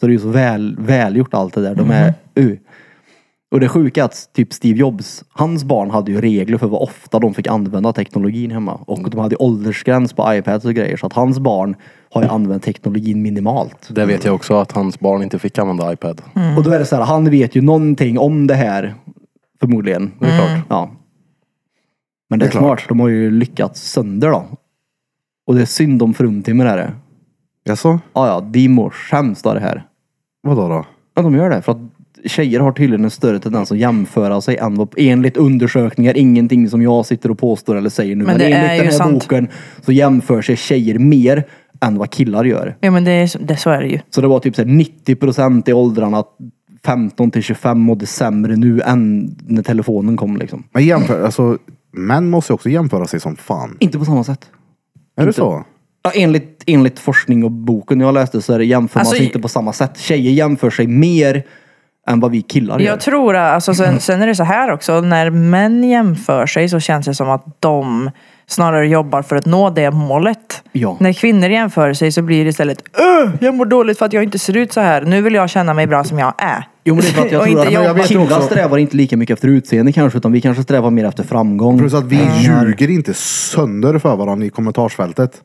Speaker 3: Så det är ju så väl, välgjort allt det där. De är uh. Och det sjuka är att typ Steve Jobs, hans barn hade ju regler för vad ofta de fick använda teknologin hemma. Och de hade ju åldersgräns på iPads och grejer. Så att hans barn har ju använt teknologin minimalt.
Speaker 4: Det vet jag också att hans barn inte fick använda iPad.
Speaker 3: Och då är det så här, han vet ju någonting om det här. Förmodligen. Det är klart. Ja. Men det är, smart. De har ju lyckats sönder då. Och det är synd om fruntimmer är det.
Speaker 1: Jaså?
Speaker 3: Ja, ja. De mår sämst av det här.
Speaker 1: Vadå då?
Speaker 3: Ja, de gör det. För att tjejer har tydligen en större tendens att jämföra sig än vad, enligt undersökningar, ingenting som jag sitter och påstår eller säger nu.
Speaker 2: Men det
Speaker 3: enligt
Speaker 2: är
Speaker 3: den
Speaker 2: ju
Speaker 3: här
Speaker 2: sant.
Speaker 3: boken så jämför sig tjejer mer än vad killar gör.
Speaker 2: Ja men det är, så- det, så är det ju.
Speaker 3: Så det var typ så här 90 procent i åldrarna 15 till 25 och det är sämre nu än när telefonen kom liksom.
Speaker 1: Men jämför, alltså män måste ju också jämföra sig som fan.
Speaker 3: Inte på samma sätt.
Speaker 1: Är det så?
Speaker 3: Ja, enligt, enligt forskning och boken jag läste så är det jämför
Speaker 2: Alltså,
Speaker 3: man sig inte på samma sätt. Tjejer jämför sig mer än vad vi killar gör. Mm.
Speaker 2: Jag tror att, alltså, sen, sen är det så här också, när män jämför sig så känns det som att de snarare jobbar för att nå det målet.
Speaker 3: Ja.
Speaker 2: När kvinnor jämför sig så blir det istället "Öh, jag mår dåligt för att jag inte ser ut så här. Nu vill jag känna mig bra som jag är.
Speaker 3: Jo men det är för att
Speaker 2: Och
Speaker 3: jag tror
Speaker 2: inte
Speaker 3: att
Speaker 2: jobba.
Speaker 1: vet
Speaker 3: killar
Speaker 1: också-
Speaker 3: strävar inte lika mycket efter utseende kanske utan vi kanske strävar mer efter framgång. Mm.
Speaker 1: Plus att vi ljuger inte sönder för varandra i kommentarsfältet.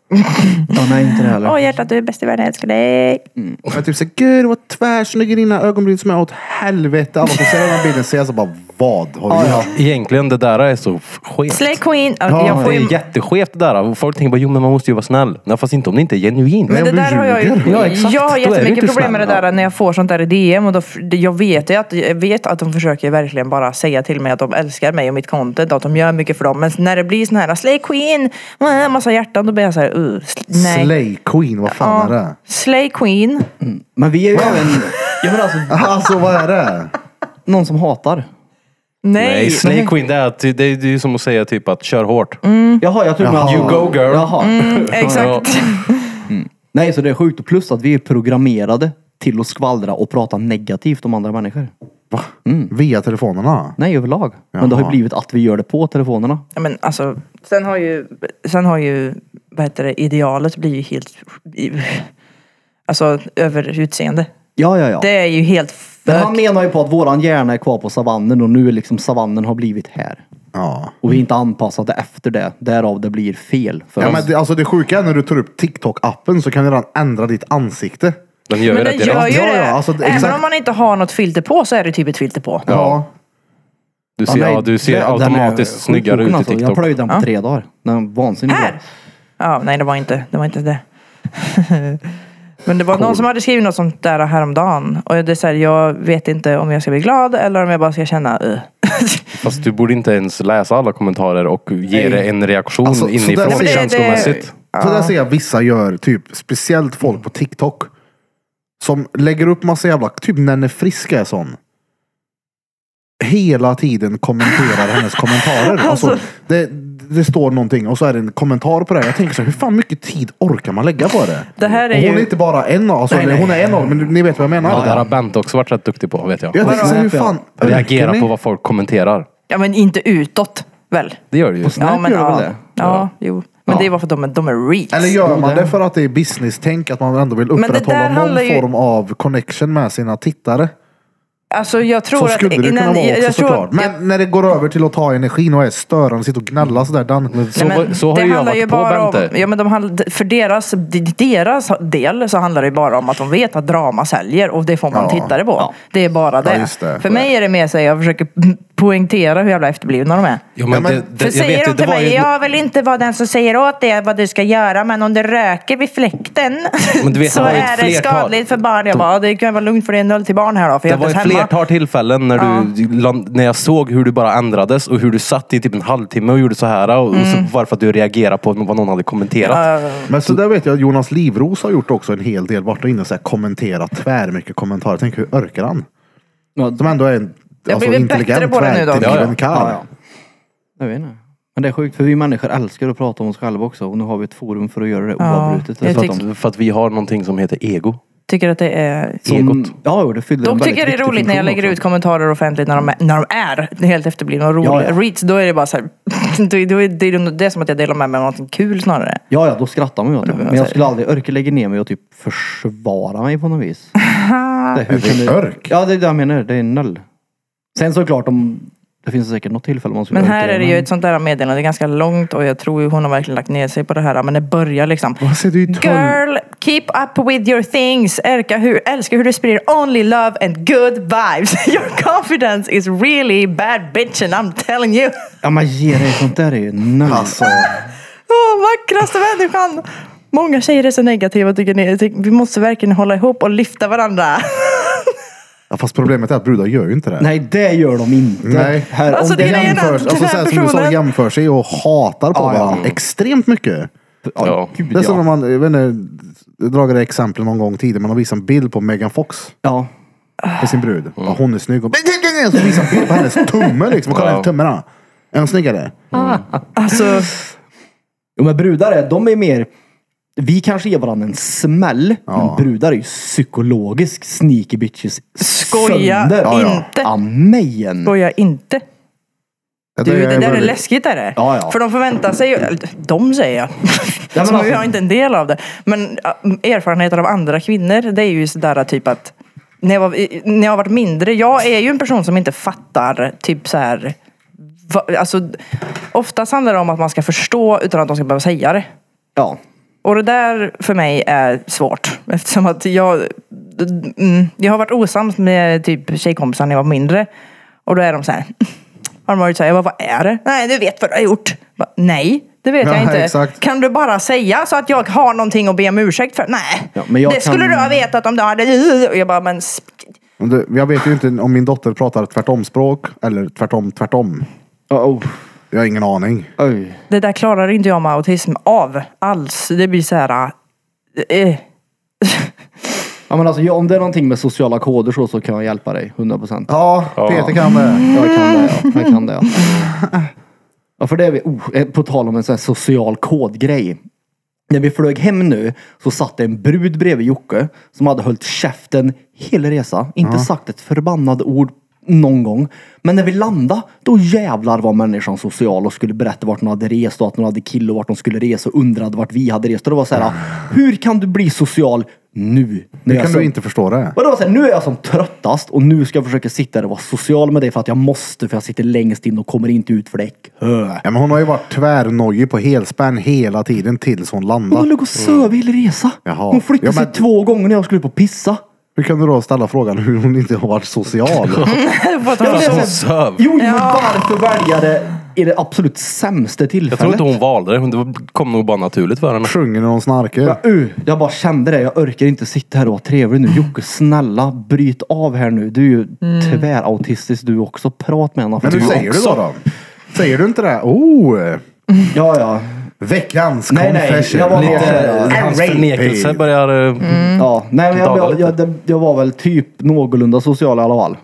Speaker 3: Ja, nej inte det heller.
Speaker 2: Åh hjärtat du är bäst i världen, jag älskar dig.
Speaker 3: Mm.
Speaker 1: Och jag typ såhär, gud vad tvärsnygg i dina ögonbryn som är åt helvete. Alla som ser den här bilden säger så bara, vad har du gjort?
Speaker 4: Egentligen det där är så f- skevt.
Speaker 2: Slay Queen. Ja, jag får
Speaker 4: Det
Speaker 2: ju,
Speaker 4: är jätteskevt det där. Folk tänker bara, jo men man måste ju vara snäll. Nej fast inte om det inte är genuint.
Speaker 2: men det
Speaker 1: om du
Speaker 2: där har jag ju.
Speaker 1: ljuger.
Speaker 4: Ja, exakt.
Speaker 2: jag
Speaker 4: Då
Speaker 2: har
Speaker 4: är du
Speaker 2: jättemycket
Speaker 4: inte
Speaker 2: problem med det
Speaker 4: snäll,
Speaker 2: där när jag får sånt där i DM. Och då, f- jag, vet ju att, jag vet att de försöker verkligen bara säga till mig att de älskar mig och mitt content. och Att de gör mycket för dem. Men när det blir sån här Slay Queen, äh, massa hjärtan, då blir jag så här, uh, sl- nej.
Speaker 1: Slay Queen, vad fan är det?
Speaker 2: Slay Queen.
Speaker 3: Men vi är ju även... Jag menar alltså,
Speaker 1: Alltså vad är det?
Speaker 3: någon som hatar.
Speaker 2: Nej.
Speaker 4: Nej, Slay Queen det är, ty- det är ju som att säga typ att kör hårt.
Speaker 2: Mm.
Speaker 3: Jaha, jag tror
Speaker 1: Jaha.
Speaker 3: att...
Speaker 1: You
Speaker 4: go, girl.
Speaker 3: Jaha.
Speaker 2: Exakt.
Speaker 3: Nej, så det är sjukt. Och Plus att vi är programmerade till att skvallra och prata negativt om andra människor.
Speaker 4: Mm.
Speaker 1: Via telefonerna?
Speaker 3: Nej, överlag. Men det har ju
Speaker 1: Jaha.
Speaker 3: blivit att vi gör det på telefonerna.
Speaker 2: Ja, men alltså, sen har ju, sen har ju, vad heter det, idealet blir ju helt, alltså över utseende.
Speaker 3: Ja, ja, ja.
Speaker 2: Det är ju helt
Speaker 3: Men han
Speaker 2: för...
Speaker 3: menar ju på att våran hjärna är kvar på savannen och nu är liksom savannen har blivit här.
Speaker 1: Ja.
Speaker 3: Och vi är inte anpassade efter det. Därav det blir fel för
Speaker 1: Ja,
Speaker 3: oss.
Speaker 1: men det, alltså det sjuka är när du tar upp TikTok-appen så kan du redan ändra ditt ansikte.
Speaker 4: Den gör ju
Speaker 2: Men
Speaker 4: det
Speaker 2: det
Speaker 4: direkt.
Speaker 2: gör ju
Speaker 1: Ja,
Speaker 2: det.
Speaker 1: ja, alltså, det-
Speaker 2: Även
Speaker 1: exakt.
Speaker 2: om man inte har något filter på så är det typ ett filter på.
Speaker 1: Ja.
Speaker 4: Du ser,
Speaker 3: nej,
Speaker 4: ja, du ser
Speaker 3: den är
Speaker 4: automatiskt
Speaker 3: sjukt
Speaker 4: snyggare
Speaker 3: sjukt,
Speaker 4: ut i
Speaker 3: alltså. Jag
Speaker 4: TikTok.
Speaker 3: plöjde den på tre dagar. Den är vansinnig.
Speaker 2: Här! Ja, nej det var inte det. Var inte det. Men det var någon som hade skrivit något sånt där häromdagen. Och det är så här, jag vet inte om jag ska bli glad eller om jag bara ska känna uh.
Speaker 4: Fast du borde inte ens läsa alla kommentarer och ge
Speaker 3: Nej.
Speaker 4: det en reaktion
Speaker 1: Alltså, så där
Speaker 4: inifrån
Speaker 1: ser jag-
Speaker 4: känslomässigt.
Speaker 1: Så där ser jag vissa gör, typ speciellt folk på TikTok. Som lägger upp massa jävla, typ Nenne Friska är sån. Hela tiden kommenterar hennes kommentarer. Alltså,
Speaker 2: Alltså.
Speaker 1: det, det står någonting och så är det en kommentar på det. här. Jag tänker så här, hur fan mycket tid orkar man lägga på det?
Speaker 2: Det här är
Speaker 1: Och hon
Speaker 2: ju-
Speaker 1: är inte bara en av, alltså,
Speaker 3: Nej,
Speaker 1: eller
Speaker 3: nej.
Speaker 1: hon är en av, men ni vet vad jag menar.
Speaker 4: Ja, det här har Bent också varit rätt duktig på vet jag.
Speaker 1: Jag tänker så här, hur fan orkar
Speaker 4: Reagera
Speaker 1: ni?
Speaker 4: på vad folk kommenterar.
Speaker 2: Ja men inte utåt väl?
Speaker 4: Det gör du ju.
Speaker 3: Snap
Speaker 2: men
Speaker 3: gör väl
Speaker 2: ja.
Speaker 3: det?
Speaker 2: Ja, jo. Men
Speaker 3: Ja.
Speaker 2: det är bara för att de är, de är reach.
Speaker 1: Eller gör man det för att det är business-tänk? Att man ändå vill
Speaker 2: det där
Speaker 1: upprätthålla någon
Speaker 2: handlar ju-
Speaker 1: form av connection med sina tittare?
Speaker 2: Alltså jag tror
Speaker 1: Så
Speaker 2: att...
Speaker 1: skulle det kunna
Speaker 2: innan-
Speaker 1: vara också
Speaker 2: jag- jag tror-
Speaker 1: såklart. Men när det går över till att ta energin och är störande, sitter och gnälla
Speaker 3: Mm.
Speaker 1: sådär. Den,
Speaker 4: Så,
Speaker 2: Nej, men
Speaker 4: var- så har
Speaker 2: det
Speaker 4: ju jag
Speaker 2: handlar
Speaker 4: varit på
Speaker 2: bara om,
Speaker 4: Bente.
Speaker 2: ja, men de handl- För deras, d- deras del så handlar det ju bara om att de vet att drama säljer och det får man
Speaker 1: Ja,
Speaker 2: tittare på.
Speaker 3: ja.
Speaker 2: Det är bara det.
Speaker 1: just det.
Speaker 2: För mig är det mer så här, jag försöker poängtera hur jävla efterblivna de är.
Speaker 4: Jo, men
Speaker 1: Ja, men-
Speaker 4: det-
Speaker 2: För
Speaker 4: det- jag
Speaker 2: säger
Speaker 4: vet ju,
Speaker 2: de
Speaker 4: det
Speaker 2: till
Speaker 4: var
Speaker 2: mig,
Speaker 4: ju-
Speaker 2: jag vill inte vara den som säger åt dig vad du ska göra, men om du röker vid fläkten
Speaker 4: Men du vet,
Speaker 2: så
Speaker 4: det var ju ett
Speaker 2: är det
Speaker 4: flertal-
Speaker 2: skadligt för barn. Jag bara, ja, det kan vara lugnt för det är noll till barn här då, för
Speaker 4: Det
Speaker 2: jag
Speaker 4: var
Speaker 2: är
Speaker 4: ett
Speaker 2: inte ens hemma.
Speaker 4: flertal tillfällen när, du, land- när jag såg hur du bara ändrades och hur du satt i typ en halvtimme och gjorde så här och, och
Speaker 2: Mm.
Speaker 4: så varför att du reagerade på vad någon hade kommenterat.
Speaker 1: men så där vet jag att Jonas Livros har gjort också en hel del. Vart och inne och så här kommenterat tvärmycket kommentarer. Tänk hur orkar han?
Speaker 3: Ja,
Speaker 1: Som ändå är en alltså,
Speaker 2: blivit bättre
Speaker 1: intelligent,
Speaker 2: på det nu då.
Speaker 1: tvärtillgiven karl.
Speaker 3: Ja, Jag vet inte. Men det är sjukt för vi människor älskar att prata om oss själva också och nu har vi ett forum för att göra det oavbrutet.
Speaker 2: jag
Speaker 3: dessutom.
Speaker 4: För att- För att vi har någonting som heter ego.
Speaker 2: Tycker att det är...
Speaker 3: Som, ja, jo, det fyller en
Speaker 2: De
Speaker 3: väldigt
Speaker 2: tycker det är
Speaker 3: viktig
Speaker 2: roligt när jag
Speaker 3: funktion
Speaker 2: lägger
Speaker 3: också.
Speaker 2: ut kommentarer offentligt när de är, när de är helt efterblivna och roliga.
Speaker 3: Ja, ja.
Speaker 2: Reads, då är det bara så här, då, är- då är det, det är som att jag delar med mig av någonting kul snarare.
Speaker 3: Ja, ja, då skrattar man ju åt det. Men
Speaker 2: så
Speaker 3: jag
Speaker 2: här-
Speaker 3: skulle aldrig orka lägga ner mig och typ försvara mig på något vis. det, hur kan du...
Speaker 1: Örk?
Speaker 3: Ja, det är det jag menar. Det är noll. Sen såklart om... Det finns säkert något tillfälle man skulle
Speaker 2: Men
Speaker 3: orka
Speaker 2: här är det ju
Speaker 3: men-
Speaker 2: ett sånt där meddelande, det är ganska långt och jag tror ju hon har verkligen lagt ner sig på det här. Men det börjar liksom.
Speaker 1: Alltså, du är tolv.
Speaker 2: Girl, keep up with your things. Erka, hur, älskar hur du sprider only love and good vibes. Your confidence is really bad bitch and I'm telling you.
Speaker 3: Ja, men ge dig. Sånt där är ju noll.
Speaker 1: Alltså,
Speaker 2: Åh, vackraste människan! Många tjejer är så negativa tycker ni. Jag tycker, Vi måste verkligen hålla ihop och lyfta varandra.
Speaker 1: ja, fast problemet är att brudar gör ju inte det.
Speaker 3: Nej, det gör de inte.
Speaker 1: Nej.
Speaker 3: Här,
Speaker 2: Alltså,
Speaker 3: om det
Speaker 2: grejen är-
Speaker 3: jämför...
Speaker 1: Jämförs-
Speaker 2: den
Speaker 1: alltså, så
Speaker 2: här
Speaker 1: här, som du sa,
Speaker 2: personen-
Speaker 1: jämför sig och hatar på
Speaker 3: Ja, ja.
Speaker 1: varandra extremt mycket.
Speaker 3: Ja,
Speaker 4: Ja.
Speaker 3: gud
Speaker 1: Det är som när
Speaker 3: ja.
Speaker 1: man, jag vet inte, jag dragit det exemplet någon gång tidigare, man har visat en bild på Megan Fox
Speaker 3: ja.
Speaker 1: med sin brud. Ja, hon är snygg och så visar en bild på hennes tumme liksom. Och kolla
Speaker 4: Ja.
Speaker 1: hennes tumme då. Är hon snyggare?
Speaker 2: Alltså,
Speaker 3: Jo, men brudar är, de är mer... Vi kanske ger varandra en smäll, men brudar är ju psykologisk sneaky bitches
Speaker 2: Skoja
Speaker 3: sönder.
Speaker 2: Ja, ja. inte.
Speaker 3: Amen.
Speaker 2: skoja inte. Du, det där är
Speaker 1: väldigt-
Speaker 2: läskigt är det.
Speaker 3: Ja, ja.
Speaker 2: För de förväntar sig ju, eller, de säger jag.
Speaker 3: men
Speaker 2: Som
Speaker 3: alltså-
Speaker 2: jag är inte en del av det. Men ja, erfarenheter av andra kvinnor, det är ju sådär typ att när jag, var, i- när jag har varit mindre, jag är ju en person som inte fattar typ så här. Va, alltså, oftast handlar det om att man ska förstå utan att de ska behöva säga det.
Speaker 3: Ja.
Speaker 2: Och det där för mig är svårt. Eftersom att jag, mm, jag har varit osams med typ tjejkompisar när jag var mindre. Och då är de så här. Har de varit så här, jag bara, vad är det? Nej, du vet vad du har gjort. Jag Bara, Nej, det vet
Speaker 1: Ja,
Speaker 2: jag inte.
Speaker 1: exakt.
Speaker 2: Kan du bara säga så att jag har någonting att be om ursäkt för? Nej,
Speaker 3: Ja, men jag
Speaker 2: det skulle
Speaker 3: kan-
Speaker 2: du ha vetat om du hade... Och jag bara, men sp-
Speaker 1: Men du, Jag vet ju inte om min dotter pratar tvärtom språk eller tvärtom tvärtom.
Speaker 3: Oh, oh.
Speaker 1: Jag har ingen aning.
Speaker 3: Oj.
Speaker 2: det där klarar inte jag med autism av alls. Det blir så här... Eh.
Speaker 3: Ja, men alltså, ja, om det är någonting med sociala koder så, så kan jag hjälpa dig. 100 procent.
Speaker 1: Ja, Peter kan det.
Speaker 3: Jag kan det, ja. Jag kan det, ja. ja för det är vi, oh, eh, på tal om en sån här social kodgrej. När vi flög hem nu så satt det en brud bredvid Jocke som hade hållit käften hela resan. Inte sagt ett förbannat ord någon gång. Men när vi landade, då jävlar var människan social och skulle berätta vart hon hade rest och att hon hade kille och vart hon skulle resa och undrade vart vi hade rest. Och det var så här, hur kan du bli social nu? När
Speaker 1: Nu
Speaker 3: jag
Speaker 1: kan
Speaker 3: som-
Speaker 1: du inte förstå det.
Speaker 3: och då var det så här, nu är jag som tröttast och nu ska jag försöka sitta där och vara social med dig för att jag måste för jag sitter längst in och kommer inte ut för det är kö.
Speaker 1: Ja, men hon har ju varit tvärnojig på helspänn hela tiden tills hon
Speaker 3: Hon
Speaker 1: landade.
Speaker 3: höll på att söva hela resa.
Speaker 1: Jaha.
Speaker 3: Hon flyttade
Speaker 1: Ja, men-
Speaker 3: sig två gånger när jag skulle upp och pissa.
Speaker 1: Hur kan du då ställa frågan hur hon inte har varit social?
Speaker 2: för att
Speaker 3: Jag
Speaker 2: ha
Speaker 3: blev
Speaker 2: så-
Speaker 3: så här,
Speaker 4: söv.
Speaker 3: Jo, jo, men varför välja det i det absolut sämsta tillfället.
Speaker 4: Jag tror inte hon valde det. Det var- kom nog bara naturligt för henne.
Speaker 1: Sjunger när hon snarkar.
Speaker 3: Jag, uh, jag bara kände det. Jag orkar inte sitta här och vara trevlig nu. Jocke, snälla bryt av här nu. Du är ju
Speaker 4: Mm.
Speaker 3: tvärautistisk du också. Prat med henne.
Speaker 1: Men hur säger du då, då? Säger du inte det? Oh!
Speaker 3: Ja, ja.
Speaker 1: Veckans
Speaker 3: Nej, nej,
Speaker 1: confession.
Speaker 3: jag var
Speaker 1: Lite-
Speaker 3: mer så här,
Speaker 4: Hans
Speaker 1: Rape.
Speaker 4: förnekelse börjar... eh,
Speaker 2: Mm.
Speaker 3: ja. Nej, men jag,
Speaker 4: Dagar
Speaker 3: jag,
Speaker 4: lite.
Speaker 3: jag, jag var väl typ någorlunda social i alla fall.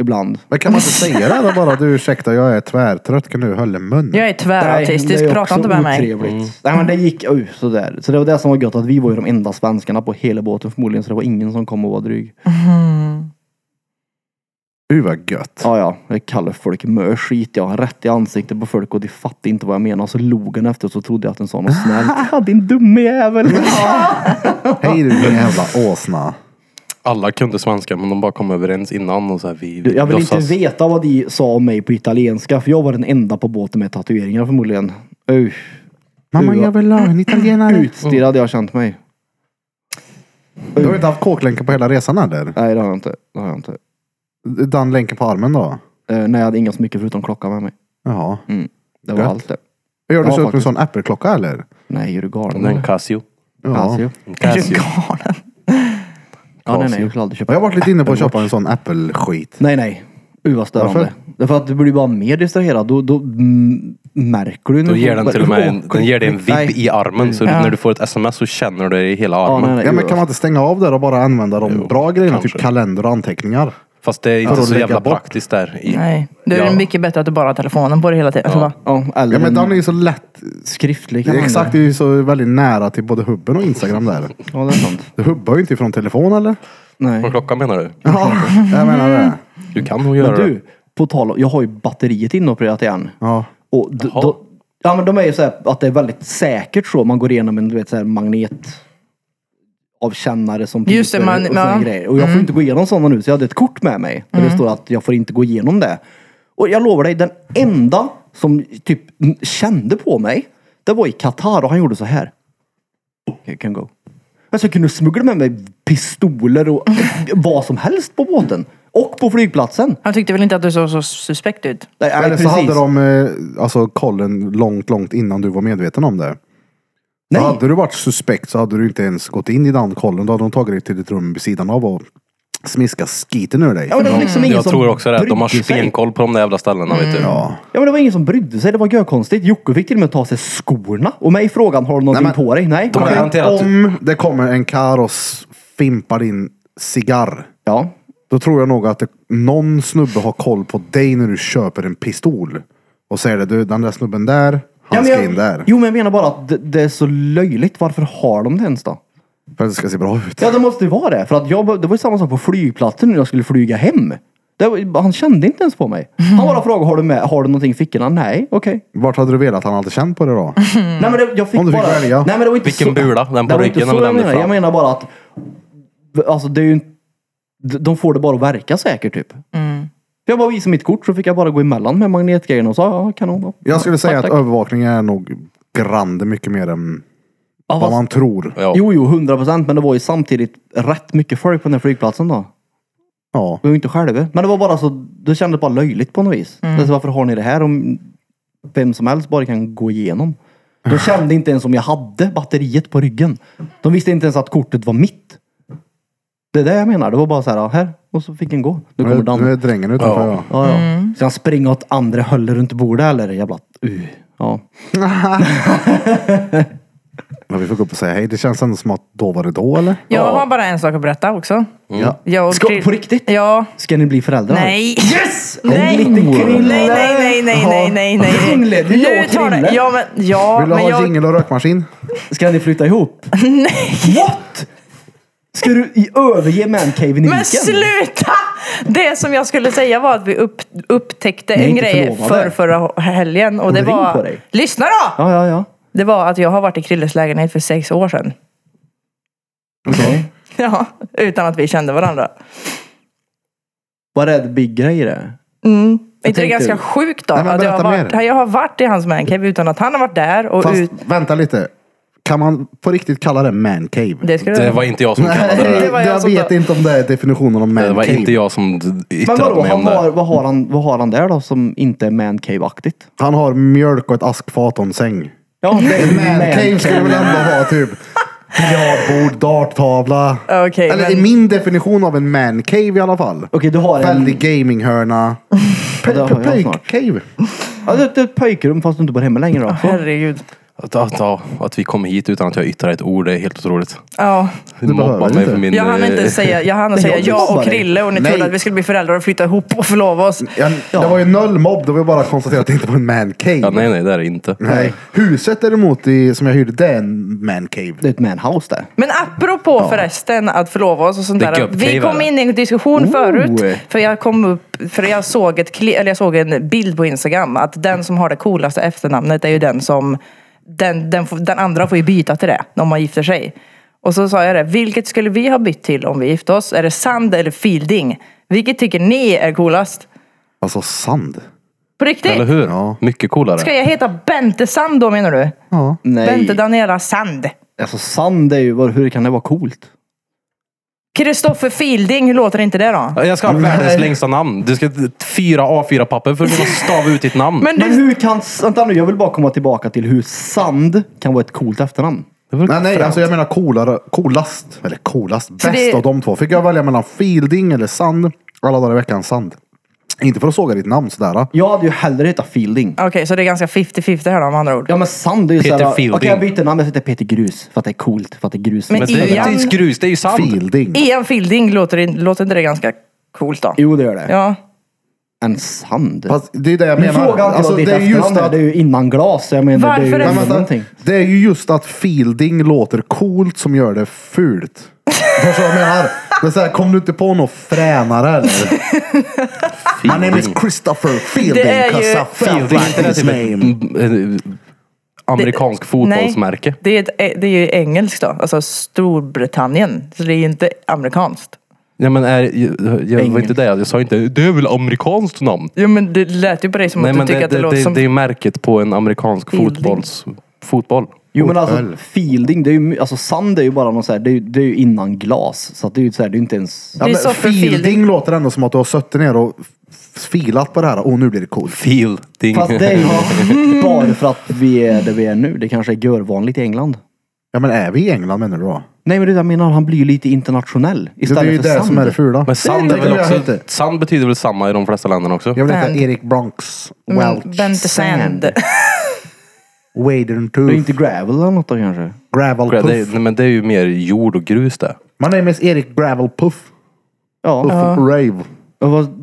Speaker 3: Ibland.
Speaker 1: Men kan man inte säga det då bara? Du ursäkta, jag är tvärtrött. Kan du hålla mun?
Speaker 2: Jag är
Speaker 3: Nej,
Speaker 2: tvärautistisk,
Speaker 3: det är
Speaker 2: prata
Speaker 3: också
Speaker 2: inte med mig.
Speaker 3: otrevligt. Nej men det gick uh, sådär. Så det var det som var gött att vi var ju de enda svenskarna på hela båten förmodligen. Så det var ingen som kom och var dryg.
Speaker 1: Gud vad gött.
Speaker 3: Ja, ja. Jag kallar folk mö skit. Jag har rätt i ansiktet på folk och de fattar inte vad jag menar. Så log han efter så trodde jag att den sa något snällt. Haha, din dumme jävel!
Speaker 1: Hej du din jävla åsna.
Speaker 4: Alla kunde svenska men de bara kom överens innan och så här, vi
Speaker 3: Du, jag vill inte
Speaker 4: låtsas.
Speaker 3: veta vad de sa om mig på italienska. För jag var den enda på båten med tatueringar förmodligen. Uh,
Speaker 1: Mamma,
Speaker 3: Du,
Speaker 1: jag vill ha en italienare.
Speaker 3: utstirrad jag har känt mig.
Speaker 1: Du har inte haft kåklänken på hela resan eller?
Speaker 3: Nej, det har jag inte. Det har jag inte.
Speaker 1: Den länken på armen då?
Speaker 3: Eh, nej, jag hade inga smycken förutom klockan med mig.
Speaker 1: Jaha.
Speaker 3: Det var
Speaker 1: Gött.
Speaker 3: allt det.
Speaker 1: Gör du så
Speaker 3: Ja,
Speaker 1: upp med en
Speaker 3: faktiskt.
Speaker 1: sån äppelklocka eller?
Speaker 3: Nej, är du galen?
Speaker 4: Det är en
Speaker 3: eller?
Speaker 4: Casio.
Speaker 1: Ja.
Speaker 3: Casio.
Speaker 4: En
Speaker 2: Är du
Speaker 4: Casio.
Speaker 2: galen?
Speaker 3: Ja, nej, nej, jag skulle aldrig köpa.
Speaker 1: Jag har varit lite inne på att köpa en sån äppelskit.
Speaker 3: Nej, nej. Uh, vad störande.
Speaker 1: Varför?
Speaker 3: Därför att du blir bara mer distraherad. Då, då mm, märker du. när
Speaker 4: Då
Speaker 3: du
Speaker 4: ger
Speaker 3: får-
Speaker 4: den till och med en, den ger dig en vibb
Speaker 3: Nej.
Speaker 4: i armen. Så när du får ett sms så känner du det i hela
Speaker 3: Ja,
Speaker 4: armen.
Speaker 3: nej, nej,
Speaker 1: Ja, men
Speaker 3: usch.
Speaker 1: kan man inte stänga av där och bara använda de
Speaker 4: Jo,
Speaker 1: bra grejerna? Typ
Speaker 4: kanske.
Speaker 1: kalender och anteckningar.
Speaker 4: Fast det är
Speaker 1: För
Speaker 4: inte
Speaker 1: att
Speaker 4: så
Speaker 1: lägga
Speaker 4: jävla
Speaker 1: bort.
Speaker 4: praktiskt där. I,
Speaker 2: Nej. Det är
Speaker 4: Ja.
Speaker 2: mycket bättre att du bara har telefonen på dig hela tiden. Alltså, Ja.
Speaker 3: Ja, eller
Speaker 1: Ja, men
Speaker 3: en
Speaker 1: den är ju så lätt.
Speaker 3: skriftlig.
Speaker 1: Det
Speaker 3: kan
Speaker 1: är
Speaker 3: man
Speaker 1: exakt, det
Speaker 3: göra.
Speaker 1: är ju så väldigt nära till både hubben och Instagram där.
Speaker 3: Ja, det är sant.
Speaker 1: Du hubbar ju inte ifrån telefon eller?
Speaker 3: Nej.
Speaker 4: Vad klockan menar du?
Speaker 1: Ja, jag menar det.
Speaker 4: Du kan nog
Speaker 3: Men
Speaker 4: göra det.
Speaker 3: du, på tal om, jag har ju batteriet inopererat igen.
Speaker 1: Ja.
Speaker 3: Och d-
Speaker 4: Jaha.
Speaker 3: då, ja, men de är ju så här att det är väldigt säkert så. Man går igenom en du vet, så här magnet avkännare som
Speaker 2: Just det,
Speaker 3: piper
Speaker 2: man-
Speaker 3: och såna
Speaker 2: ja.
Speaker 3: grejer. Och jag
Speaker 4: Mm.
Speaker 3: får inte gå igenom sådana nu. Så jag hade ett kort med mig. Där det står att jag får inte gå igenom det. Och jag lovar dig, den enda som typ n- kände på mig. Det var i Qatar och han gjorde så här. You can go. Alltså jag kunde smuggla med mig pistoler och vad som helst på båten. Och på flygplatsen.
Speaker 2: Han tyckte väl inte att du såg så suspekt ut?
Speaker 3: Nej, nej,
Speaker 1: Eller så
Speaker 3: precis.
Speaker 1: hade de eh, alltså, kollen långt, långt innan du var medveten om det.
Speaker 3: Nej.
Speaker 1: Så hade du varit suspekt så hade du inte ens gått in i den kollen. Då hade de tagit dig till ditt rum vid sidan av och smiskat skiten ur dig.
Speaker 3: Ja, men det var liksom ingen
Speaker 4: Mm. Jag
Speaker 3: som
Speaker 4: tror också det. att De har
Speaker 3: brydde sig.
Speaker 4: stenkoll på de där jävla ställena. Vet du.
Speaker 3: Ja men det var ingen som brydde sig. Det var görkonstigt. Jocke fick till och med ta sig skorna. Och mig frågan, har du någonting
Speaker 1: Nej, men-
Speaker 3: på dig? Nej.
Speaker 4: De har
Speaker 3: Nej.
Speaker 4: garanterat...
Speaker 1: Om det kommer en kar och s- fimpar din cigarr.
Speaker 3: Ja.
Speaker 1: Då tror jag nog att det, någon snubbe har koll på dig när du köper en pistol. Och säger det, du den där snubben där,
Speaker 3: ja
Speaker 1: han
Speaker 3: men
Speaker 1: ska
Speaker 3: jag,
Speaker 1: in där.
Speaker 3: Jo men jag menar bara att det, det är så löjligt. Varför har de det ens då?
Speaker 1: För att det ska se bra ut.
Speaker 3: Ja det måste ju vara det. För att jag, det var ju samma sak på flygplatsen när jag skulle flyga hem. Det, var- han kände inte ens på mig. Han bara frågade, har du, med, har du någonting i fickorna? Nej, okej.
Speaker 1: Vart hade du velat att han hade känt på det då?
Speaker 3: Nej men det, jag fick
Speaker 1: Om du fick
Speaker 3: bara...
Speaker 1: välja.
Speaker 3: Nej, men det var inte
Speaker 4: Mm. Vilken
Speaker 3: så,
Speaker 4: bula? Den på
Speaker 3: det var
Speaker 4: ryggen
Speaker 3: inte så
Speaker 4: eller
Speaker 3: jag
Speaker 4: den
Speaker 3: menar.
Speaker 4: fram?
Speaker 3: Jag menar bara att... Alltså det är ju... inte- de- De får det bara att verka säkert typ. För Jag bara visade mitt kort så fick jag bara gå emellan med magnetgrejerna och sa ja kanon. då."
Speaker 1: Jag skulle säga
Speaker 3: Tack,
Speaker 1: att
Speaker 3: tack.
Speaker 1: övervakning är nog grande mycket mer än
Speaker 3: Ja,
Speaker 1: vad
Speaker 3: fast,
Speaker 1: man tror.
Speaker 4: Ja.
Speaker 3: Jo jo, hundra procent. Men det var ju samtidigt rätt mycket folk på den här flygplatsen då.
Speaker 1: Ja.
Speaker 3: Vi var ju inte själva. Men det var bara så, det kändes bara löjligt på något vis. Alltså, varför har ni det här om vem som helst bara kan gå igenom? De kände inte ens om jag hade batteriet på ryggen. De visste inte ens att kortet var mitt. Det är det jag menar. Det var bara så här, ja, här. Och så fick en gå.
Speaker 1: Nu
Speaker 3: Nu kommer
Speaker 1: är, nu är
Speaker 3: Dan.
Speaker 1: drängen utanför. Ja.
Speaker 3: Ja, ja. Ska han springa åt andra hållet runt bordet eller? Jävla... Uh. Ja.
Speaker 1: Men vi får gå upp och säga hej. Det känns ändå som att då var det då eller?
Speaker 2: Jag har bara en sak att berätta också.
Speaker 1: Ja.
Speaker 2: Jag och
Speaker 3: Ska,
Speaker 2: Krill-
Speaker 3: på riktigt?
Speaker 2: Ja.
Speaker 3: Ska ni bli föräldrar?
Speaker 2: Nej. Yes!
Speaker 3: En
Speaker 2: Nej.
Speaker 3: liten
Speaker 2: nej,
Speaker 3: krille.
Speaker 2: nej, nej, nej, nej, nej, nej.
Speaker 3: Det inledde jag
Speaker 2: Nu
Speaker 3: och
Speaker 2: tar det.
Speaker 3: Krille.
Speaker 2: Ja, men, ja,
Speaker 1: Vill du
Speaker 2: men
Speaker 1: ha
Speaker 2: jag...
Speaker 1: jingel och rökmaskin?
Speaker 3: Ska ni flytta ihop? Nej! What? Ska du i- överge mancaven i
Speaker 2: Men
Speaker 3: viken?
Speaker 2: sluta! Det som jag skulle säga var att vi upp, upptäckte
Speaker 3: Ni är
Speaker 2: en
Speaker 3: inte
Speaker 2: grej
Speaker 3: förlovade.
Speaker 2: för förra helgen. Och det
Speaker 3: ring
Speaker 2: var...
Speaker 3: på dig.
Speaker 2: Lyssna då!
Speaker 3: Ja, ja, ja.
Speaker 2: Det var att jag har varit i Krilles lägenhet för sex år sedan.
Speaker 3: Okej.
Speaker 2: Ja, utan att vi kände varandra.
Speaker 3: Vad är det big grej i det?
Speaker 2: Mm. Är inte det
Speaker 3: tänkte-
Speaker 2: ganska sjukt då?
Speaker 1: Nej, men
Speaker 2: att jag, har
Speaker 1: berätta
Speaker 2: varit,
Speaker 1: mer.
Speaker 2: jag har varit i hans mancave utan att han har varit där. Och
Speaker 1: Fast
Speaker 2: ut,
Speaker 1: vänta lite. Kan man på riktigt kalla det man cave?
Speaker 2: Det ska
Speaker 4: Det
Speaker 2: du
Speaker 4: var inte jag som kallade
Speaker 1: Nej,
Speaker 4: det.
Speaker 2: Det
Speaker 1: det
Speaker 2: var jag
Speaker 1: jag
Speaker 2: som
Speaker 1: vet
Speaker 2: sa-
Speaker 1: inte om det är definitionen av man
Speaker 4: Det var
Speaker 1: cave.
Speaker 4: inte jag som d-
Speaker 3: Men
Speaker 4: yttrade
Speaker 3: vadå,
Speaker 4: mig om
Speaker 3: han har,
Speaker 4: det.
Speaker 3: vad, har han, vad har han där då som inte är mancave-aktigt?
Speaker 1: Han har mjölk och ett askfat och en säng.
Speaker 3: Ja, det är
Speaker 1: Man cave skulle väl ändå ha typ biljardbord, darttavla.
Speaker 2: Okej,
Speaker 1: Eller i
Speaker 2: men-
Speaker 1: min definition av en man cave i alla fall.
Speaker 3: Okej, du har en...
Speaker 1: Väldig gaminghörna.
Speaker 3: Ja, det har jag snart.
Speaker 1: Pöjk-cave.
Speaker 3: Ja, det, det är ett pojkrum fast du inte bor hemma längre då. Så.
Speaker 2: Herregud.
Speaker 4: Att, att, att, att vi kom hit utan att jag yttrade ett ord, det är helt otroligt.
Speaker 2: Ja.
Speaker 4: Du
Speaker 1: behöver
Speaker 4: mobbar mig
Speaker 1: inte.
Speaker 4: för min...
Speaker 2: Jag hann inte
Speaker 4: eh,
Speaker 2: säga, jag hann
Speaker 3: Nej,
Speaker 2: säga
Speaker 3: jag
Speaker 2: jag
Speaker 3: mobbar
Speaker 2: och
Speaker 3: dig.
Speaker 2: Krille och ni
Speaker 1: Nej.
Speaker 2: trodde att vi skulle bli föräldrar och flytta ihop och förlova oss.
Speaker 1: Ja,
Speaker 3: Ja.
Speaker 1: Det var ju noll mobb, då vill jag bara konstatera att det inte var en man cave.
Speaker 4: Ja, nej, nej, det är det inte.
Speaker 1: Nej. Huset däremot i, som jag hyrde, det är en man cave.
Speaker 3: Det är ett manhouse där.
Speaker 2: Men apropå förresten att förlova oss och sånt
Speaker 4: Det är
Speaker 2: där.
Speaker 4: gubbknivar,
Speaker 2: Vi kom
Speaker 4: eller?
Speaker 2: in i en diskussion förut.
Speaker 3: Oh.
Speaker 2: För jag kom upp, för jag såg, ett, kli- eller jag såg en bild på Instagram att den som har det coolaste efternamnet är ju den som, den, den, får- den andra får ju byta till det om man gifter sig. Och så sa jag det, vilket skulle vi ha bytt till om vi gifte oss? Är det Sand eller Fielding? Vilket tycker ni är coolast?
Speaker 1: Alltså sand.
Speaker 2: På riktigt?
Speaker 4: Eller hur?
Speaker 1: Ja.
Speaker 4: Mycket coolare.
Speaker 2: Ska jag heta Bente Sand då menar du?
Speaker 3: Nej.
Speaker 2: Bente Daniela Sand.
Speaker 3: Alltså sand är ju, vad- hur kan det vara coolt?
Speaker 2: Kristoffer Fielding, hur låter inte det då?
Speaker 4: Ja, Jag ska ha världens längsta namn. Du ska ha fyra A4-papper för att kunna stava ut ditt namn.
Speaker 2: Men
Speaker 3: Men
Speaker 2: du,
Speaker 3: hur kan, vänta nu, jag vill bara komma tillbaka till hur sand kan vara ett coolt efternamn.
Speaker 4: Det var
Speaker 1: Nej, nej,
Speaker 4: fränt.
Speaker 1: alltså jag menar coolare, coolast. Eller coolast, bäst
Speaker 2: det-
Speaker 1: av de två. Fick jag välja mellan Fielding eller Sand. Alla dagar i veckan Sand. Inte för att såga ditt namn sådär.
Speaker 3: Jag hade ju hellre hetat Fielding.
Speaker 2: Okej, så det är ganska 50-50 här då med andra ord.
Speaker 3: Ja men sand är ju
Speaker 4: Peter
Speaker 3: såhär, okej
Speaker 4: Fielding.
Speaker 3: jag byter namn, jag heter Peter Grus. För att det är coolt, för att det är grus.
Speaker 2: Men
Speaker 4: Men det är ju
Speaker 2: Ian-
Speaker 4: inte grus, det är ju sand.
Speaker 1: Fielding.
Speaker 2: Ian Fielding, låter, in- låter inte det ganska coolt då?
Speaker 3: Jo det gör det.
Speaker 2: Ja.
Speaker 3: En sand.
Speaker 1: Fast det är det jag
Speaker 3: Nu
Speaker 1: menar.
Speaker 3: frågar inte
Speaker 1: Alltså,
Speaker 3: jag ditt
Speaker 1: det är just
Speaker 3: efternamn,
Speaker 1: att,
Speaker 3: det är ju innan glas. så Jag menar, det är ju
Speaker 2: Varför är-
Speaker 3: ändå
Speaker 1: Men alltså- vänta,
Speaker 3: någonting.
Speaker 1: det är ju just att Fielding låter coolt som gör det fult. Förstår du vad jag menar? Det är så här, kom du inte på något fränare eller? My name is Christopher Fielding.
Speaker 2: Det är ju-
Speaker 1: 'cause I felt
Speaker 4: Fielding,
Speaker 1: like
Speaker 4: inte det
Speaker 1: his
Speaker 4: typ ett
Speaker 1: name.
Speaker 4: mm, eh, amerikansk fotbollsmärke?
Speaker 2: Nej, det är, ett, e- det är ju engelskt då, alltså Storbritannien. Så det är ju inte amerikanskt.
Speaker 4: Ja, men är, jag, jag var inte det. Jag sa inte, det är väl amerikanskt namn?
Speaker 2: Jo men det lät ju på dig som
Speaker 4: Nej,
Speaker 2: att du
Speaker 4: men
Speaker 2: tycker
Speaker 4: det,
Speaker 2: att det,
Speaker 4: det,
Speaker 2: låter
Speaker 4: det,
Speaker 2: som...
Speaker 4: det är ju märket på en amerikansk
Speaker 2: Fielding.
Speaker 4: fotbolls... Fotboll.
Speaker 3: Jo
Speaker 1: Oh,
Speaker 3: men alltså Fielding, det är ju, my- alltså sand är ju bara någon så här, det är, ju- det är ju innan glas. Så att det är ju så här, det är ju inte ens...
Speaker 1: Ja, men
Speaker 2: Christopher
Speaker 1: Fielding,
Speaker 2: Fielding.
Speaker 1: låter ändå som att du har suttit ner och f- filat på det här. Och nu blir det coolt.
Speaker 4: Fielding.
Speaker 3: Fast det är ju bara för att vi är där vi är nu. Det kanske är görvanligt i England.
Speaker 1: Ja men är vi i England menar du då?
Speaker 3: Nej men det är det jag menar, han blir ju lite internationell.
Speaker 1: Det
Speaker 3: Istället
Speaker 1: är ju
Speaker 3: för
Speaker 1: det
Speaker 3: sand.
Speaker 1: som är det fula.
Speaker 4: Men sand, är
Speaker 1: Det vill
Speaker 4: väl
Speaker 1: jag
Speaker 4: också,
Speaker 1: inte.
Speaker 4: sand betyder väl samma i de flesta länderna också?
Speaker 1: Jag vill heta
Speaker 3: Mm,
Speaker 2: Sand.
Speaker 1: Erik Bronx
Speaker 2: Men
Speaker 1: Welch
Speaker 2: Bente Sand.
Speaker 1: Wadern
Speaker 3: Det är
Speaker 1: Tooth
Speaker 3: inte gravel eller något då kanske?
Speaker 1: Gravel
Speaker 4: Det,
Speaker 1: Puff.
Speaker 4: är- men det är ju mer jord och grus det.
Speaker 1: My name is Erik Gravel Puff.
Speaker 3: Ja.
Speaker 1: Puff Rave.
Speaker 3: Och vad-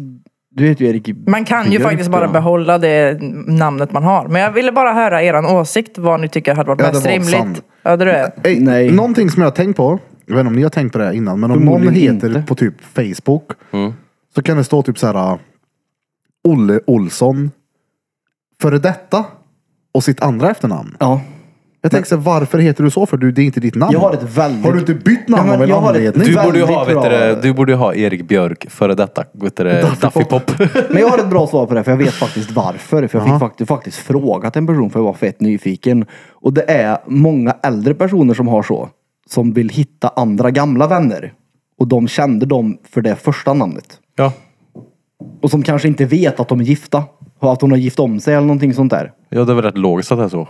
Speaker 3: Du heter ju Erik.
Speaker 2: Man kan ju
Speaker 3: Björk,
Speaker 2: faktiskt bara
Speaker 3: ja.
Speaker 2: behålla det namnet man har. Men jag ville bara höra eran åsikt, vad ni tycker hade varit
Speaker 1: Ja, det
Speaker 2: mest
Speaker 1: var
Speaker 2: rimligt.
Speaker 1: sand.
Speaker 2: Ja, det är det.
Speaker 1: Ey,
Speaker 3: Nej.
Speaker 1: Någonting som jag har tänkt på. Jag vet inte om ni har tänkt på det här innan. Men om någon
Speaker 3: Förmodligen
Speaker 1: heter
Speaker 3: inte. Mm.
Speaker 1: på typ Facebook. Så kan det stå typ så här. uh, Olle Olsson. Före detta. Och sitt andra efternamn.
Speaker 3: Ja.
Speaker 1: Jag tänker så här, varför heter du så? För du, det är inte ditt namn.
Speaker 3: Jag har ett väldigt-
Speaker 1: Har du inte bytt
Speaker 3: Ja,
Speaker 1: namn
Speaker 3: men
Speaker 1: av en
Speaker 3: jag har ett-
Speaker 1: anledning?
Speaker 4: Du borde, ju ha,
Speaker 3: Väldigt
Speaker 4: vet du,
Speaker 3: bra.
Speaker 4: det, du borde ju ha Erik Björk före detta vet du, det, Daffy Pop.
Speaker 3: Men jag har ett bra svar på det för jag vet faktiskt varför. För jag fick faktiskt, faktiskt frågat en person för jag var fett nyfiken. Och det är många äldre personer som har så. Som vill hitta andra gamla vänner. Och de kände dem för det första namnet.
Speaker 4: ja.
Speaker 3: Och som kanske inte vet att de är gifta. Och att hon har gift om sig eller någonting sånt där.
Speaker 4: ja, det är väl rätt logiskt att det är så.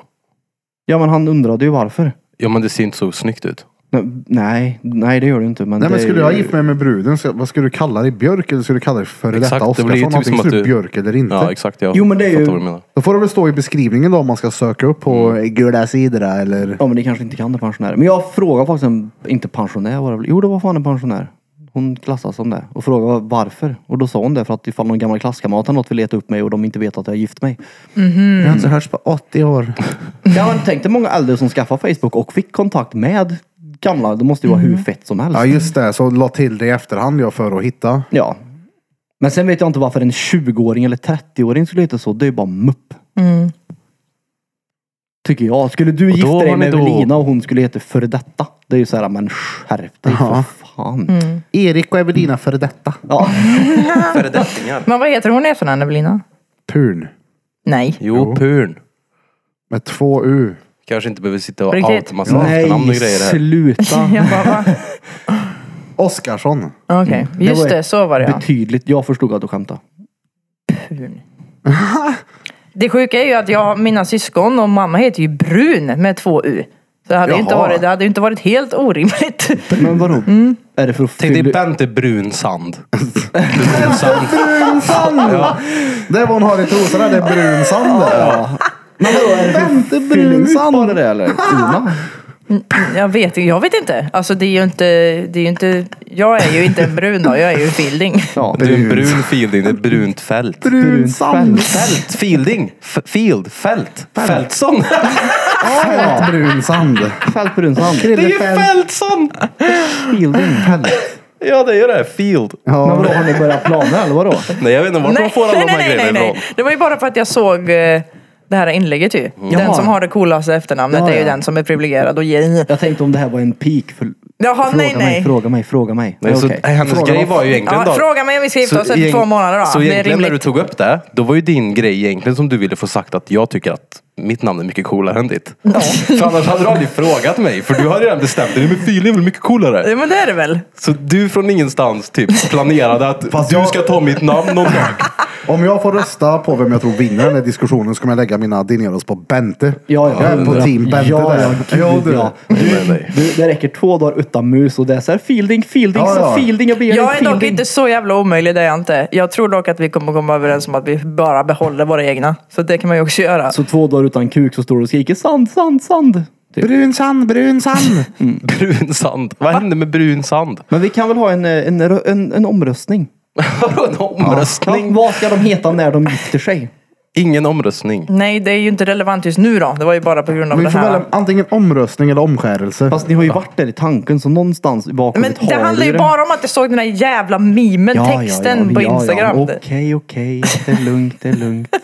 Speaker 3: Ja men han undrade ju varför.
Speaker 4: Ja, men det ser inte så snyggt ut.
Speaker 3: N- Nej, nej det gör du inte. Men
Speaker 1: Nej men
Speaker 3: det är
Speaker 1: skulle jag
Speaker 3: ju-
Speaker 1: gift mig med bruden, ska, vad skulle du kalla dig? Björk eller skulle du kalla dig före
Speaker 4: Exakt,
Speaker 1: detta
Speaker 4: det
Speaker 1: Oskarsson?
Speaker 4: blir ju typ
Speaker 1: Antingen
Speaker 4: som att
Speaker 1: skulle du
Speaker 4: du-
Speaker 1: Björk eller inte.
Speaker 4: Ja, exakt. Jag
Speaker 3: Mm. Jo, men det är
Speaker 4: fattar
Speaker 3: ju-
Speaker 4: vad du menar.
Speaker 1: Då får det väl stå i beskrivningen då om man ska söka upp på mm. gula sidor eller...
Speaker 3: Ja men det kanske inte kan det pensionärer. Men jag frågade faktiskt en, inte pensionär var det väl? Jo det var fan en pensionär. Hon klassas som det. Och frågade varför. Och då sa hon det för att ifall någon gammal klasskamrat eller något vill leta upp mig och de inte vet att jag har gift mig.
Speaker 1: Jag har inte hörts på 80 år.
Speaker 3: Jag har tänkt många äldre som skaffade Facebook och fick kontakt med gamla. Det måste ju vara hur fett som helst.
Speaker 1: Mm. Ja just det, så la till det i efterhand jag för att hitta.
Speaker 3: Ja. Men sen vet jag inte varför en 20-åring eller 30-åring skulle heta så. Det är ju bara mupp.
Speaker 2: Mm.
Speaker 3: Tycker jag. Skulle du gifta
Speaker 4: har
Speaker 3: dig
Speaker 4: ni
Speaker 3: med
Speaker 4: då-
Speaker 3: Evelina och hon skulle heta före detta. Det är ju så här, men skärp dig för fan.
Speaker 2: Mm.
Speaker 1: Erik och Evelina före detta.
Speaker 3: Ja.
Speaker 4: Föredettingar.
Speaker 2: Men vad heter hon i efternamn, Evelina?
Speaker 1: Purn.
Speaker 2: Nej.
Speaker 4: Jo, Purn.
Speaker 1: Med två U.
Speaker 4: Kanske inte behöver sitta och
Speaker 2: Riktigt?
Speaker 4: outa massa efternamn och grejer här.
Speaker 3: sluta.
Speaker 2: Jag bara, va?
Speaker 1: Oskarsson.
Speaker 2: Okej, just det, så var det ja.
Speaker 3: Betydligt. Jag förstod att du skämtade.
Speaker 2: Det sjuka är ju att jag, mina syskon och mamma heter ju Brun med två U. Så det hade, ju inte
Speaker 1: Jaha.
Speaker 2: varit, det hade ju inte varit helt orimligt.
Speaker 3: Men vadå? Är det för att
Speaker 4: Tänk dig
Speaker 3: fylla...
Speaker 4: Bente Brunsand. Brunsand.
Speaker 1: Brunsand! Det var hon har i trosorna, det är brunsand. Ja.
Speaker 3: Men vadå, är det för
Speaker 1: Bente
Speaker 3: att fylla ut
Speaker 1: Brunsand.
Speaker 3: bara det eller? Una?
Speaker 2: Jag vet, jag vet inte. Alltså det är ju inte, det är ju inte, jag är ju inte en brun då, jag är ju en filding.
Speaker 3: Ja.
Speaker 4: Du är en brun fielding, det är ett brunt fält.
Speaker 1: Brunsand.
Speaker 4: Fält, fielding, F- field, fält. Fältsson.
Speaker 1: Fält brunsand.
Speaker 3: Fält Brunsand.
Speaker 4: Det är ju Fältsson!
Speaker 3: Fielding.
Speaker 4: Ja det är ju det, field.
Speaker 3: Men vadå, har ni börjat planer eller vadå?
Speaker 4: Nej jag vet inte vart de får alla de här grejerna ifrån.
Speaker 2: Det var ju bara för att jag såg eh, det här inlägget ju. Den
Speaker 3: Jaha.
Speaker 2: som har det coolaste efternamnet
Speaker 3: Ja,
Speaker 2: är ju
Speaker 3: ja.
Speaker 2: den som är privilegierad och gay.
Speaker 3: Jag tänkte om det här var en peak. För...
Speaker 2: Jaha,
Speaker 3: fråga
Speaker 2: nej,
Speaker 3: mig,
Speaker 2: nej.
Speaker 3: fråga mig, fråga mig.
Speaker 4: Nej, så,
Speaker 3: Okej.
Speaker 4: nej, hennes
Speaker 1: Fråga
Speaker 4: grej
Speaker 1: vad-
Speaker 4: var ju egentligen
Speaker 2: Ja, fråga mig om vi ska gifta oss efter
Speaker 4: egent-
Speaker 2: två månader då.
Speaker 4: Så
Speaker 2: Det är
Speaker 4: egentligen när du
Speaker 2: rimligt.
Speaker 4: tog upp det, då var ju din grej egentligen som du ville få sagt att jag tycker att mitt namn är mycket coolare än ditt. För annars hade du aldrig frågat mig, för du har redan bestämt dig. Men Filip är väl mycket coolare?
Speaker 2: Ja, men det är det väl?
Speaker 4: Så du från ingenstans typ planerade att
Speaker 1: Fast
Speaker 4: du
Speaker 1: jag-
Speaker 4: ska ta mitt namn någon dag.
Speaker 1: Om jag får rösta på vem jag tror vinner den här diskussionen så kommer jag lägga mina dineros på Bente.
Speaker 3: Ja, ja.
Speaker 1: jag är på
Speaker 3: hundra.
Speaker 1: team Bente
Speaker 3: ja,
Speaker 1: där.
Speaker 3: Ja, gud,
Speaker 1: du.
Speaker 3: ja. Du, du, det räcker två dagar utan mus och det är så här fielding, fielding,
Speaker 1: Ja, ja.
Speaker 3: så fielding. Jag ber
Speaker 2: Jag är
Speaker 3: dig
Speaker 2: dock
Speaker 3: fielding.
Speaker 2: inte så jävla omöjlig, det är jag inte. Jag tror dock att vi kommer komma överens om att vi bara behåller våra egna. Så det kan man ju också göra.
Speaker 3: Så två dagar utan kuk så står du och skriker sand, sand, sand. Typ.
Speaker 1: Brunsand, brunsand.
Speaker 4: Brun sand. Vad hände med brun sand?
Speaker 3: Men vi kan väl ha en, eh, en, rö- en, en omröstning?
Speaker 4: Vadå en omröstning?
Speaker 3: Ja, vad ska de heta när de gifter sig?
Speaker 4: Ingen omröstning.
Speaker 2: Nej, det är ju inte relevant just nu då. Det var ju bara på grund av
Speaker 1: Vi
Speaker 2: det
Speaker 1: får
Speaker 2: här.
Speaker 1: välja antingen omröstning eller omskärelse.
Speaker 3: Fast ni har ju varit där i tanken så någonstans i
Speaker 2: Men
Speaker 3: bakhuvudet
Speaker 2: det
Speaker 3: har
Speaker 2: handlar
Speaker 3: ni
Speaker 2: ju bara om att jag såg den där jävla mimen, texten på Instagram.
Speaker 3: Okej, okej. Det är lugnt, det är lugnt.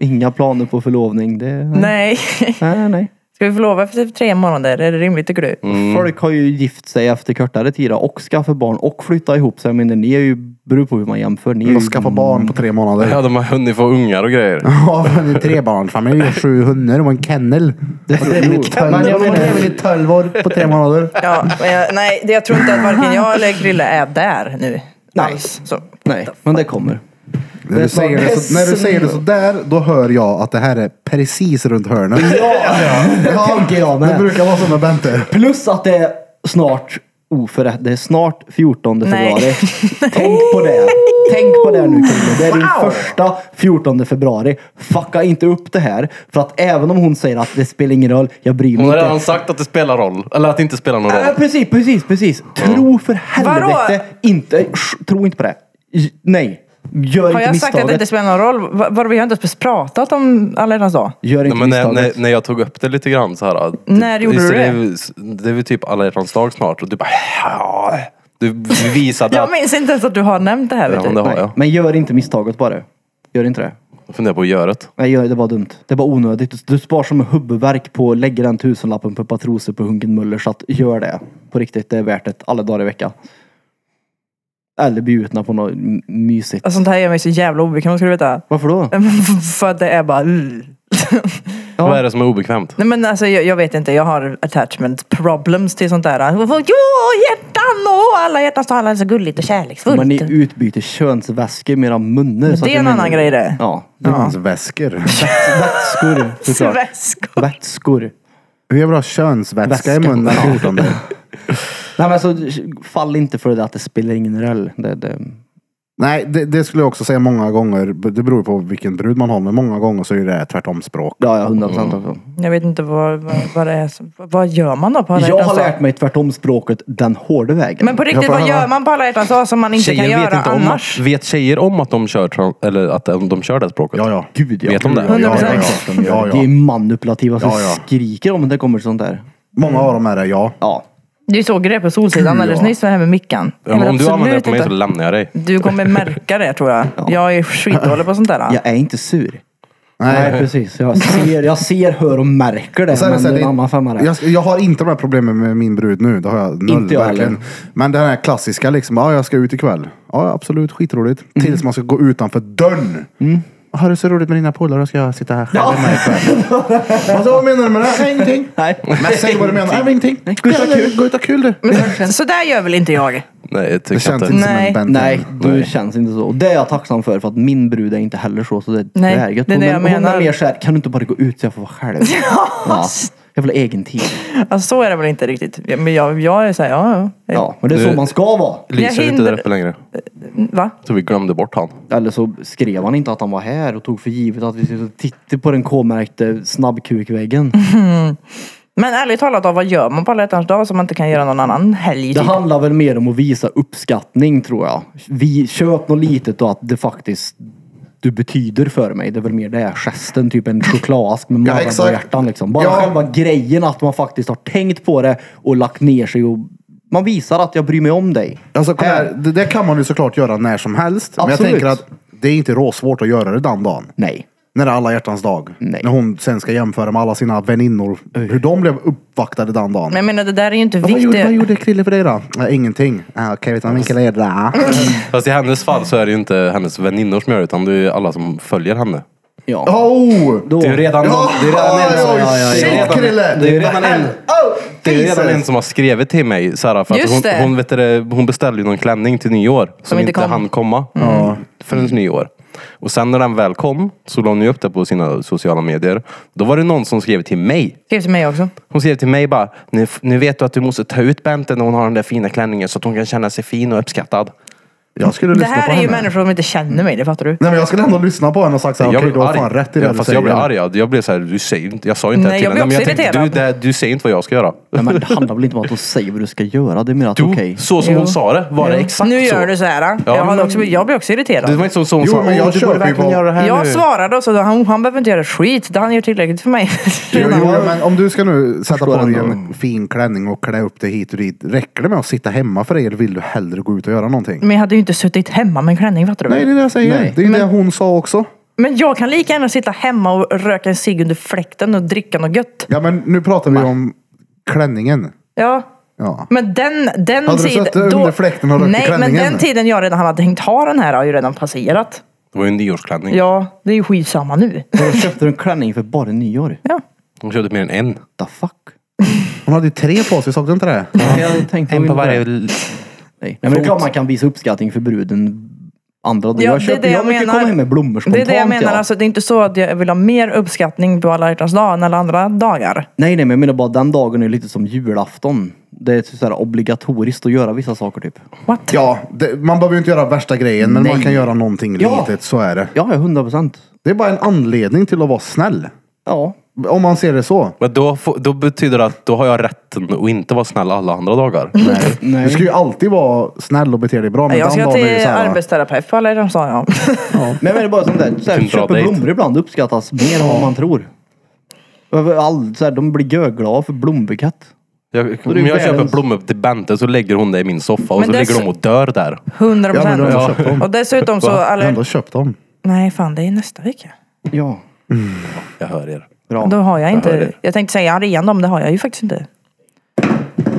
Speaker 3: Inga planer på förlovning. Det, nej.
Speaker 2: Nej.
Speaker 3: nej, nej, nej.
Speaker 2: Ska vi förlova efter typ tre månader? Är det rimligt tycker du?
Speaker 4: Mm.
Speaker 3: Folk har ju gift sig efter kortare tid och skaffat barn och flyttat ihop sig. Men ni är ju, beror på hur man jämför. Ni är ju, Mm.
Speaker 1: Och skaffa barn på tre månader.
Speaker 4: Ja, de har hunnit få ungar och grejer.
Speaker 1: Ja, men en trebarnsfamilj. Sju hundar och en kennel.
Speaker 3: det,
Speaker 1: Men jag menar, väl i tolv år på tre månader.
Speaker 2: Ja, men jag, nej, det- jag tror inte att varken jag eller Grille är där nu. Alls. Så.
Speaker 3: nej, men det kommer.
Speaker 1: När du, säger det så, när du säger det så där, då hör jag att det här är precis runt hörnet.
Speaker 3: Ja, det tänker jag
Speaker 1: Det
Speaker 3: med.
Speaker 1: brukar vara så med Bente.
Speaker 3: Plus att det är snart oförrätt. Det är snart 14 februari. Tänk på det. Tänk på det nu Krille. Det är din första 14 februari. Fucka inte upp det här. För att även om hon säger att det spelar ingen roll, jag bryr mig
Speaker 4: Hon har
Speaker 3: inte.
Speaker 4: redan sagt att det spelar roll. Eller att det inte spelar någon
Speaker 3: Ja,
Speaker 4: roll.
Speaker 3: precis, precis, precis. Tro för helvete
Speaker 2: Eh, Vadå?
Speaker 3: inte. sh- Tro inte på det. J- Nej. Gör
Speaker 2: Har jag
Speaker 3: inte
Speaker 2: sagt att det
Speaker 3: misstaget.
Speaker 2: inte spelar någon roll? Va- Vadå, vi har inte ens pratat om alla hjärtans dag.
Speaker 3: Gör inte
Speaker 4: Nej, men när, när,
Speaker 3: misstaget.
Speaker 4: när jag tog upp det lite grann så här. det-
Speaker 2: När gjorde
Speaker 4: just
Speaker 2: du
Speaker 4: det?
Speaker 2: det?
Speaker 4: är väl- Det är väl typ alla hjärtans dag snart och du bara ja. Du visade att...
Speaker 2: Jag minns inte ens att du har nämnt det här.
Speaker 4: Ja,
Speaker 2: Vet
Speaker 4: men det
Speaker 2: du?
Speaker 4: har
Speaker 3: Nej,
Speaker 4: jag.
Speaker 3: men gör inte misstaget bara. Gör inte det.
Speaker 4: Jag funderar på att göra det.
Speaker 3: Nej, gör- det var dumt. Det var onödigt. Du- Du spar som en huvudvärk på att lägga den tusenlappen på ett par trosor på Hunken Möller. Så att gör det. På riktigt, det är värt det. Alla dagar i veckan. Eller bjudna på något m- mysigt.
Speaker 2: Alltså, sånt här gör mig så jävla obekväm, ska du veta.
Speaker 3: Varför då?
Speaker 2: För att det är bara... "Ugh."
Speaker 4: Vad är det som är obekvämt?
Speaker 2: Nej men alltså jag, jag vet inte, jag har attachment problems till sånt där. Jo, hjärtan! Åh, alla hjärtans dag, alla är så gulligt och kärleksfullt.
Speaker 3: Men ni utbyter könsväskor med era munnar. så att
Speaker 2: det är
Speaker 3: jag
Speaker 2: en
Speaker 3: menar-
Speaker 2: annan grej det.
Speaker 3: Ja.
Speaker 1: Könsväskor.
Speaker 3: Vätskor såklart.
Speaker 2: Väskor.
Speaker 3: Vätskor.
Speaker 1: Vi har bra könsvätska i munnen den 14.
Speaker 3: Nej men alltså, fall inte för det att det spelar ingen roll. Det, det.
Speaker 1: Nej, det, det skulle jag också säga många gånger. Det beror på vilken brud man har, men många gånger så är det tvärtom språk.
Speaker 3: Ja, ja, 100 procent också.
Speaker 2: Jag vet inte vad, vad, vad det är som, Vad gör man då på alla
Speaker 3: Jag
Speaker 2: hjärtans
Speaker 3: har
Speaker 2: dag?
Speaker 3: lärt mig tvärtom språket den hårda vägen.
Speaker 2: Men på riktigt, vad gör man på alla hjärtans dag som man inte kan
Speaker 4: Tjejer vet
Speaker 2: göra
Speaker 4: inte om att,
Speaker 2: annars?
Speaker 4: Vet tjejer om att de kör, tran- eller att de, de kör det språket?
Speaker 1: Ja, ja.
Speaker 3: Gud ja.
Speaker 4: Vet de det?
Speaker 1: Ja, ja, ja,
Speaker 2: 100%.
Speaker 1: ja. ja,
Speaker 3: Det är
Speaker 1: ja.
Speaker 3: manipulativa som
Speaker 1: Ja, ja.
Speaker 3: skriker om det kommer sånt där.
Speaker 1: Många av dem är det, ja.
Speaker 3: Ja.
Speaker 2: Det är ju så grejer på Solsidan alldeles nyss, det här med mickan.
Speaker 4: Ja, men
Speaker 2: Jag
Speaker 4: om
Speaker 2: vill
Speaker 4: du använder det
Speaker 2: absolut
Speaker 4: på mig
Speaker 2: inte-
Speaker 4: så lämnar jag dig.
Speaker 2: Du kommer märka det tror jag. Jag är skitdålig på sånt där.
Speaker 3: Jag är inte sur. Nej,
Speaker 1: Nej.
Speaker 3: precis. Jag ser, jag ser, hör och märker det.
Speaker 1: Så är det
Speaker 3: men
Speaker 1: så här,
Speaker 3: det är en
Speaker 1: det-
Speaker 3: annan femma där.
Speaker 1: Jag, jag har inte de här problemen med min brud nu. Det har jag noll.
Speaker 3: Inte jag
Speaker 1: verkligen.
Speaker 3: heller.
Speaker 1: Men det här
Speaker 3: Mm.
Speaker 1: klassiska liksom. Ja, jag ska ut ikväll. Ja, absolut. Skitroligt. Tills man ska gå utanför dörren. Har du så roligt med dina polare ska jag sitta här själv hemma ikväll. Alltså, vad menar du med det? här? Ingenting.
Speaker 3: Nej.
Speaker 1: Men säg vad du menar. Nej, men ingenting. Gå ut och ha kul. Gå ut och ha kul du.
Speaker 2: Så där gör väl inte jag?
Speaker 4: Nej, jag
Speaker 1: Det
Speaker 4: tycker
Speaker 1: känns
Speaker 4: inte.
Speaker 1: inte som
Speaker 2: Nej.
Speaker 1: en Ben
Speaker 3: Nej, du
Speaker 4: Nej.
Speaker 3: känns inte så. Och det är jag tacksam för, för att min brud är inte heller så. så det,
Speaker 2: Nej,
Speaker 3: det är gött.
Speaker 2: det är
Speaker 3: hon,
Speaker 2: det
Speaker 3: är,
Speaker 2: jag
Speaker 3: hon är
Speaker 2: menar.
Speaker 3: mer såhär, kan du inte bara gå ut så jag får vara själv? ja. Jag vill ha egen tid.
Speaker 2: Alltså så är det väl inte riktigt. Ja, Men jag, jag är såhär, ja, ja. Eh,
Speaker 3: Ja, men det är så
Speaker 4: Du-
Speaker 3: man ska vara.
Speaker 2: Jag
Speaker 4: Lisa är inte
Speaker 2: hindrar-
Speaker 4: där uppe längre.
Speaker 2: Va?
Speaker 4: Så vi glömde bort han.
Speaker 3: Eller så skrev han inte att han var här och tog för givet att vi skulle titta på den K-märkte snabbkukväggen.
Speaker 2: Men ärligt talat, då, vad gör man på alla hjärtans dag som man inte kan göra någon annan helg?
Speaker 3: Det
Speaker 2: Typ?
Speaker 3: handlar väl mer om att visa uppskattning tror jag. Vi, köp något litet och att det faktiskt du betyder för mig. Det är väl mer det. Gesten, typ en chokladask med magen på
Speaker 6: exakt.
Speaker 3: hjärtan. Liksom. Bara
Speaker 6: Ja.
Speaker 3: själva grejen att man faktiskt har tänkt på det och lagt ner sig. Och man visar att jag bryr mig om dig.
Speaker 1: Alltså, kolla
Speaker 3: Här.
Speaker 1: här, det, det kan man ju såklart göra när som helst. Men
Speaker 3: Äh. Absolut.
Speaker 1: jag tänker att det är inte råsvårt att göra det den dagen.
Speaker 3: Nej.
Speaker 1: När det är alla hjärtans dag.
Speaker 3: Nej.
Speaker 1: När hon sen ska jämföra med alla sina väninnor. Hur de blev uppvaktade den dagen.
Speaker 2: Men jag menar, det där är ju inte
Speaker 1: Ja, vad, gjorde, vad
Speaker 2: viktigt.
Speaker 1: gjorde Krille för dig då? Ja, ingenting. Ah, Okej, vet du vad min kille gjorde? Ah.
Speaker 4: Fast i hennes fall så är det ju inte hennes väninnor som gör det, utan det är ju alla som följer henne.
Speaker 3: Ja.
Speaker 1: Oh!
Speaker 3: Då.
Speaker 4: Det är ju redan,
Speaker 1: Ja,
Speaker 4: det är redan en som...
Speaker 1: oj,
Speaker 3: ja, ja,
Speaker 1: shit,
Speaker 4: det är redan-
Speaker 1: Krille!
Speaker 4: Det är ju redan en...
Speaker 1: Oh,
Speaker 4: Det är ju redan en
Speaker 1: Jesus!
Speaker 4: som har skrivit till mig, Sara, för att
Speaker 2: Just
Speaker 4: hon,
Speaker 2: det.
Speaker 4: hon, vet du, det, hon beställde ju någon klänning till nyår som,
Speaker 2: inte
Speaker 4: inte
Speaker 2: kom.
Speaker 4: hann komma förrän nyår. Och sen när den väl kom så la hon ju upp det på sina sociala medier. Då var det någon som skrev till mig.
Speaker 2: Skriv till mig också.
Speaker 4: Hon skrev till mig bara, nu, nu vet du att du måste ta ut Bente när hon har den där fina klänningen så att hon kan känna sig fin och uppskattad.
Speaker 1: Jag skulle
Speaker 2: Det
Speaker 1: lyssna på
Speaker 2: här är ju
Speaker 1: henne.
Speaker 2: människor som inte känner mig, det fattar du.
Speaker 1: Nej, men jag skulle ändå lyssna på henne och sagt såhär, okej du har fan rätt i det
Speaker 4: ja,
Speaker 1: du
Speaker 4: fast
Speaker 1: säger.
Speaker 4: jag blev arg. Jag blev såhär, du säger inte, jag sa ju inte
Speaker 2: Nej,
Speaker 4: det
Speaker 2: jag
Speaker 4: till
Speaker 2: blev
Speaker 4: henne.
Speaker 2: också
Speaker 4: jag tänkte, du, det, du säger inte vad jag ska göra.
Speaker 3: Nej, men det handlar väl inte om att hon säger vad du ska göra. Det är mer att
Speaker 4: Du,
Speaker 3: okej.
Speaker 4: så som hon sa det, var det
Speaker 2: Jo.
Speaker 4: exakt
Speaker 2: Nu
Speaker 4: så.
Speaker 2: gör du så här.
Speaker 4: Ja,
Speaker 2: jag, hade
Speaker 4: men-
Speaker 2: också, jag blir också irriterad.
Speaker 4: Det var inte så, så hon
Speaker 1: Jo,
Speaker 4: sa,
Speaker 1: men jag
Speaker 4: "Åh, du
Speaker 1: köper
Speaker 4: borde
Speaker 1: ju
Speaker 4: verkligen
Speaker 1: vad-
Speaker 4: göra det här
Speaker 2: jag
Speaker 4: nu.
Speaker 2: svarade och så han, han behöver inte göra skit. Det han gör tillräckligt för mig.
Speaker 1: Jo,
Speaker 2: Redan.
Speaker 1: jo, men om du ska nu sätta
Speaker 3: Förstår
Speaker 1: på dig
Speaker 3: ändå.
Speaker 1: en fin klänning och klä upp dig hit och dit. Räcker det med att sitta hemma för dig eller vill du hellre gå ut och göra någonting?
Speaker 2: Men jag hade ju inte suttit hemma med en klänning, fattar du?
Speaker 1: Nej, det är det jag säger.
Speaker 3: Nej.
Speaker 1: Det är det hon sa också.
Speaker 2: Men jag kan lika gärna sitta hemma och röka en cigg under fläkten och dricka något gött.
Speaker 1: Ja, men nu pratar vi om klänningen.
Speaker 2: Ja.
Speaker 1: Ja.
Speaker 2: Men den, den
Speaker 1: Hade du
Speaker 2: tiden...
Speaker 1: suttit under fläkten och rökt i
Speaker 2: Nej, men
Speaker 1: klänningen?
Speaker 2: den tiden jag redan hade tänkt ha den här har ju redan passerat.
Speaker 4: Det var ju en nyårsklänning.
Speaker 2: Ja, det är ju skitsamma nu.
Speaker 3: Då köpte du en klänning för bara nyår.
Speaker 2: Ja.
Speaker 4: Hon köpte mer än en.
Speaker 3: The fuck?
Speaker 1: Hon hade ju tre på sig, såg du inte det?
Speaker 3: Jag tänkte
Speaker 4: En på
Speaker 3: inte
Speaker 4: varje...
Speaker 3: det. Nej. Nej, men det är klart man kan visa uppskattning för bruden andra dagar.
Speaker 2: Ja,
Speaker 3: jag,
Speaker 2: det är
Speaker 3: köper,
Speaker 2: det jag
Speaker 3: jag brukar
Speaker 2: menar.
Speaker 3: komma hem med blommor
Speaker 2: Det är
Speaker 3: spontant.
Speaker 2: det jag menar.
Speaker 3: ja.
Speaker 2: Alltså, det är inte så att jag vill ha mer uppskattning på alla hjärtans dag än alla andra dagar.
Speaker 3: Nej, nej, men jag menar bara den dagen är lite som julafton. Det är så här obligatoriskt att göra vissa saker typ.
Speaker 2: What?
Speaker 1: Ja, det, man behöver ju inte göra värsta grejen, men man kan göra någonting
Speaker 3: Ja.
Speaker 1: litet. Så är det.
Speaker 3: Ja, ja, hundra procent.
Speaker 1: Det är bara en anledning till att vara snäll.
Speaker 3: Ja.
Speaker 1: Om man ser det så.
Speaker 4: Men då, får- då betyder det att då har jag rätten att inte vara snäll alla andra dagar.
Speaker 1: Nej. Du ska ju alltid vara snäll och bete dig bra. Men
Speaker 2: jag
Speaker 1: den
Speaker 2: ska
Speaker 1: dagen är det
Speaker 2: till
Speaker 1: så här,
Speaker 2: arbetsterapeut på alla hjärtans dag. Ja.
Speaker 3: Men jag menar bara sånt där, så här,
Speaker 4: Vilken bra
Speaker 3: köpa
Speaker 4: dejt.
Speaker 3: blommor ibland uppskattas mer än vad man tror. All, så här, de blir görglada för blombukett.
Speaker 4: Jag,
Speaker 3: är det
Speaker 4: om jag köper
Speaker 3: världens-
Speaker 4: blommor till Bente så lägger hon det i min soffa och
Speaker 2: Men
Speaker 4: så
Speaker 2: det är
Speaker 4: ligger
Speaker 2: så-
Speaker 4: de och dör där.
Speaker 2: 100
Speaker 1: Ja, men
Speaker 2: procent.
Speaker 1: du har ändå köpt dem.
Speaker 2: Och dessutom så...
Speaker 1: Jag har
Speaker 2: Alla...
Speaker 1: ändå köpt dem.
Speaker 2: Nej, fan det är nästa vecka.
Speaker 3: Ja.
Speaker 4: Jag hör er.
Speaker 3: Bra.
Speaker 2: Då har jag
Speaker 4: hör
Speaker 2: inte...
Speaker 4: det.
Speaker 2: Jag tänkte säga arenan, men det har jag ju faktiskt inte.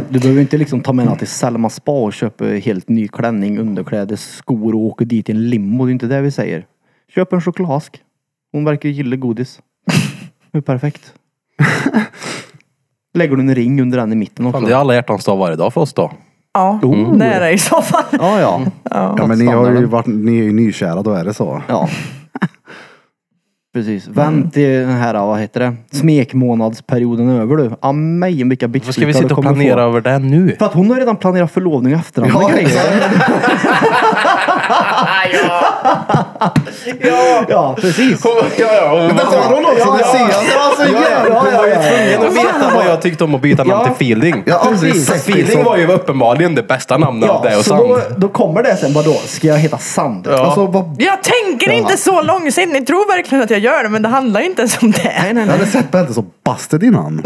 Speaker 3: Du behöver inte liksom ta med henne till Selma spa och köpa helt ny klänning, underkläder, skor och åka dit i en limo. Det är inte det vi säger. Köp en chokladask. Hon verkar ju gilla godis. Det är perfekt. Lägger du en ring under den i mitten också?
Speaker 4: Fan, det är alla hjärtans dag varje dag för oss då.
Speaker 2: Ja,
Speaker 1: Oh.
Speaker 2: det är det i så fall.
Speaker 3: Ja, ja.
Speaker 1: Ja, men ni, har ju varit, ni är ju nykära, då är det så.
Speaker 3: ja. Precis.
Speaker 4: Mm.
Speaker 3: Vänt till den här, vad heter det, smekmånadsperioden är över du. Ah, mig vilka
Speaker 4: Varför ska vi
Speaker 3: bitchbitar du
Speaker 4: sitta och
Speaker 3: kommer få.
Speaker 4: planera över det nu?
Speaker 3: För att hon har redan planerat förlovning och efterhand. Ja, ja. ja, precis.
Speaker 1: Det har hon också! Det ser jag! Det var så jävla...
Speaker 3: Ja, ja, ja.
Speaker 4: Jag vill veta vad jag tyckte om att byta namn
Speaker 3: Ja.
Speaker 4: till Feeling.
Speaker 1: Jag har aldrig
Speaker 3: Precis.
Speaker 1: sett dig
Speaker 4: Feeling
Speaker 1: så.
Speaker 4: var ju uppenbarligen det bästa namnet av det
Speaker 3: Ja,
Speaker 4: och
Speaker 3: så då,
Speaker 4: sand.
Speaker 3: då kommer det sen, vadå? Ska jag heta Sand?
Speaker 1: Alltså, vad...
Speaker 2: Jag tänker inte så långsint. Ni tror verkligen att jag gör det, men det handlar inte ens om det.
Speaker 3: Nej, nej,
Speaker 1: Jag
Speaker 3: nej.
Speaker 1: hade sett Bente som busted innan.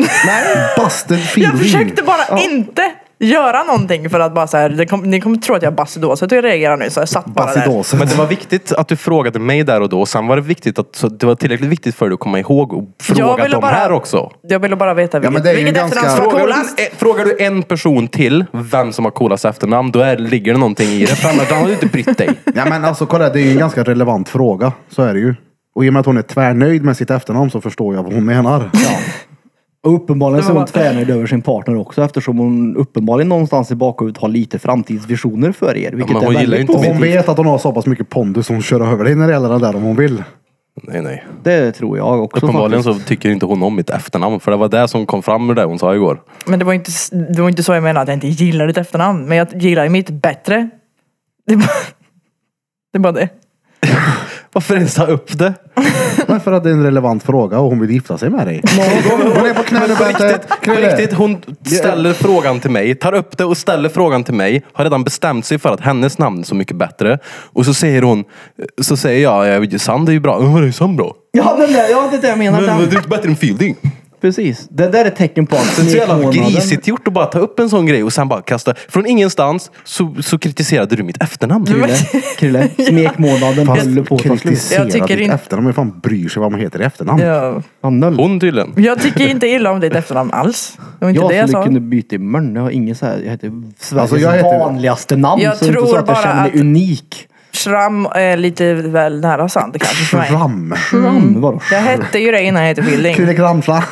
Speaker 1: Busted feeling.
Speaker 2: Jag försökte bara inte göra någonting för att bara så här, det kom, ni kommer tro att jag är basidåset och jag reagerar nu så jag satt bara där.
Speaker 1: Bassidoset.
Speaker 4: Men det var viktigt att du frågade mig där och då. Sen var det viktigt att så det var tillräckligt viktigt för dig att komma ihåg och fråga
Speaker 2: ville
Speaker 4: dem
Speaker 2: bara-
Speaker 4: här också.
Speaker 2: Jag ville bara veta vilket,
Speaker 1: men det är ju
Speaker 2: vilket
Speaker 1: ganska-
Speaker 2: efternamn som var
Speaker 4: Frågar du,
Speaker 2: coolast.
Speaker 4: en, frågar du en person till vem som har coolast efternamn, då är, ligger det någonting i det. För annars har du inte brytt dig.
Speaker 1: Ja men alltså kolla, det är ju en ganska relevant fråga. Så är det ju. Och i och med att hon är tvärnöjd med sitt efternamn så förstår jag vad hon menar.
Speaker 3: Och uppenbarligen
Speaker 2: Det
Speaker 3: så är
Speaker 2: var
Speaker 3: hon
Speaker 2: bara-
Speaker 3: tvärnöjd över sin partner också eftersom hon uppenbarligen någonstans i bakhuvudet har lite framtidsvisioner för er. Vilket
Speaker 4: men
Speaker 3: är
Speaker 4: hon gillar ju
Speaker 3: väldigt
Speaker 4: inte
Speaker 1: Och
Speaker 3: positivt.
Speaker 1: hon vet att hon har så pass mycket pondus som hon kör över dig när det gäller det där om hon vill.
Speaker 4: Nej, nej.
Speaker 3: Det tror jag också
Speaker 4: Uppenbarligen
Speaker 3: faktiskt.
Speaker 4: så tycker inte hon om mitt efternamn. För det var det som kom fram ur det hon sa igår.
Speaker 2: Men det var, inte, s- det var inte så jag menade att jag inte gillar ditt efternamn. Men jag gillar ju mitt bättre. Det är bara det. Är bara det.
Speaker 4: Varför ens ta upp det?
Speaker 1: Men för att det är en relevant fråga och hon vill gifta sig med dig. Hon är på knäna och bätet.
Speaker 4: På riktigt, hon ställer frågan till mig, tar upp det och ställer frågan till mig. Har redan bestämt sig för att hennes namn är så mycket bättre. Och så säger hon, så säger jag, ja, Sand är ju bra. Ja, det är Sand bra.
Speaker 3: Ja, den där, ja, det är det jag menar.
Speaker 4: Men, men
Speaker 3: Den.
Speaker 4: du är inte bättre än Fielding.
Speaker 3: Precis. Det där är ett tecken på att
Speaker 4: Det är så jävla
Speaker 3: smekmånaden-
Speaker 4: grisigt gjort att bara ta upp en sån grej och sen bara kasta. Från ingenstans så, så kritiserade du mitt efternamn.
Speaker 3: Krille, Krille, smekmånaden håller på att ta slut.
Speaker 1: Kritisera
Speaker 2: Jag tycker
Speaker 1: ditt
Speaker 2: inte-
Speaker 1: efternamn. Vem fan bryr sig vad man heter i efternamn?
Speaker 2: Ja.
Speaker 3: Fan, noll.
Speaker 4: Hon tydligen.
Speaker 2: Jag tycker inte illa om ditt efternamn alls. Det var inte
Speaker 3: Jag
Speaker 2: det jag
Speaker 3: skulle
Speaker 2: sa.
Speaker 3: kunna byta i mörn. Jag har ingen så här, jag heter Sveriges
Speaker 1: Alltså, jag heter-
Speaker 3: vanligaste namn.
Speaker 2: Jag
Speaker 3: så det är inte
Speaker 2: tror
Speaker 3: så att jag
Speaker 2: bara
Speaker 3: känner mig
Speaker 2: att-
Speaker 3: unik.
Speaker 2: Schramm är lite väl nära sant kanske för mig.
Speaker 1: Fram.
Speaker 3: Fram, vadå?
Speaker 2: Jag hette ju det innan jag hette Billing.
Speaker 1: Krille Kramsla.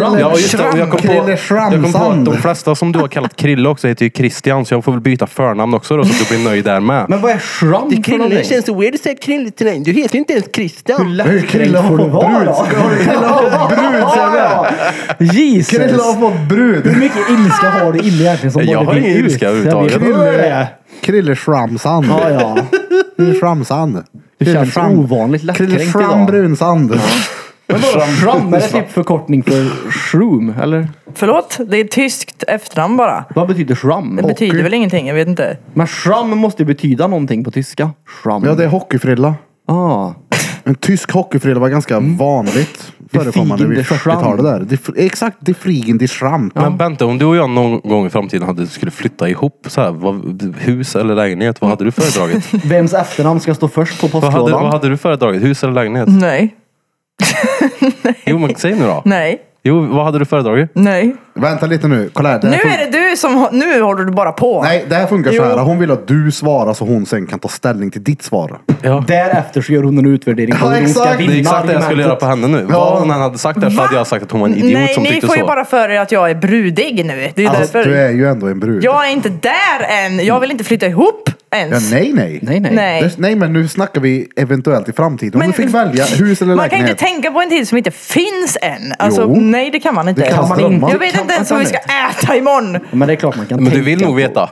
Speaker 4: Ja, och just det. Och jag kom på,
Speaker 1: Krille
Speaker 4: jag kom på att
Speaker 1: Schramsand.
Speaker 4: de flesta som du har kallat Krille också heter ju Christian. Så jag får väl byta förnamn också då så att du blir nöjd där med.
Speaker 3: Men vad är schram för någonting?
Speaker 4: så weird att säga Krille till dig. Du heter ju inte ens
Speaker 3: Hur
Speaker 4: Christian.
Speaker 3: lättkränkt får du vara då?
Speaker 1: Krille har fått brud säger jag. Krille har
Speaker 3: Jesus!
Speaker 1: fått brud.
Speaker 3: Hur mycket ilska har du inne egentligen? Som
Speaker 4: Jag
Speaker 3: bara
Speaker 4: har
Speaker 3: vill
Speaker 4: ingen
Speaker 3: ut?
Speaker 4: ilska
Speaker 3: Jag vet
Speaker 4: överhuvudtaget.
Speaker 3: inte vad det är.
Speaker 1: Krille Schramsand.
Speaker 3: Ja, ja.
Speaker 1: Krille Schramsand.
Speaker 3: Du känns
Speaker 1: Schram-
Speaker 3: ovanligt
Speaker 1: Krille
Speaker 3: lättkränkt
Speaker 1: Schram
Speaker 3: idag.
Speaker 1: Brunsand.
Speaker 3: Men vadå, schram? Är det typ förkortning för shroom? Eller?
Speaker 2: Förlåt, det är tyskt efternamn bara.
Speaker 3: Vad betyder schram?
Speaker 2: Det betyder väl ingenting, jag vet inte.
Speaker 3: Men schram måste ju betyda någonting på tyska. Schram.
Speaker 1: Ja, det är hockeyfrilla.
Speaker 3: ah.
Speaker 1: En tysk hockeyfrilla var ganska
Speaker 3: Mm.
Speaker 1: vanligt förekommande vid
Speaker 3: Die Fliegen, die
Speaker 1: 40-talet. där. Die Fl- Exakt, die Fliegen, die Schramp.
Speaker 4: Men Bente, om du och jag någon gång i framtiden hade, skulle flytta ihop, så här, vad, hus eller lägenhet, vad hade du föredragit?
Speaker 3: Vems efternamn ska stå först på
Speaker 4: vad, hade, vad
Speaker 3: postlådan?
Speaker 4: hade du föredragit? Hus eller lägenhet?
Speaker 2: Nej,
Speaker 4: Jo, men säg nu då.
Speaker 2: nej,
Speaker 4: Jo, vad hade du föredragit?
Speaker 2: nej.
Speaker 1: Vänta lite nu, kolla här. Det
Speaker 2: Nu
Speaker 1: här fun-
Speaker 2: är det du som, har- nu håller du bara på.
Speaker 1: Nej, det här funkar
Speaker 2: Jo.
Speaker 1: så här. Hon vill att du svarar så hon sen kan ta ställning till ditt svar.
Speaker 4: Ja.
Speaker 3: Därefter så gör hon en utvärdering på
Speaker 1: Ja,
Speaker 3: hur hon ska
Speaker 1: exakt.
Speaker 4: Det är
Speaker 3: vinna
Speaker 4: exakt det jag skulle göra på
Speaker 3: argumentet.
Speaker 4: henne nu. Vad hon än hade sagt där så hade jag sagt att hon var en idiot
Speaker 2: nej,
Speaker 4: som
Speaker 2: ni
Speaker 4: tyckte
Speaker 2: får ju
Speaker 4: så.
Speaker 2: bara för er att jag är brudig nu. Det är ju
Speaker 1: Alltså,
Speaker 2: därför.
Speaker 1: du är ju ändå en brud.
Speaker 2: Jag är inte där än. Jag vill inte flytta ihop
Speaker 1: Ja,
Speaker 2: ens.
Speaker 1: nej, nej.
Speaker 3: Nej, nej.
Speaker 2: Nej.
Speaker 1: Det- nej, men nu snackar vi eventuellt i framtiden. Om
Speaker 2: Men-
Speaker 1: du fick välja hus eller
Speaker 2: Man kan inte
Speaker 1: lägenhet.
Speaker 2: tänka på en tid som inte finns än. Alltså,
Speaker 1: Jo.
Speaker 2: nej, det kan man inte.
Speaker 1: Det kan man inte.
Speaker 2: Jag vet
Speaker 1: Kan
Speaker 2: inte ens
Speaker 1: man
Speaker 2: vad vi ska äta imorgon.
Speaker 3: Men det är klart man kan
Speaker 4: Men du
Speaker 3: tänka
Speaker 4: vill nog
Speaker 3: på-
Speaker 4: veta.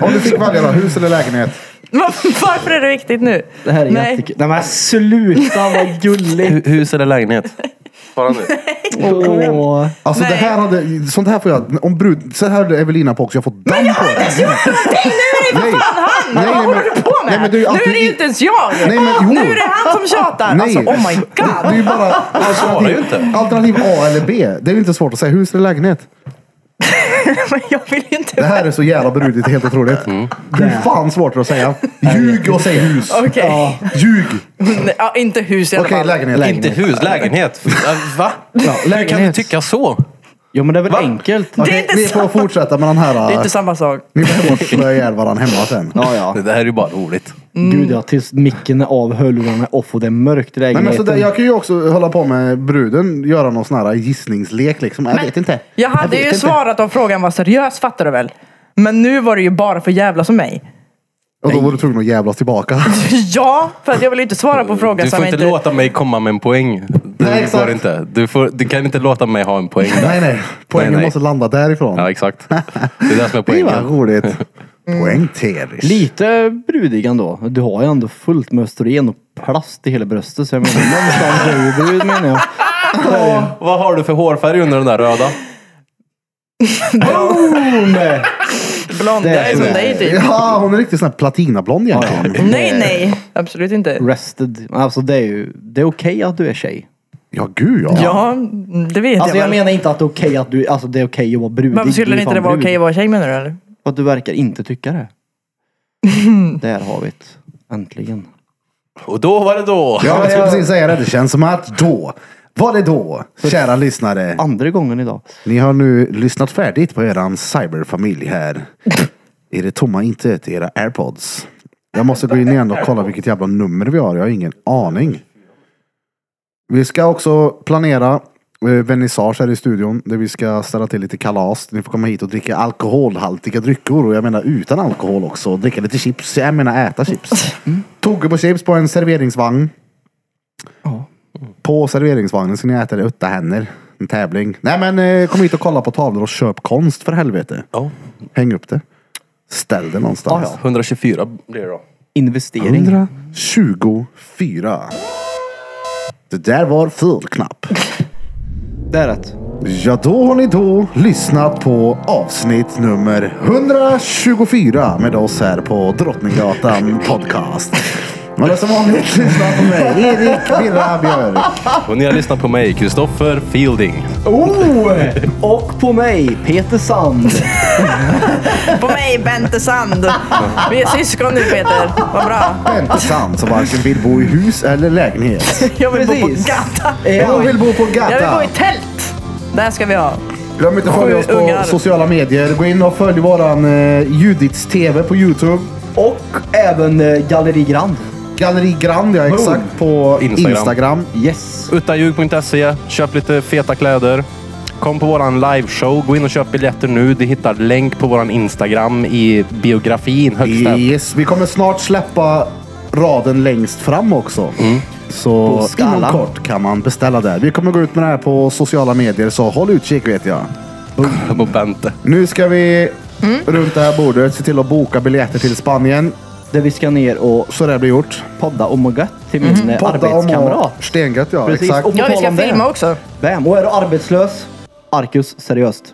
Speaker 1: Om du fick välja då, hus eller lägenhet.
Speaker 2: Var- Varför är det viktigt nu?
Speaker 3: Det här är
Speaker 2: Nej.
Speaker 3: jättekul. Nej men sluta vad gulligt.
Speaker 4: Hu- Hus eller lägenhet? Bara nu.
Speaker 3: Åh.
Speaker 1: Alltså det
Speaker 2: Nej.
Speaker 1: här hade, sånt här får jag, om brud, så här hade Evelina på också, jag får damm på det. Nej.
Speaker 2: Men
Speaker 1: Nej, nej,
Speaker 2: vad
Speaker 1: men-
Speaker 2: håller du på med?
Speaker 1: nej, men det är ju
Speaker 2: nu är det
Speaker 1: alltid-
Speaker 2: ju inte ens jag! Ah,
Speaker 1: Nej, men jo.
Speaker 2: nu är det han som tjatar!
Speaker 1: Nej.
Speaker 2: Alltså, oh my
Speaker 1: Det, det är
Speaker 2: god!
Speaker 1: ju bara
Speaker 4: svarar ju inte.
Speaker 1: alternativ, alternativ A eller B. Det är ju inte svårt att säga hus eller lägenhet.
Speaker 2: Men jag vill ju inte...
Speaker 1: Det här är så jävla brudigt, helt otroligt.
Speaker 4: Mm.
Speaker 1: Hur fan svårt är det att säga? Ljug och säg hus.
Speaker 2: Okej.
Speaker 1: Ljug.
Speaker 2: Nej, Ja, inte hus i alla
Speaker 1: Okej,
Speaker 2: fall.
Speaker 1: lägenhet.
Speaker 4: Inte hus, lägenhet. Äh, Va? Hur kan du
Speaker 3: lägenhet.
Speaker 4: tycka så?
Speaker 3: Ja men det är väl
Speaker 4: Va?
Speaker 3: enkelt.
Speaker 2: Det är
Speaker 1: Okej,
Speaker 2: inte
Speaker 1: ni får
Speaker 2: sant.
Speaker 1: fortsätta med den här.
Speaker 2: Det är inte samma sak.
Speaker 1: Ni får hem och slöa ihjäl varandra hemma sen.
Speaker 3: Ja ja.
Speaker 4: Det här är ju bara roligt.
Speaker 3: Gud ja, tills micken är av, hörlurarna är off och det är mörkt i
Speaker 1: Nej, men så
Speaker 3: lägenheten.
Speaker 1: där, jag kan ju också hålla på med bruden, göra någon sån här gissningslek liksom. Jag vet inte.
Speaker 2: Jag hade ju
Speaker 1: vet inte.
Speaker 2: svarat om frågan var seriös, fattar du väl? Men nu var det ju bara för jävla som mig.
Speaker 1: Och då var du tvungen att jävlas tillbaka.
Speaker 2: Ja, för att jag vill ju inte svara på frågan
Speaker 4: Du
Speaker 2: som
Speaker 4: får
Speaker 2: jag
Speaker 4: inte låta mig komma med en poäng.
Speaker 1: Nej,
Speaker 4: Det
Speaker 1: exakt.
Speaker 4: går inte. Du, får, du kan inte låta mig ha en poäng där.
Speaker 1: nej, nej. Poängen
Speaker 4: Nej, nej.
Speaker 1: måste landa därifrån.
Speaker 4: Ja, exakt. Det är det som är
Speaker 1: det var
Speaker 4: poängen.
Speaker 1: roligt. Poäng Teris.
Speaker 3: Lite brudig ändå. Du har ju ändå fullt med östrogen och plast i hela bröstet. Så jag menar, någonstans är du brud menar jag.
Speaker 4: Vad har du för hårfärg under den där röda?
Speaker 3: Nej.
Speaker 2: Blond,
Speaker 3: Det
Speaker 2: jag
Speaker 3: är
Speaker 2: är som
Speaker 3: så.
Speaker 2: dig typ.
Speaker 1: Ja, hon är riktigt sån här platinablond egentligen.
Speaker 2: Nej, nej. Absolut inte.
Speaker 3: Rested. Alltså det är ju, det är okej att du är tjej.
Speaker 1: Ja, gud ja.
Speaker 2: Ja, det vet
Speaker 3: Alltså
Speaker 2: jag,
Speaker 3: jag
Speaker 2: väl.
Speaker 3: menar inte att det är okej att du, alltså det är okej att vara brudig.
Speaker 2: Varför
Speaker 3: Du
Speaker 2: skulle
Speaker 3: är
Speaker 2: inte
Speaker 3: fan
Speaker 2: det vara
Speaker 3: brud.
Speaker 2: okej att vara tjej menar du eller?
Speaker 3: För att du verkar inte tycka det. Där har vi det. Äntligen.
Speaker 4: Och då var det då.
Speaker 1: Ja, jag skulle precis säga det. Det känns som att då var det då, kära lyssnare.
Speaker 3: Andra gången idag.
Speaker 1: Ni har nu lyssnat färdigt på eran cyberfamilj här. I det tomma intet i era airpods. Jag måste gå in igen och kolla vilket jävla nummer vi har. Jag har ingen aning. Vi ska också planera eh, vernissage här i studion. Där vi ska ställa till lite kalas. Ni får komma hit och dricka alkoholhaltiga drycker. Och jag menar utan alkohol också. Och dricka lite chips. Jag menar äta chips. Tugga på chips på en serveringsvagn.
Speaker 3: Ja.
Speaker 1: På serveringsvagnen ska ni äta det utta händer. En tävling. Nej men eh, kom hit och kolla på tavlor och köp konst för helvete.
Speaker 4: Ja.
Speaker 1: Häng upp det. Ställ det någonstans.
Speaker 4: 124 blir det då.
Speaker 3: Investering.
Speaker 1: 124. Det där var full knapp.
Speaker 3: Det är rätt.
Speaker 1: Ja, då har ni då lyssnat på avsnitt nummer 124 med oss här på Drottninggatan Podcast. Men det är som vanligt, lyssna på mig, Erik Birra Björk.
Speaker 4: Och ni har lyssnat på mig, Kristoffer Fielding.
Speaker 3: Oh! Och på mig, Peter Sand.
Speaker 2: På mig, Bente Sand. Vi är syskon nu Peter. Vad bra.
Speaker 1: Bente Sand som varken vill bo i hus eller lägenhet.
Speaker 2: Jag vill bo på
Speaker 3: Precis.
Speaker 2: gatan.
Speaker 1: Hon vill bo på
Speaker 2: Jag vill bo
Speaker 1: gatan.
Speaker 2: i tält. Där ska vi ha.
Speaker 1: Glöm inte att följa oss på
Speaker 2: ungar.
Speaker 1: sociala medier. Gå in och följ våran eh, Judits TV på Youtube.
Speaker 3: Och även eh, Galleri Grand.
Speaker 1: Galleri Grand, ja
Speaker 3: Oh.
Speaker 1: exakt, på
Speaker 4: Instagram.
Speaker 1: Instagram.
Speaker 3: Yes.
Speaker 4: Uttanljug.se, E. köp lite feta kläder. Kom på våran liveshow, gå in och köp biljetter nu. Du hittar länk på våran Instagram i biografin högst upp.
Speaker 1: Yes, vi kommer snart släppa raden längst fram också. Så
Speaker 3: Mm. På skalan.
Speaker 1: inom kort kan man beställa där. Vi kommer gå ut med det här på sociala medier, så håll utkik vet jag.
Speaker 4: På Bente.
Speaker 1: Nu ska vi
Speaker 2: Mm.
Speaker 1: runt det här bordet se till att boka biljetter till Spanien.
Speaker 3: Där vi ska ner och
Speaker 1: Så det blir gjort.
Speaker 3: podda om och gött till
Speaker 2: Mhm.
Speaker 3: min eh,
Speaker 1: Podda om och
Speaker 3: arbetskamrat.
Speaker 1: stengött ja,
Speaker 3: Precis.
Speaker 1: exakt.
Speaker 3: Och-
Speaker 2: Ja, vi
Speaker 3: tala
Speaker 2: ska
Speaker 3: om det.
Speaker 2: filma också.
Speaker 3: Bam. Och är du arbetslös? Arkus, seriöst.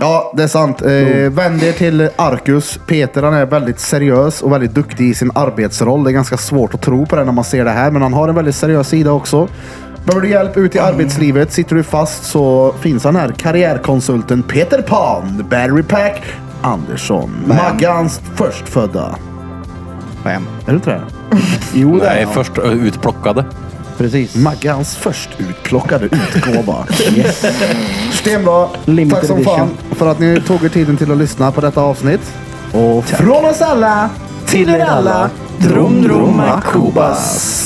Speaker 1: Ja, det är sant. Eh, vänd er till Arkus. Peter han är väldigt seriös och väldigt duktig i sin arbetsroll. Det är ganska svårt att tro på det när man ser det här, men han har en väldigt seriös sida också. Behöver du hjälp ut i arbetslivet, sitter du fast så finns han här. Karriärkonsulten Peter Pan, Barry Pack Andersson. Maggans förstfödda.
Speaker 3: Bam.
Speaker 1: Är du inte det? Jo, det är
Speaker 4: Nej,
Speaker 1: han.
Speaker 4: först ö, utplockade.
Speaker 3: Precis.
Speaker 1: Maggans först utplockade utgåva. yes. Stenbra.
Speaker 3: Limited
Speaker 1: Tack som
Speaker 3: edition.
Speaker 1: fan för att ni tog er tiden till att lyssna på detta avsnitt. Och från oss alla till er alla. Drum, drum, Kubas.